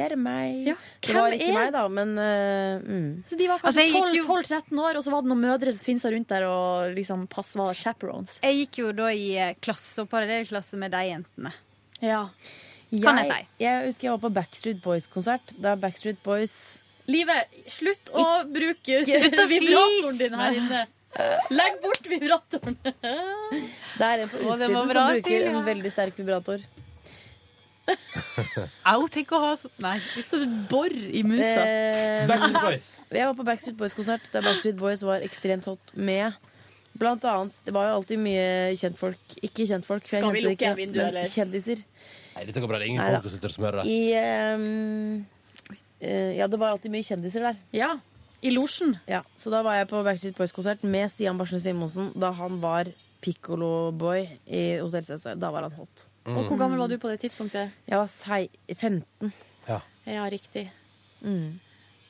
Speaker 5: Det er meg. det
Speaker 3: hvem
Speaker 5: var ikke
Speaker 3: er-
Speaker 5: meg, da, men eh, mm.
Speaker 3: Så de var
Speaker 11: Altså,
Speaker 3: kanskje
Speaker 11: jeg gikk jo-
Speaker 3: 12-13 år, og så var det noen mødre som svinsa rundt der og liksom pass var chaperones.
Speaker 11: Jeg gikk jo da i eh, klasse og parallellklasse med de jentene.
Speaker 3: Ja.
Speaker 11: Kan jeg si.
Speaker 5: Jeg husker jeg var på Backstreet Boys-konsert. Da Backstreet Boys
Speaker 3: Livet, slutt å bruke
Speaker 5: Slutt å
Speaker 3: vibratoren din her
Speaker 5: fise!
Speaker 3: inne. Legg bort vibratoren.
Speaker 5: Det er en på
Speaker 11: Å,
Speaker 5: utsiden
Speaker 11: den var
Speaker 5: som
Speaker 11: bra,
Speaker 5: bruker
Speaker 11: Silja.
Speaker 5: en veldig sterk vibrator.
Speaker 11: Au, tenk å ha sånn Nei.
Speaker 3: Borr i
Speaker 11: musa.
Speaker 5: Eh,
Speaker 11: Backstreet Boys.
Speaker 5: Jeg var på Backstreet Boys-konsert der Backstreet Boys var ekstremt hot med. Blant annet, Det var jo alltid mye kjentfolk. Ikke kjentfolk, for jeg
Speaker 3: Skal
Speaker 5: kjente
Speaker 3: vi
Speaker 5: det
Speaker 3: lukke
Speaker 5: ikke,
Speaker 3: igjen vinduet,
Speaker 5: men
Speaker 3: eller?
Speaker 5: kjendiser.
Speaker 2: Nei, dette går bra. Det er ingen
Speaker 5: Neida.
Speaker 2: podkastlyttere som hører det.
Speaker 5: I, ehm, eh, ja, det var alltid mye kjendiser der.
Speaker 3: Ja, I losjen.
Speaker 5: Ja, så da var jeg på Backstreet Boys-konsert med Stian Barsnes Simonsen da han var piccolo-boy i Hotell CC. Da var han hot.
Speaker 3: Og hvor gammel var du på det tidspunktet?
Speaker 5: Jeg var sei 15.
Speaker 3: Ja, riktig.
Speaker 5: Mm.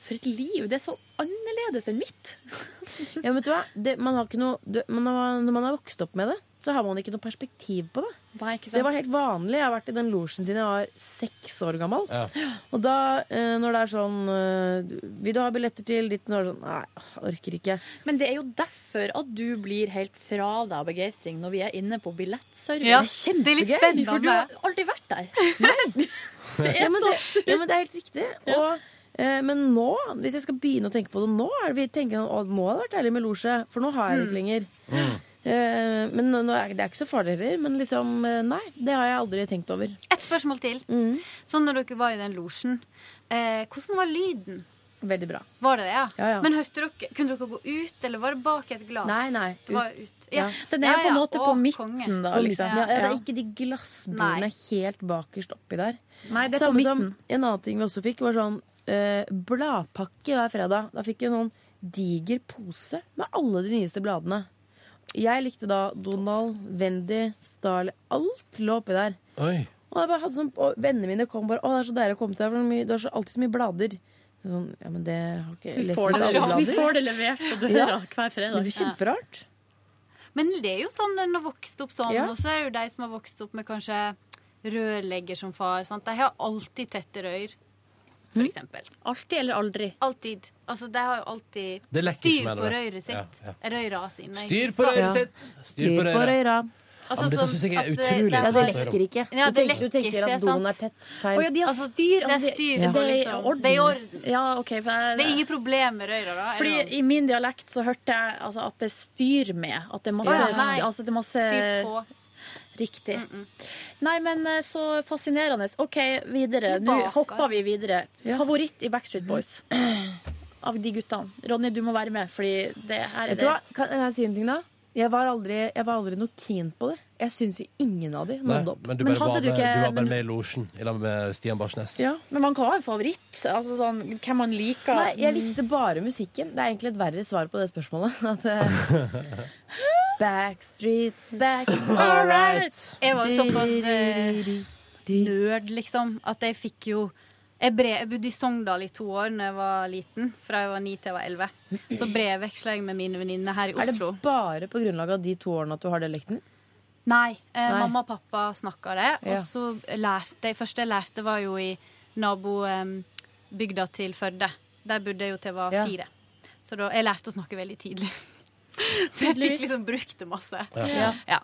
Speaker 3: For et liv! Det er så annerledes enn mitt.
Speaker 5: Ja, men vet du hva? Det, man har ikke noe, du, man har, når man har vokst opp med det, så har man ikke noe perspektiv på det.
Speaker 3: Nei, ikke sant?
Speaker 5: Det var helt vanlig. Jeg har vært i den losjen siden jeg var seks år gammel. Og da, eh, når det er sånn eh, Vil du ha billetter til ditt? Når det er sånn, Nei, jeg orker ikke.
Speaker 3: Men det er jo derfor at du blir helt fra deg av begeistring når vi er inne på billettservice.
Speaker 5: Ja, det er litt spennende.
Speaker 3: For du har aldri vært der. Det er
Speaker 5: ja, men det,
Speaker 3: så-
Speaker 5: ja, men det er helt riktig. Og, eh, men nå, hvis jeg skal begynne å tenke på det nå, er det vi tenker, å, nå hadde det vært deilig med losje. For nå har jeg det ikke lenger. Eh, men nå nå er, det er ikke så farlig heller. Men liksom, eh, nei, det har jeg aldri tenkt over.
Speaker 6: Et spørsmål til. Så
Speaker 11: Sånn
Speaker 6: når dere var i den losjen, eh, hvordan var lyden?
Speaker 5: Veldig bra.
Speaker 6: Var det det, ja?
Speaker 5: Ja, ja.
Speaker 6: Men hørte dere, kunne dere gå ut, eller var det bak et glass?
Speaker 5: Nei, nei,
Speaker 6: Det var
Speaker 5: ut.
Speaker 6: ut. Ja.
Speaker 5: Ja.
Speaker 6: Den
Speaker 5: er jo på en
Speaker 3: måte på midten, da,
Speaker 5: På midten,
Speaker 3: liksom.
Speaker 5: ja. Ja, det
Speaker 3: Ja.
Speaker 5: er ikke de glassbordene helt bakerst oppi der.
Speaker 3: Nei, det er
Speaker 5: Samme
Speaker 3: på
Speaker 5: som
Speaker 3: midten.
Speaker 5: en annen ting vi også fikk, var sånn eh, bladpakke hver fredag. Da fikk vi en sånn diger pose med alle de nyeste bladene. Jeg likte da Donald, Wendy, Starley Alt lå oppi der.
Speaker 2: Oi.
Speaker 5: Og jeg bare hadde sånn, og Vennene mine kom bare 'Å, det er så deilig å komme til deg, for det er så mye- du har så, alltid så mye blader'. Sånn, ja, men det har ikke
Speaker 3: Vi
Speaker 5: leser
Speaker 3: får
Speaker 5: ikke
Speaker 3: det-
Speaker 5: alle
Speaker 3: vi
Speaker 5: blader.
Speaker 3: får det levert på døra hver fredag.
Speaker 5: Det blir
Speaker 6: Ja.
Speaker 5: kjemperart.
Speaker 6: Men det er jo sånn når en har vokst opp sånn,
Speaker 5: Ja.
Speaker 6: og så er det jo de som har vokst opp med kanskje rørlegger som far. Sant? De har alltid tette rør,
Speaker 3: Mm.
Speaker 6: for eksempel.
Speaker 3: Alltid eller aldri?
Speaker 6: Alltid. Altså, de har jo alltid
Speaker 2: Det lekker ikke
Speaker 6: styr
Speaker 2: med
Speaker 6: på
Speaker 2: det.
Speaker 6: røret sitt.
Speaker 2: Ja,
Speaker 6: Røra sine.
Speaker 2: Styr på røret sitt! Styr på røret.
Speaker 6: Altså,
Speaker 2: Ja, men dette
Speaker 6: sånn
Speaker 2: synes jeg er
Speaker 6: at det-
Speaker 2: utrolig godt å
Speaker 6: det er-
Speaker 2: høre om.
Speaker 6: Ja,
Speaker 5: Du tenker-
Speaker 6: det
Speaker 5: du
Speaker 6: lekker
Speaker 5: tenker at
Speaker 6: ikke,
Speaker 5: doen
Speaker 6: sant?
Speaker 5: er tett. Feil.
Speaker 6: Å, ja, de har
Speaker 3: Altså, styr,
Speaker 6: det er
Speaker 3: altså, det- ja.
Speaker 6: styr, det er
Speaker 3: det er i
Speaker 6: liksom-
Speaker 3: orden.
Speaker 6: Det er i orden.
Speaker 3: Ja, ok, for jeg-
Speaker 6: Det er ingen problem med røra, da.
Speaker 3: Fordi
Speaker 6: eller noe.
Speaker 3: I min dialekt så hørte jeg altså, at det er styr med. At det er masse,
Speaker 6: Å ja, nei.
Speaker 3: altså, det er masse
Speaker 6: Styr på. Mm,
Speaker 3: Riktig. Nei, men eh, så fascinerende. OK, videre.
Speaker 6: Vi
Speaker 3: Nå
Speaker 6: baker.
Speaker 3: hopper vi videre. Favoritt i Backstreet Boys av de guttene. Ronny, du må være med, fordi det her er
Speaker 5: Vet du hva?
Speaker 3: det.
Speaker 5: Kan jeg si en ting, da? Jeg var aldri, jeg var aldri noe keen på det. Jeg syns ingen av de
Speaker 2: Nei,
Speaker 5: nådde opp.
Speaker 2: men du, bare var med, du var bare med i losjen i lag med Stian Barsnes.
Speaker 5: Ja.
Speaker 3: Men man kan ha en favoritt. Altså sånn hvem man liker.
Speaker 5: Nei, jeg likte bare musikken. Det er egentlig et verre svar på det spørsmålet. At, eh, Backstreets back, all right.
Speaker 6: Jeg var jo såpass eh, nerd, liksom, at jeg fikk jo jeg, brev, jeg bodde i Sogndal i to år da jeg var liten. Fra jeg var ni til jeg var elleve. Så brevveksla jeg med mine venninner her i
Speaker 5: Er det
Speaker 6: Oslo.
Speaker 5: bare på grunnlag av de to årene at du har dialekten?
Speaker 6: Nei, eh,
Speaker 5: Nei.
Speaker 6: Mamma og pappa snakka det,
Speaker 5: Ja.
Speaker 6: og så lærte jeg første jeg lærte, var jo i nabobygda til Førde. Der bodde jeg jo til jeg var
Speaker 5: Ja.
Speaker 6: fire. Så da, jeg lærte å snakke veldig tidlig. Så jeg fikk liksom brukt det masse.
Speaker 5: Ja. Ja.
Speaker 6: Ja.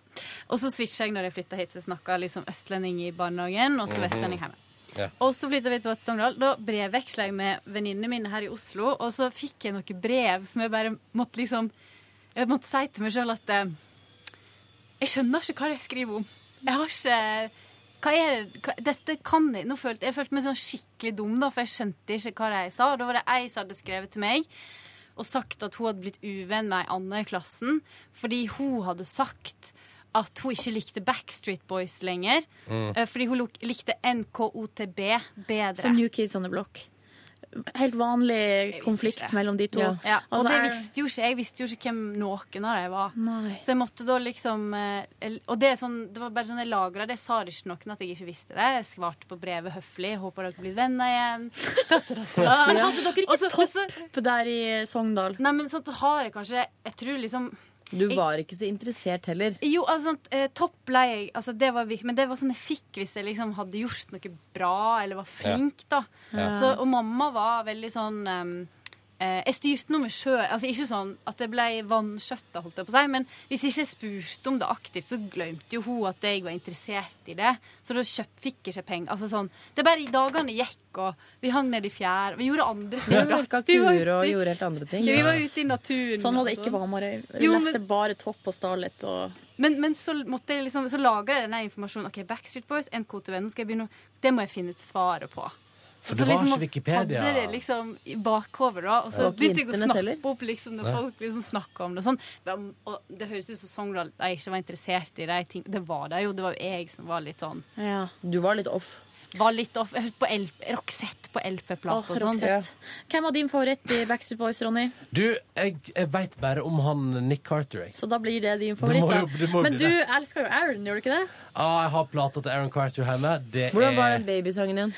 Speaker 6: Og så switcha jeg når jeg flytta hit, så jeg snakka liksom østlending i barnehagen, og så
Speaker 16: Mhm.
Speaker 6: vestlending hjemme.
Speaker 16: Ja.
Speaker 6: Og så flytta vi tilbake til Sogndal. Da brevveksla jeg med venninnene mine her i Oslo, og så fikk jeg noen brev som jeg bare måtte liksom Jeg måtte si til meg sjøl at eh, jeg skjønner ikke hva jeg skriver om. Jeg har ikke hva er det? Hva, dette kan jeg Nå følte jeg følte meg sånn skikkelig dum, da, for jeg skjønte ikke hva de sa. Og Da var det ei som hadde skrevet til meg og sagt at hun hadde blitt uvenn med ei anna i klassen fordi hun hadde sagt at hun ikke likte Backstreet Boys lenger.
Speaker 3: Mm.
Speaker 6: eh, Fordi hun luk- likte NKOTB bedre.
Speaker 3: Så New Kids on the Block. Helt vanlig konflikt mellom de to.
Speaker 6: Ja. og
Speaker 3: Altså,
Speaker 6: det
Speaker 3: jeg-
Speaker 6: visste jo ikke jeg. visste jo ikke hvem noen av dem var.
Speaker 3: Nei.
Speaker 6: Så jeg måtte da liksom eh, el- Og det, er sånn, det var bare sånn jeg lagra det. Jeg sa det ikke til noen at jeg ikke visste det. Jeg svarte på brevet høflig. Håper dere blir venner igjen.
Speaker 3: Men hadde dere ikke
Speaker 6: topp
Speaker 3: der i Sogndal?
Speaker 6: Nei, men sånn har jeg kanskje Jeg tror liksom
Speaker 5: Du var ikke så interessert heller.
Speaker 6: jo, altså, sånn, eh, topp ble jeg altså, det var, virk- Men det var sånn jeg fikk hvis jeg liksom hadde gjort noe bra eller var flink. da
Speaker 16: Ja.
Speaker 6: Så, Og mamma var veldig sånn ehm, eh, Jeg styrte noe med sjøl. Altså, ikke sånn at jeg ble vanskjøtta, holdt jeg på å si, men hvis ikke jeg spurte om det aktivt, så glemte jo hun at jeg var interessert i det. Så da kjøp, fikk jeg ikke penger. Altså, sånn, det er bare i dagene gikk, og vi hang ned i fjær. Vi gjorde andre
Speaker 5: Du
Speaker 6: ting. da.
Speaker 5: røyka
Speaker 6: Vi var
Speaker 5: kurer og
Speaker 6: ute i-
Speaker 5: gjorde helt andre ting.
Speaker 6: Ja, vi var ute i naturen.
Speaker 3: Sånn var det
Speaker 6: og
Speaker 3: ikke på
Speaker 6: sånn.
Speaker 3: Hamarøy. Vi
Speaker 6: Jo, men-
Speaker 3: leste bare Topp og Starlet og
Speaker 6: Men, men så, måtte jeg liksom, så lagra jeg denne informasjonen. Ok, Backstreet Boys, NKTV, nå skal jeg begynne å Det må jeg finne ut svaret på.
Speaker 2: For
Speaker 6: Og
Speaker 2: det
Speaker 6: så liksom
Speaker 2: var ikke Wikipedia.
Speaker 6: Hadde det liksom i bakhodet, da. Og
Speaker 2: Det
Speaker 6: så
Speaker 2: var ikke
Speaker 6: begynte jeg å
Speaker 2: internett
Speaker 6: snappe
Speaker 2: heller.
Speaker 6: opp liksom, når
Speaker 2: Nei.
Speaker 6: folk liksom snakka om det. og Sånn. Det var- Og det høres ut som Sogndal de ikke var interessert i de tingene. Det var de jo. Det var jo jeg som var litt sånn
Speaker 5: Du var litt off.
Speaker 6: Var litt off. Jeg hørte på L Roxette på LP-plate og
Speaker 3: Åh,
Speaker 6: sånn.
Speaker 3: Roxette. Hvem var din favoritt i Backstreet Boys, Ronny?
Speaker 2: Du, jeg, jeg veit bare om han Nick Carter. Jeg.
Speaker 3: Så da blir det din
Speaker 2: Det må
Speaker 3: favoritt, da.
Speaker 2: jo- det må jo
Speaker 3: Men
Speaker 2: bli
Speaker 3: du
Speaker 2: det.
Speaker 3: elsker jo Aaron, gjør du ikke det?
Speaker 2: Ah, jeg har plata til Aaron Carter hjemme. Det
Speaker 5: Hvordan var
Speaker 2: er
Speaker 5: den babysangen igjen?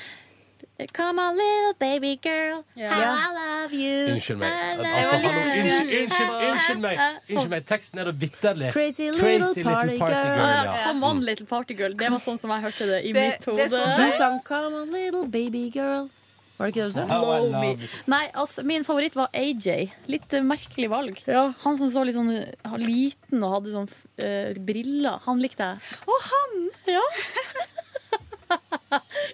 Speaker 3: Come on, little baby girl, how I love you.
Speaker 2: Unnskyld meg.
Speaker 3: I love
Speaker 2: Altså,
Speaker 3: you.
Speaker 2: hallo, unnskyld, unnskyld, unnskyld meg. Unnskyld meg. Teksten er da vitterlig
Speaker 3: Crazy little party
Speaker 2: girl.
Speaker 3: Ja,
Speaker 2: ja.
Speaker 3: Come on, little party girl. Det var sånn som jeg hørte det i mitt hode.
Speaker 5: Du sang 'Come on, little baby girl'. Var det ikke det du sa?
Speaker 3: Blow me. Nei, altså, min favoritt var AJ. Litt eh, merkelig valg. Han som så litt sånn eh, liten og hadde sånn eh, briller. Han likte jeg.
Speaker 6: Og han!
Speaker 3: Ja.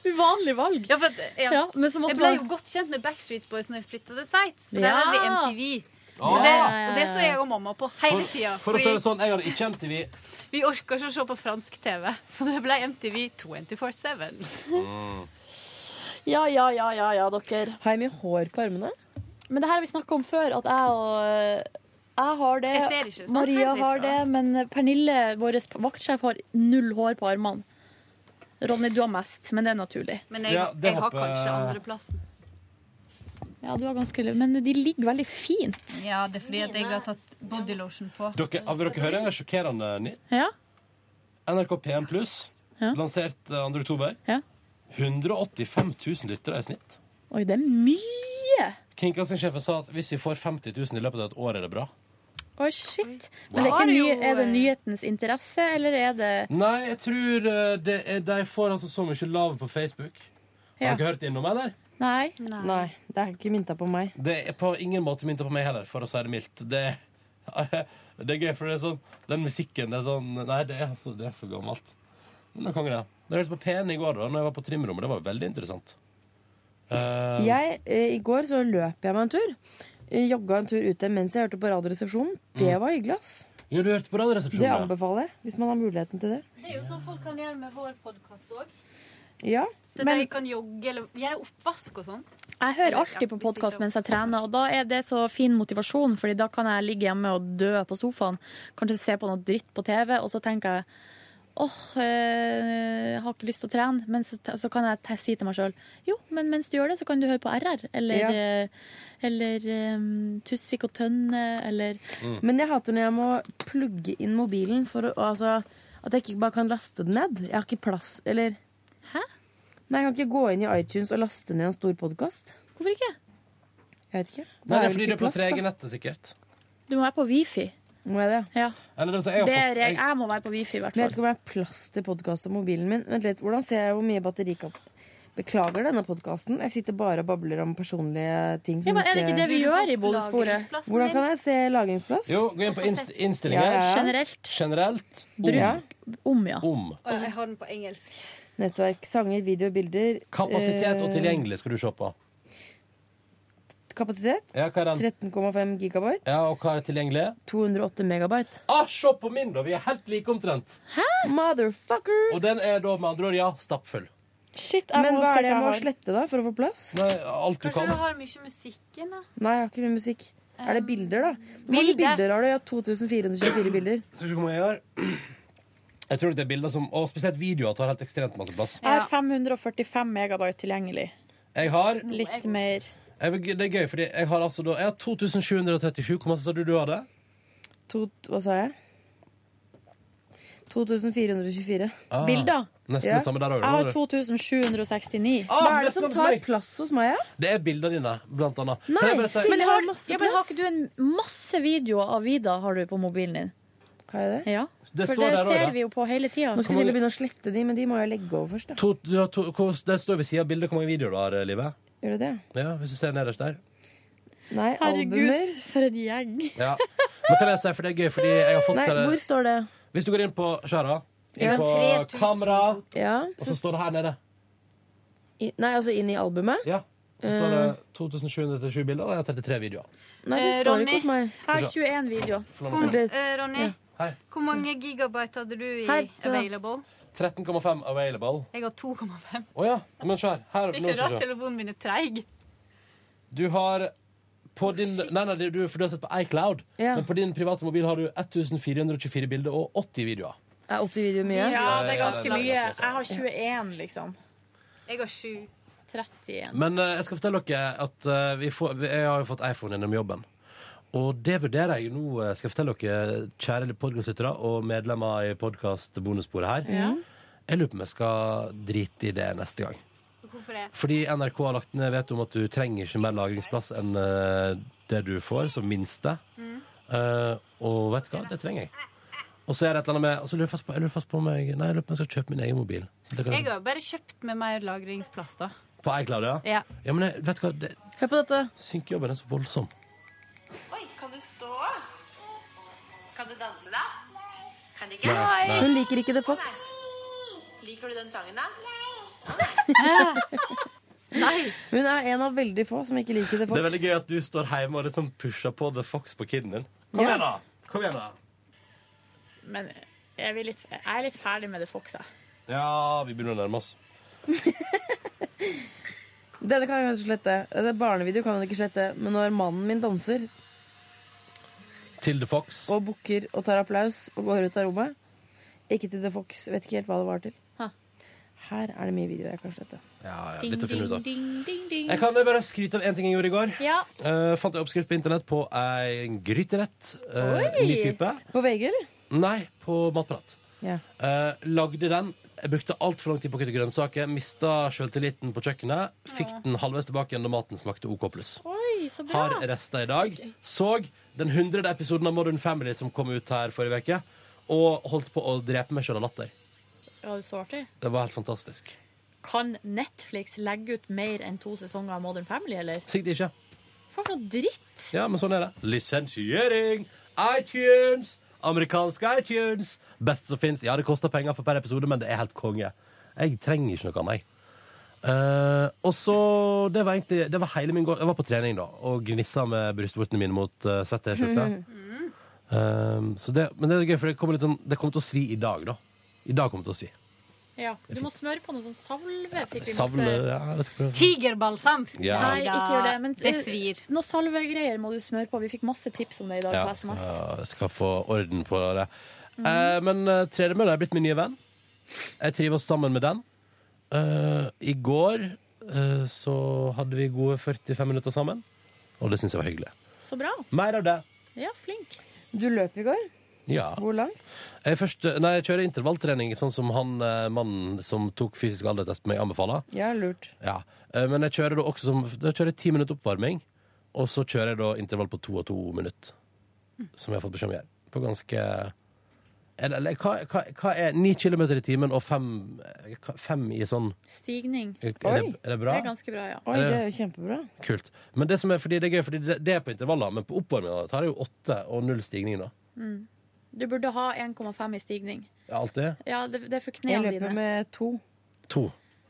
Speaker 3: Uvanlig valg.
Speaker 6: Ja, for at, ja.
Speaker 3: Ja, men så måtte
Speaker 6: jeg ble
Speaker 3: man-
Speaker 6: jo godt kjent med Backstreet Boys når jeg flytta til Sveits. For
Speaker 3: Ja.
Speaker 6: der hadde vi MTV. Så det, og det så jeg og mamma på hele
Speaker 2: Ah. For-
Speaker 6: tida.
Speaker 2: For å si det sånn, jeg hadde ikke MTV.
Speaker 6: vi orker ikke å se på fransk TV, så det ble MTV 24-7.
Speaker 3: Ja, ja, ja, ja, ja, dere.
Speaker 5: Har jeg mye hår på armene?
Speaker 3: Men det her har vi snakka om før, at jeg og eh, jeg har det,
Speaker 6: Jeg ser ikke sånn
Speaker 3: Maria
Speaker 6: herifra.
Speaker 3: har det, men Pernille, vår vaktsjef, har null hår på armene. Ronny, du har mest, men det er naturlig.
Speaker 6: Men jeg,
Speaker 3: Ja, det
Speaker 6: jeg har
Speaker 3: håper jeg-
Speaker 6: kanskje andreplassen.
Speaker 3: Ja, du har ganske liv, Men de ligger veldig fint.
Speaker 6: Ja, det er fordi at jeg har tatt bodylotion på.
Speaker 2: Dere, har dere hørt en sjokkerende nytt?
Speaker 3: Ja.
Speaker 2: NRK P1 Pluss, lansert eh, 2. oktober. 185 000 lyttere i snitt.
Speaker 3: Oi, det er mye!
Speaker 2: Kringkastingssjefen sa at hvis vi får 50 000 i løpet av et år, er det bra.
Speaker 3: Oi, shit. Men det er,
Speaker 2: Da er
Speaker 3: ikke
Speaker 2: det
Speaker 3: ny,
Speaker 2: jo,
Speaker 3: er
Speaker 6: eh,
Speaker 3: det nyhetens interesse, eller er det
Speaker 2: Nei, jeg tror eh, det er, de får altså så mye lav på Facebook.
Speaker 17: Ja.
Speaker 2: Har dere hørt innom, eller?
Speaker 3: Nei.
Speaker 17: Nei. Det er ikke mynta på meg.
Speaker 2: Det er på ingen måte mynta på meg heller, for å si det mildt. Det, det er gøy, for det er sånn Den musikken det er sånn Nei, det er så, det er så gammelt. Men nå kan jeg det. Men jeg hørte på P1 i går, da når jeg var på trimrommet. Det var veldig interessant. Eh,
Speaker 5: Jeg, eh, I går så løp jeg meg en tur. Eh, Jogga en tur ute mens jeg hørte på Radioresepsjonen. Det
Speaker 2: Mm.
Speaker 5: var hyggelig, ass.
Speaker 2: Ja, du hørte på Radioresepsjonen?
Speaker 5: Det
Speaker 2: ja.
Speaker 5: anbefaler jeg, hvis man har muligheten til det.
Speaker 6: Det er jo sånn folk kan gjøre med vår podkast òg.
Speaker 5: Ja,
Speaker 6: Men... De kan jogge eller gjøre oppvask og sånn.
Speaker 3: Jeg hører alltid på podkast mens jeg trener, og da er det så fin motivasjon, Fordi da kan jeg ligge hjemme og dø på sofaen, kanskje se på noe dritt på TV, og så tenker jeg åh, eh, jeg har ikke lyst til å trene, men så, så kan jeg te- si til meg sjøl jo, men mens du gjør det, så kan du høre på RR, eller,
Speaker 5: Ja.
Speaker 3: eh, eller eh, Tusvik og Tønne, eller
Speaker 5: Men jeg hater når jeg må plugge inn mobilen for å altså, At jeg ikke bare kan laste den ned. Jeg har ikke plass, eller
Speaker 3: Hæ?
Speaker 5: Nei, jeg kan ikke gå inn i iTunes og laste ned en stor podkast.
Speaker 3: Hvorfor ikke?
Speaker 5: Jeg vet ikke.
Speaker 2: Nei, det
Speaker 5: Da vel
Speaker 2: er fordi
Speaker 5: ikke
Speaker 2: det er på
Speaker 5: plass, da.
Speaker 2: 3G-nettet, sikkert.
Speaker 3: Du må være på wifi.
Speaker 5: Må jeg det?
Speaker 3: Ja.
Speaker 2: Eller, det vil si,
Speaker 3: Det
Speaker 2: jeg har
Speaker 3: er
Speaker 2: fått,
Speaker 3: regel-
Speaker 2: jeg,
Speaker 3: Jeg må være på wifi, i hvert
Speaker 5: Men jeg vet
Speaker 3: fall.
Speaker 5: ikke om jeg har plass til podkast og mobilen min. Vent litt, Hvordan ser jeg hvor mye batterikapp Beklager denne podkasten. Jeg sitter bare og babler om personlige ting.
Speaker 3: Ja, men er det ikke det vi gjør i bonusbordet?
Speaker 5: Hvordan kan jeg se lagringsplass?
Speaker 2: jo, gå inn på inst innstillinger.
Speaker 5: Ja, ja, ja.
Speaker 3: Generelt.
Speaker 2: Generelt.
Speaker 5: Bruk- Ja.
Speaker 3: Om, ja.
Speaker 2: Om.
Speaker 6: Jeg har den på engelsk.
Speaker 5: Nettverk, sanger, video, bilder.
Speaker 2: Kapasitet og
Speaker 5: Eh,
Speaker 2: tilgjengelig skal du se på.
Speaker 5: Kapasitet
Speaker 2: Ja, hva er den?
Speaker 5: 13,5 gigabyte.
Speaker 2: Ja, og hva er tilgjengelig?
Speaker 5: 208 megabyte.
Speaker 2: Ah, se på min, da! Vi er helt like omtrent.
Speaker 5: Motherfucker!
Speaker 2: Og den er da med andre ord, ja, stappfull.
Speaker 3: Shit,
Speaker 6: jeg
Speaker 5: Men
Speaker 6: må
Speaker 5: hva
Speaker 6: se
Speaker 5: er det
Speaker 6: hva
Speaker 5: jeg må
Speaker 6: jeg har.
Speaker 5: slette, da, for å få plass?
Speaker 2: Nei, alt
Speaker 6: Kanskje du har mye musikken, da?
Speaker 5: Nei, jeg har ikke mye musikk. Er det bilder, da? Hvor
Speaker 6: Bilder.
Speaker 5: mange bilder har du? Jeg har 2424 bilder.
Speaker 2: Skal vi se hvor mange jeg har. Jeg tror det er bilder som Og spesielt videoer tar helt ekstremt masse plass.
Speaker 3: Jeg har 545 megabyte tilgjengelig.
Speaker 2: Jeg har
Speaker 3: Litt mer.
Speaker 2: jeg, vil- Det er gøy, fordi jeg har altså da Jeg har 2737. Hvor masse sa du du hadde?
Speaker 5: To, hva sa jeg? 2424.
Speaker 2: Ah,
Speaker 3: Bilder?
Speaker 2: Nesten det samme der Ah, òg.
Speaker 3: Jeg har 2769.
Speaker 5: Hva er det som tar plass hos meg? Ja?
Speaker 2: Det er bilder dine, blant annet. Kan
Speaker 3: Nei,
Speaker 2: jeg bare si-
Speaker 3: men har, ja, men har ikke du en masse videoer av Vida har du på mobilen din?
Speaker 5: Har jeg
Speaker 3: det? Ja,
Speaker 2: Det
Speaker 3: For
Speaker 2: står
Speaker 3: det
Speaker 2: der også, ja.
Speaker 3: ser vi jo på hele tida.
Speaker 5: Nå skal jeg til å begynne å slette de, men de må jeg legge over først. Da.
Speaker 2: to, du har to, hvor, Der står ved siden av bildet hvor mange videoer du har, eh, Live.
Speaker 5: Gjør du det?
Speaker 2: Ja, hvis du ser nederst der.
Speaker 5: Nei, albumer.
Speaker 3: Herregud, for en gjeng.
Speaker 2: Ja. Men kan jeg si, for det er gøy, fordi jeg har fått
Speaker 5: Nei,
Speaker 2: til det-
Speaker 5: hvor står det?
Speaker 2: Hvis du går inn på Shara, inn
Speaker 5: Ja.
Speaker 2: på
Speaker 5: 3000
Speaker 2: kamera,
Speaker 5: Ja.
Speaker 2: og så står det her nede.
Speaker 5: I, nei, altså inn i albumet?
Speaker 2: Ja. Så står det
Speaker 3: Eh.
Speaker 2: 2737 bilder, og jeg har 33 videoer.
Speaker 5: Nei, det
Speaker 6: Eh,
Speaker 5: står
Speaker 6: Ronny.
Speaker 5: ikke hos meg.
Speaker 3: Jeg har 21 videoer.
Speaker 2: For
Speaker 6: Hvor,
Speaker 2: noen minutter.
Speaker 6: eh, Ronny,
Speaker 2: Ja. Hei.
Speaker 6: hvor mange gigabyte hadde du i
Speaker 3: Her, så-
Speaker 6: available?
Speaker 2: 13,5 available.
Speaker 6: Jeg har 2,5.
Speaker 2: Å ja, men se her. her
Speaker 6: Det er ikke
Speaker 2: nå skal
Speaker 6: rart
Speaker 2: vi se.
Speaker 6: telefonen min er treig.
Speaker 2: Du har på din, nei, nei, du, for du har sett på iCloud,
Speaker 5: Ja.
Speaker 2: men på din private mobil har du 1424 bilder og 80 videoer.
Speaker 5: Er 80 videoer mye?
Speaker 3: Ja, det er
Speaker 2: Ja, det
Speaker 3: ganske
Speaker 2: er
Speaker 3: mye.
Speaker 2: mye.
Speaker 3: Jeg har 21, liksom.
Speaker 6: Jeg har 7.
Speaker 3: 31.
Speaker 2: Men eh, jeg skal fortelle dere at eh, vi får, vi- jeg har jo fått iPhone gjennom jobben. Og det vurderer jeg nå, eh, skal jeg fortelle dere, kjære podkastlyttere og medlemmer i podkast-bonussporet her.
Speaker 6: Ja.
Speaker 2: Jeg lurer på om jeg skal drite i det neste gang.
Speaker 6: Hvorfor det?
Speaker 2: Fordi NRK har lagt ned vet om at du trenger ikke mer lagringsplass enn eh, det du får, som minste.
Speaker 6: Mm.
Speaker 2: Eh, og vet du hva? Det trenger jeg. Og så er det et eller annet med og så lurer jeg fast på, Jeg lurer fast på om jeg, nei, jeg lurer på om jeg skal kjøpe min egen mobil. Så det kan
Speaker 6: Jeg har bare kjøpt med mer lagringsplass, da.
Speaker 2: På iCloud, ja?
Speaker 6: Ja.
Speaker 2: ja men jeg, vet du hva? Det,
Speaker 5: Hør på dette.
Speaker 2: Synkejobben er så voldsom.
Speaker 18: Oi, kan du stå? Kan du danse, da? Kan du
Speaker 2: ikke? Nei, nei.
Speaker 5: Hun liker ikke The Fox.
Speaker 18: Liker du den sangen, da?
Speaker 5: Hun er en av veldig få som ikke liker The
Speaker 2: Det
Speaker 5: Fox.
Speaker 2: er veldig gøy at du står hjemme og liksom pusher på The Fox på kiden din. Kom
Speaker 5: Ja.
Speaker 2: igjen, da! Kom igjen da
Speaker 11: Men jeg, vil litt, jeg er litt ferdig med det Foxa.
Speaker 2: Ja, vi begynner å nærme oss.
Speaker 5: Denne kan jeg kanskje slette. Det er barnevideo kan man ikke slette. Men når mannen min danser
Speaker 2: Til The Fox.
Speaker 5: og bukker og tar applaus og går ut av rommet Ikke til The Fox. Vet ikke helt hva det var til. Her er det mye video jeg kan slette.
Speaker 2: Ja, ja,
Speaker 5: Ding,
Speaker 2: litt å finne ut av.
Speaker 11: Ding, ding, ding.
Speaker 2: Jeg kan bare skryte av en ting jeg gjorde i går.
Speaker 11: Ja.
Speaker 2: Eh, fant en oppskrift på internett på en gryterett. Uh,
Speaker 5: Oi!
Speaker 2: ny type.
Speaker 5: På VG, eller?
Speaker 2: Nei, på Matprat.
Speaker 5: Ja.
Speaker 2: Eh, lagde den. Jeg brukte altfor lang tid på å kutte grønnsaker. Mista sjøltilliten på kjøkkenet. Fikk
Speaker 11: Ja.
Speaker 2: den halvveis tilbake igjen da maten smakte OK pluss.
Speaker 11: Oi, så bra.
Speaker 2: Har rester i dag. Såg den hundrede episoden av Modern Family som kom ut her forrige uke. Og holdt på å drepe meg sjøl av latter.
Speaker 11: Ja, det er så artig.
Speaker 2: Det var helt fantastisk.
Speaker 11: Kan Netflix legge ut mer enn to sesonger av Modern Family, eller?
Speaker 2: Sikkert ikke.
Speaker 11: Hva for noe dritt?
Speaker 2: Ja, men sånn er det. Lisensiering! iTunes! Amerikanske iTunes! Best som fins. Ja, det koster penger for per episode, men det er helt konge. Jeg trenger ikke noe annet. jeg. Eh, og så Det var egentlig Det var hele min gård. Jeg var på trening, da, og gnissa med brystvortene mine mot uh, svett T-skjorte. Eh, så det, men det er gøy, for det kommer litt sånn Det kommer til å svi i dag, da. I dag kommer det til å svi.
Speaker 11: Ja, Du må smøre på noe sånn savle. Fikk vi
Speaker 2: Savne
Speaker 11: masse-
Speaker 2: ja, jeg skal prøve.
Speaker 6: Tigerbalsam.
Speaker 2: Ja.
Speaker 11: Nei, ikke gjør det. Men
Speaker 6: Det svir.
Speaker 11: Noe salvegreier må du smøre på. Vi fikk masse tips om det i dag
Speaker 2: Ja,
Speaker 11: på SMS.
Speaker 2: ja, jeg skal få orden på det. Eh, men uh, tredemølla er blitt min nye venn. Jeg trives sammen med den. Eh, I går eh, så hadde vi gode 45 minutter sammen, og det syns jeg var hyggelig.
Speaker 11: Så bra.
Speaker 2: Mer av det.
Speaker 11: Ja, flink.
Speaker 5: Du løp i går.
Speaker 2: Ja.
Speaker 5: Hvor langt?
Speaker 2: Jeg, først, nei, jeg kjører intervalltrening, sånn som han eh, mannen som tok fysisk aldertest på meg, anbefaler.
Speaker 5: Ja, lurt.
Speaker 2: Ja. Eh, men jeg kjører da også som Da kjører jeg ti minutter oppvarming, og så kjører jeg da intervall på to og to minutter. Som jeg har fått beskjed om å gjøre. På ganske eller, eller, hva, hva, hva er ni kilometer i timen og fem, eh, hva- fem i sånn
Speaker 11: Stigning.
Speaker 2: Er, er, det, er det bra?
Speaker 11: Det er ganske bra, ja.
Speaker 2: Oi, det er
Speaker 5: jo kjempebra.
Speaker 2: Kult. Men det som er, fordi det er gøy, fordi det, det er på intervaller, men på oppvarminga tar jeg jo åtte og null stigning, da.
Speaker 11: Mm. Du burde ha 1,5 i stigning.
Speaker 2: Alltid.
Speaker 11: Ja, det, det er for
Speaker 5: Jeg
Speaker 11: knærne
Speaker 5: løper
Speaker 11: dine.
Speaker 5: med to.
Speaker 2: To.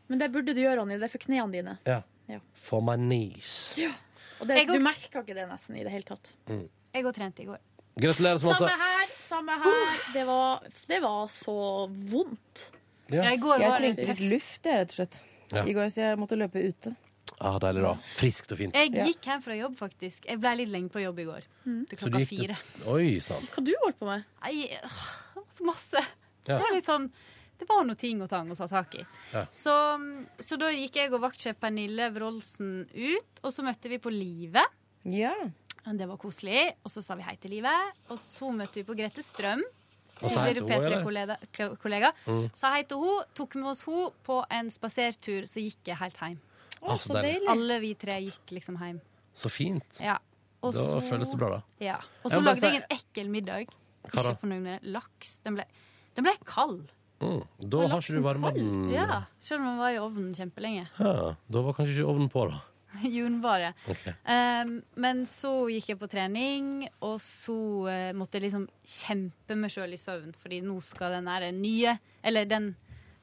Speaker 11: Men det burde du gjøre, Ronny. Det er for knærne dine.
Speaker 2: Ja.
Speaker 11: Ja.
Speaker 2: For my knees.
Speaker 11: Ja. Og det,
Speaker 6: Jeg går-
Speaker 11: du merker ikke det nesten i det hele tatt.
Speaker 2: Mm.
Speaker 6: Jeg går og trente i går.
Speaker 2: Gratulerer så
Speaker 11: Samme
Speaker 2: masse.
Speaker 11: her, samme her. Uh. Det var, det var så vondt.
Speaker 2: Ja.
Speaker 6: Jeg går
Speaker 5: Jeg
Speaker 6: bare
Speaker 5: trengte
Speaker 6: tøft.
Speaker 5: litt luft, jeg, rett og slett.
Speaker 2: Ja.
Speaker 5: I går, så jeg måtte løpe ute.
Speaker 2: Ah, deilig, da. Friskt og fint.
Speaker 6: Jeg gikk hjem fra jobb, faktisk. Jeg ble litt lenge på jobb i går.
Speaker 2: Så
Speaker 6: Til
Speaker 2: du
Speaker 6: klokka
Speaker 2: gikk det-
Speaker 6: fire.
Speaker 2: Oi sann.
Speaker 11: Hva du holdt på med?
Speaker 6: Nei, åh, så masse.
Speaker 2: Ja.
Speaker 6: Det var litt sånn Det var noe ting og tang å ta tak i.
Speaker 2: Ja.
Speaker 6: Så, så da gikk jeg og vaktsjef Pernille Wroldsen ut, og så møtte vi på Live. Det var koselig. Og så sa vi hei til Live. Og så møtte vi på Grete Strøm.
Speaker 11: Og sa hei til
Speaker 6: Tidligere
Speaker 11: henne,
Speaker 6: P3-kollega. kollega.
Speaker 11: Mm.
Speaker 6: Sa hei til henne, tok med oss henne på en spasertur, så gikk jeg helt hjem.
Speaker 2: Ah, så deilig.
Speaker 6: Alle vi tre gikk liksom hjem.
Speaker 2: Så fint.
Speaker 6: Ja. Og
Speaker 2: Da
Speaker 6: så-
Speaker 2: føles det bra, da.
Speaker 6: Ja.
Speaker 2: Jeg
Speaker 6: Og så
Speaker 2: må bare
Speaker 6: lagde jeg
Speaker 2: si-
Speaker 6: en ekkel middag.
Speaker 2: Hva da?
Speaker 6: Ikke fornøyd med det. Laks. Den ble, den ble kald.
Speaker 2: Mm, da har ikke du varma den
Speaker 6: Ja, Selv om den var i ovnen kjempelenge.
Speaker 2: Ja, Da var kanskje ikke ovnen på, da.
Speaker 6: Jun bare.
Speaker 2: Ok.
Speaker 6: Um, men så gikk jeg på trening, og så eh, måtte jeg liksom kjempe meg sjøl i søvn, fordi nå skal den der nye, eller den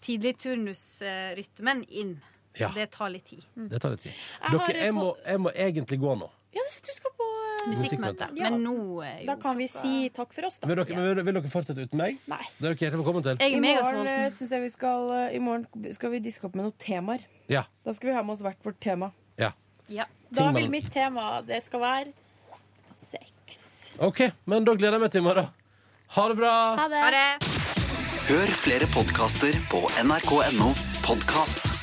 Speaker 6: tidlige turnusrytmen inn.
Speaker 2: Ja.
Speaker 6: Det tar litt tid.
Speaker 11: Mm.
Speaker 2: Det tar litt tid.
Speaker 6: Jeg har
Speaker 2: Dere, Mm. jeg må, jeg må egentlig gå nå.
Speaker 6: Musikkmøte.
Speaker 2: Ja.
Speaker 6: Men nå er jo
Speaker 11: Da kan vi si takk for oss, da.
Speaker 2: Vil dere, vil, vil dere fortsette uten meg? Nei. Det er dere hjertelig velkommen til.
Speaker 5: I morgen, eh, synes jeg vi skal, eh, I morgen skal vi diske opp med noen temaer.
Speaker 2: Ja.
Speaker 5: Da skal vi ha med oss hvert vårt tema.
Speaker 2: ja.
Speaker 11: Da
Speaker 2: Ting
Speaker 11: vil
Speaker 2: mellom-
Speaker 11: mitt tema det skal være sex.
Speaker 2: OK, men da gleder jeg meg til i morgen. Ha det bra.
Speaker 11: Ha det.
Speaker 1: Hør flere podkaster på nrk.no podkast.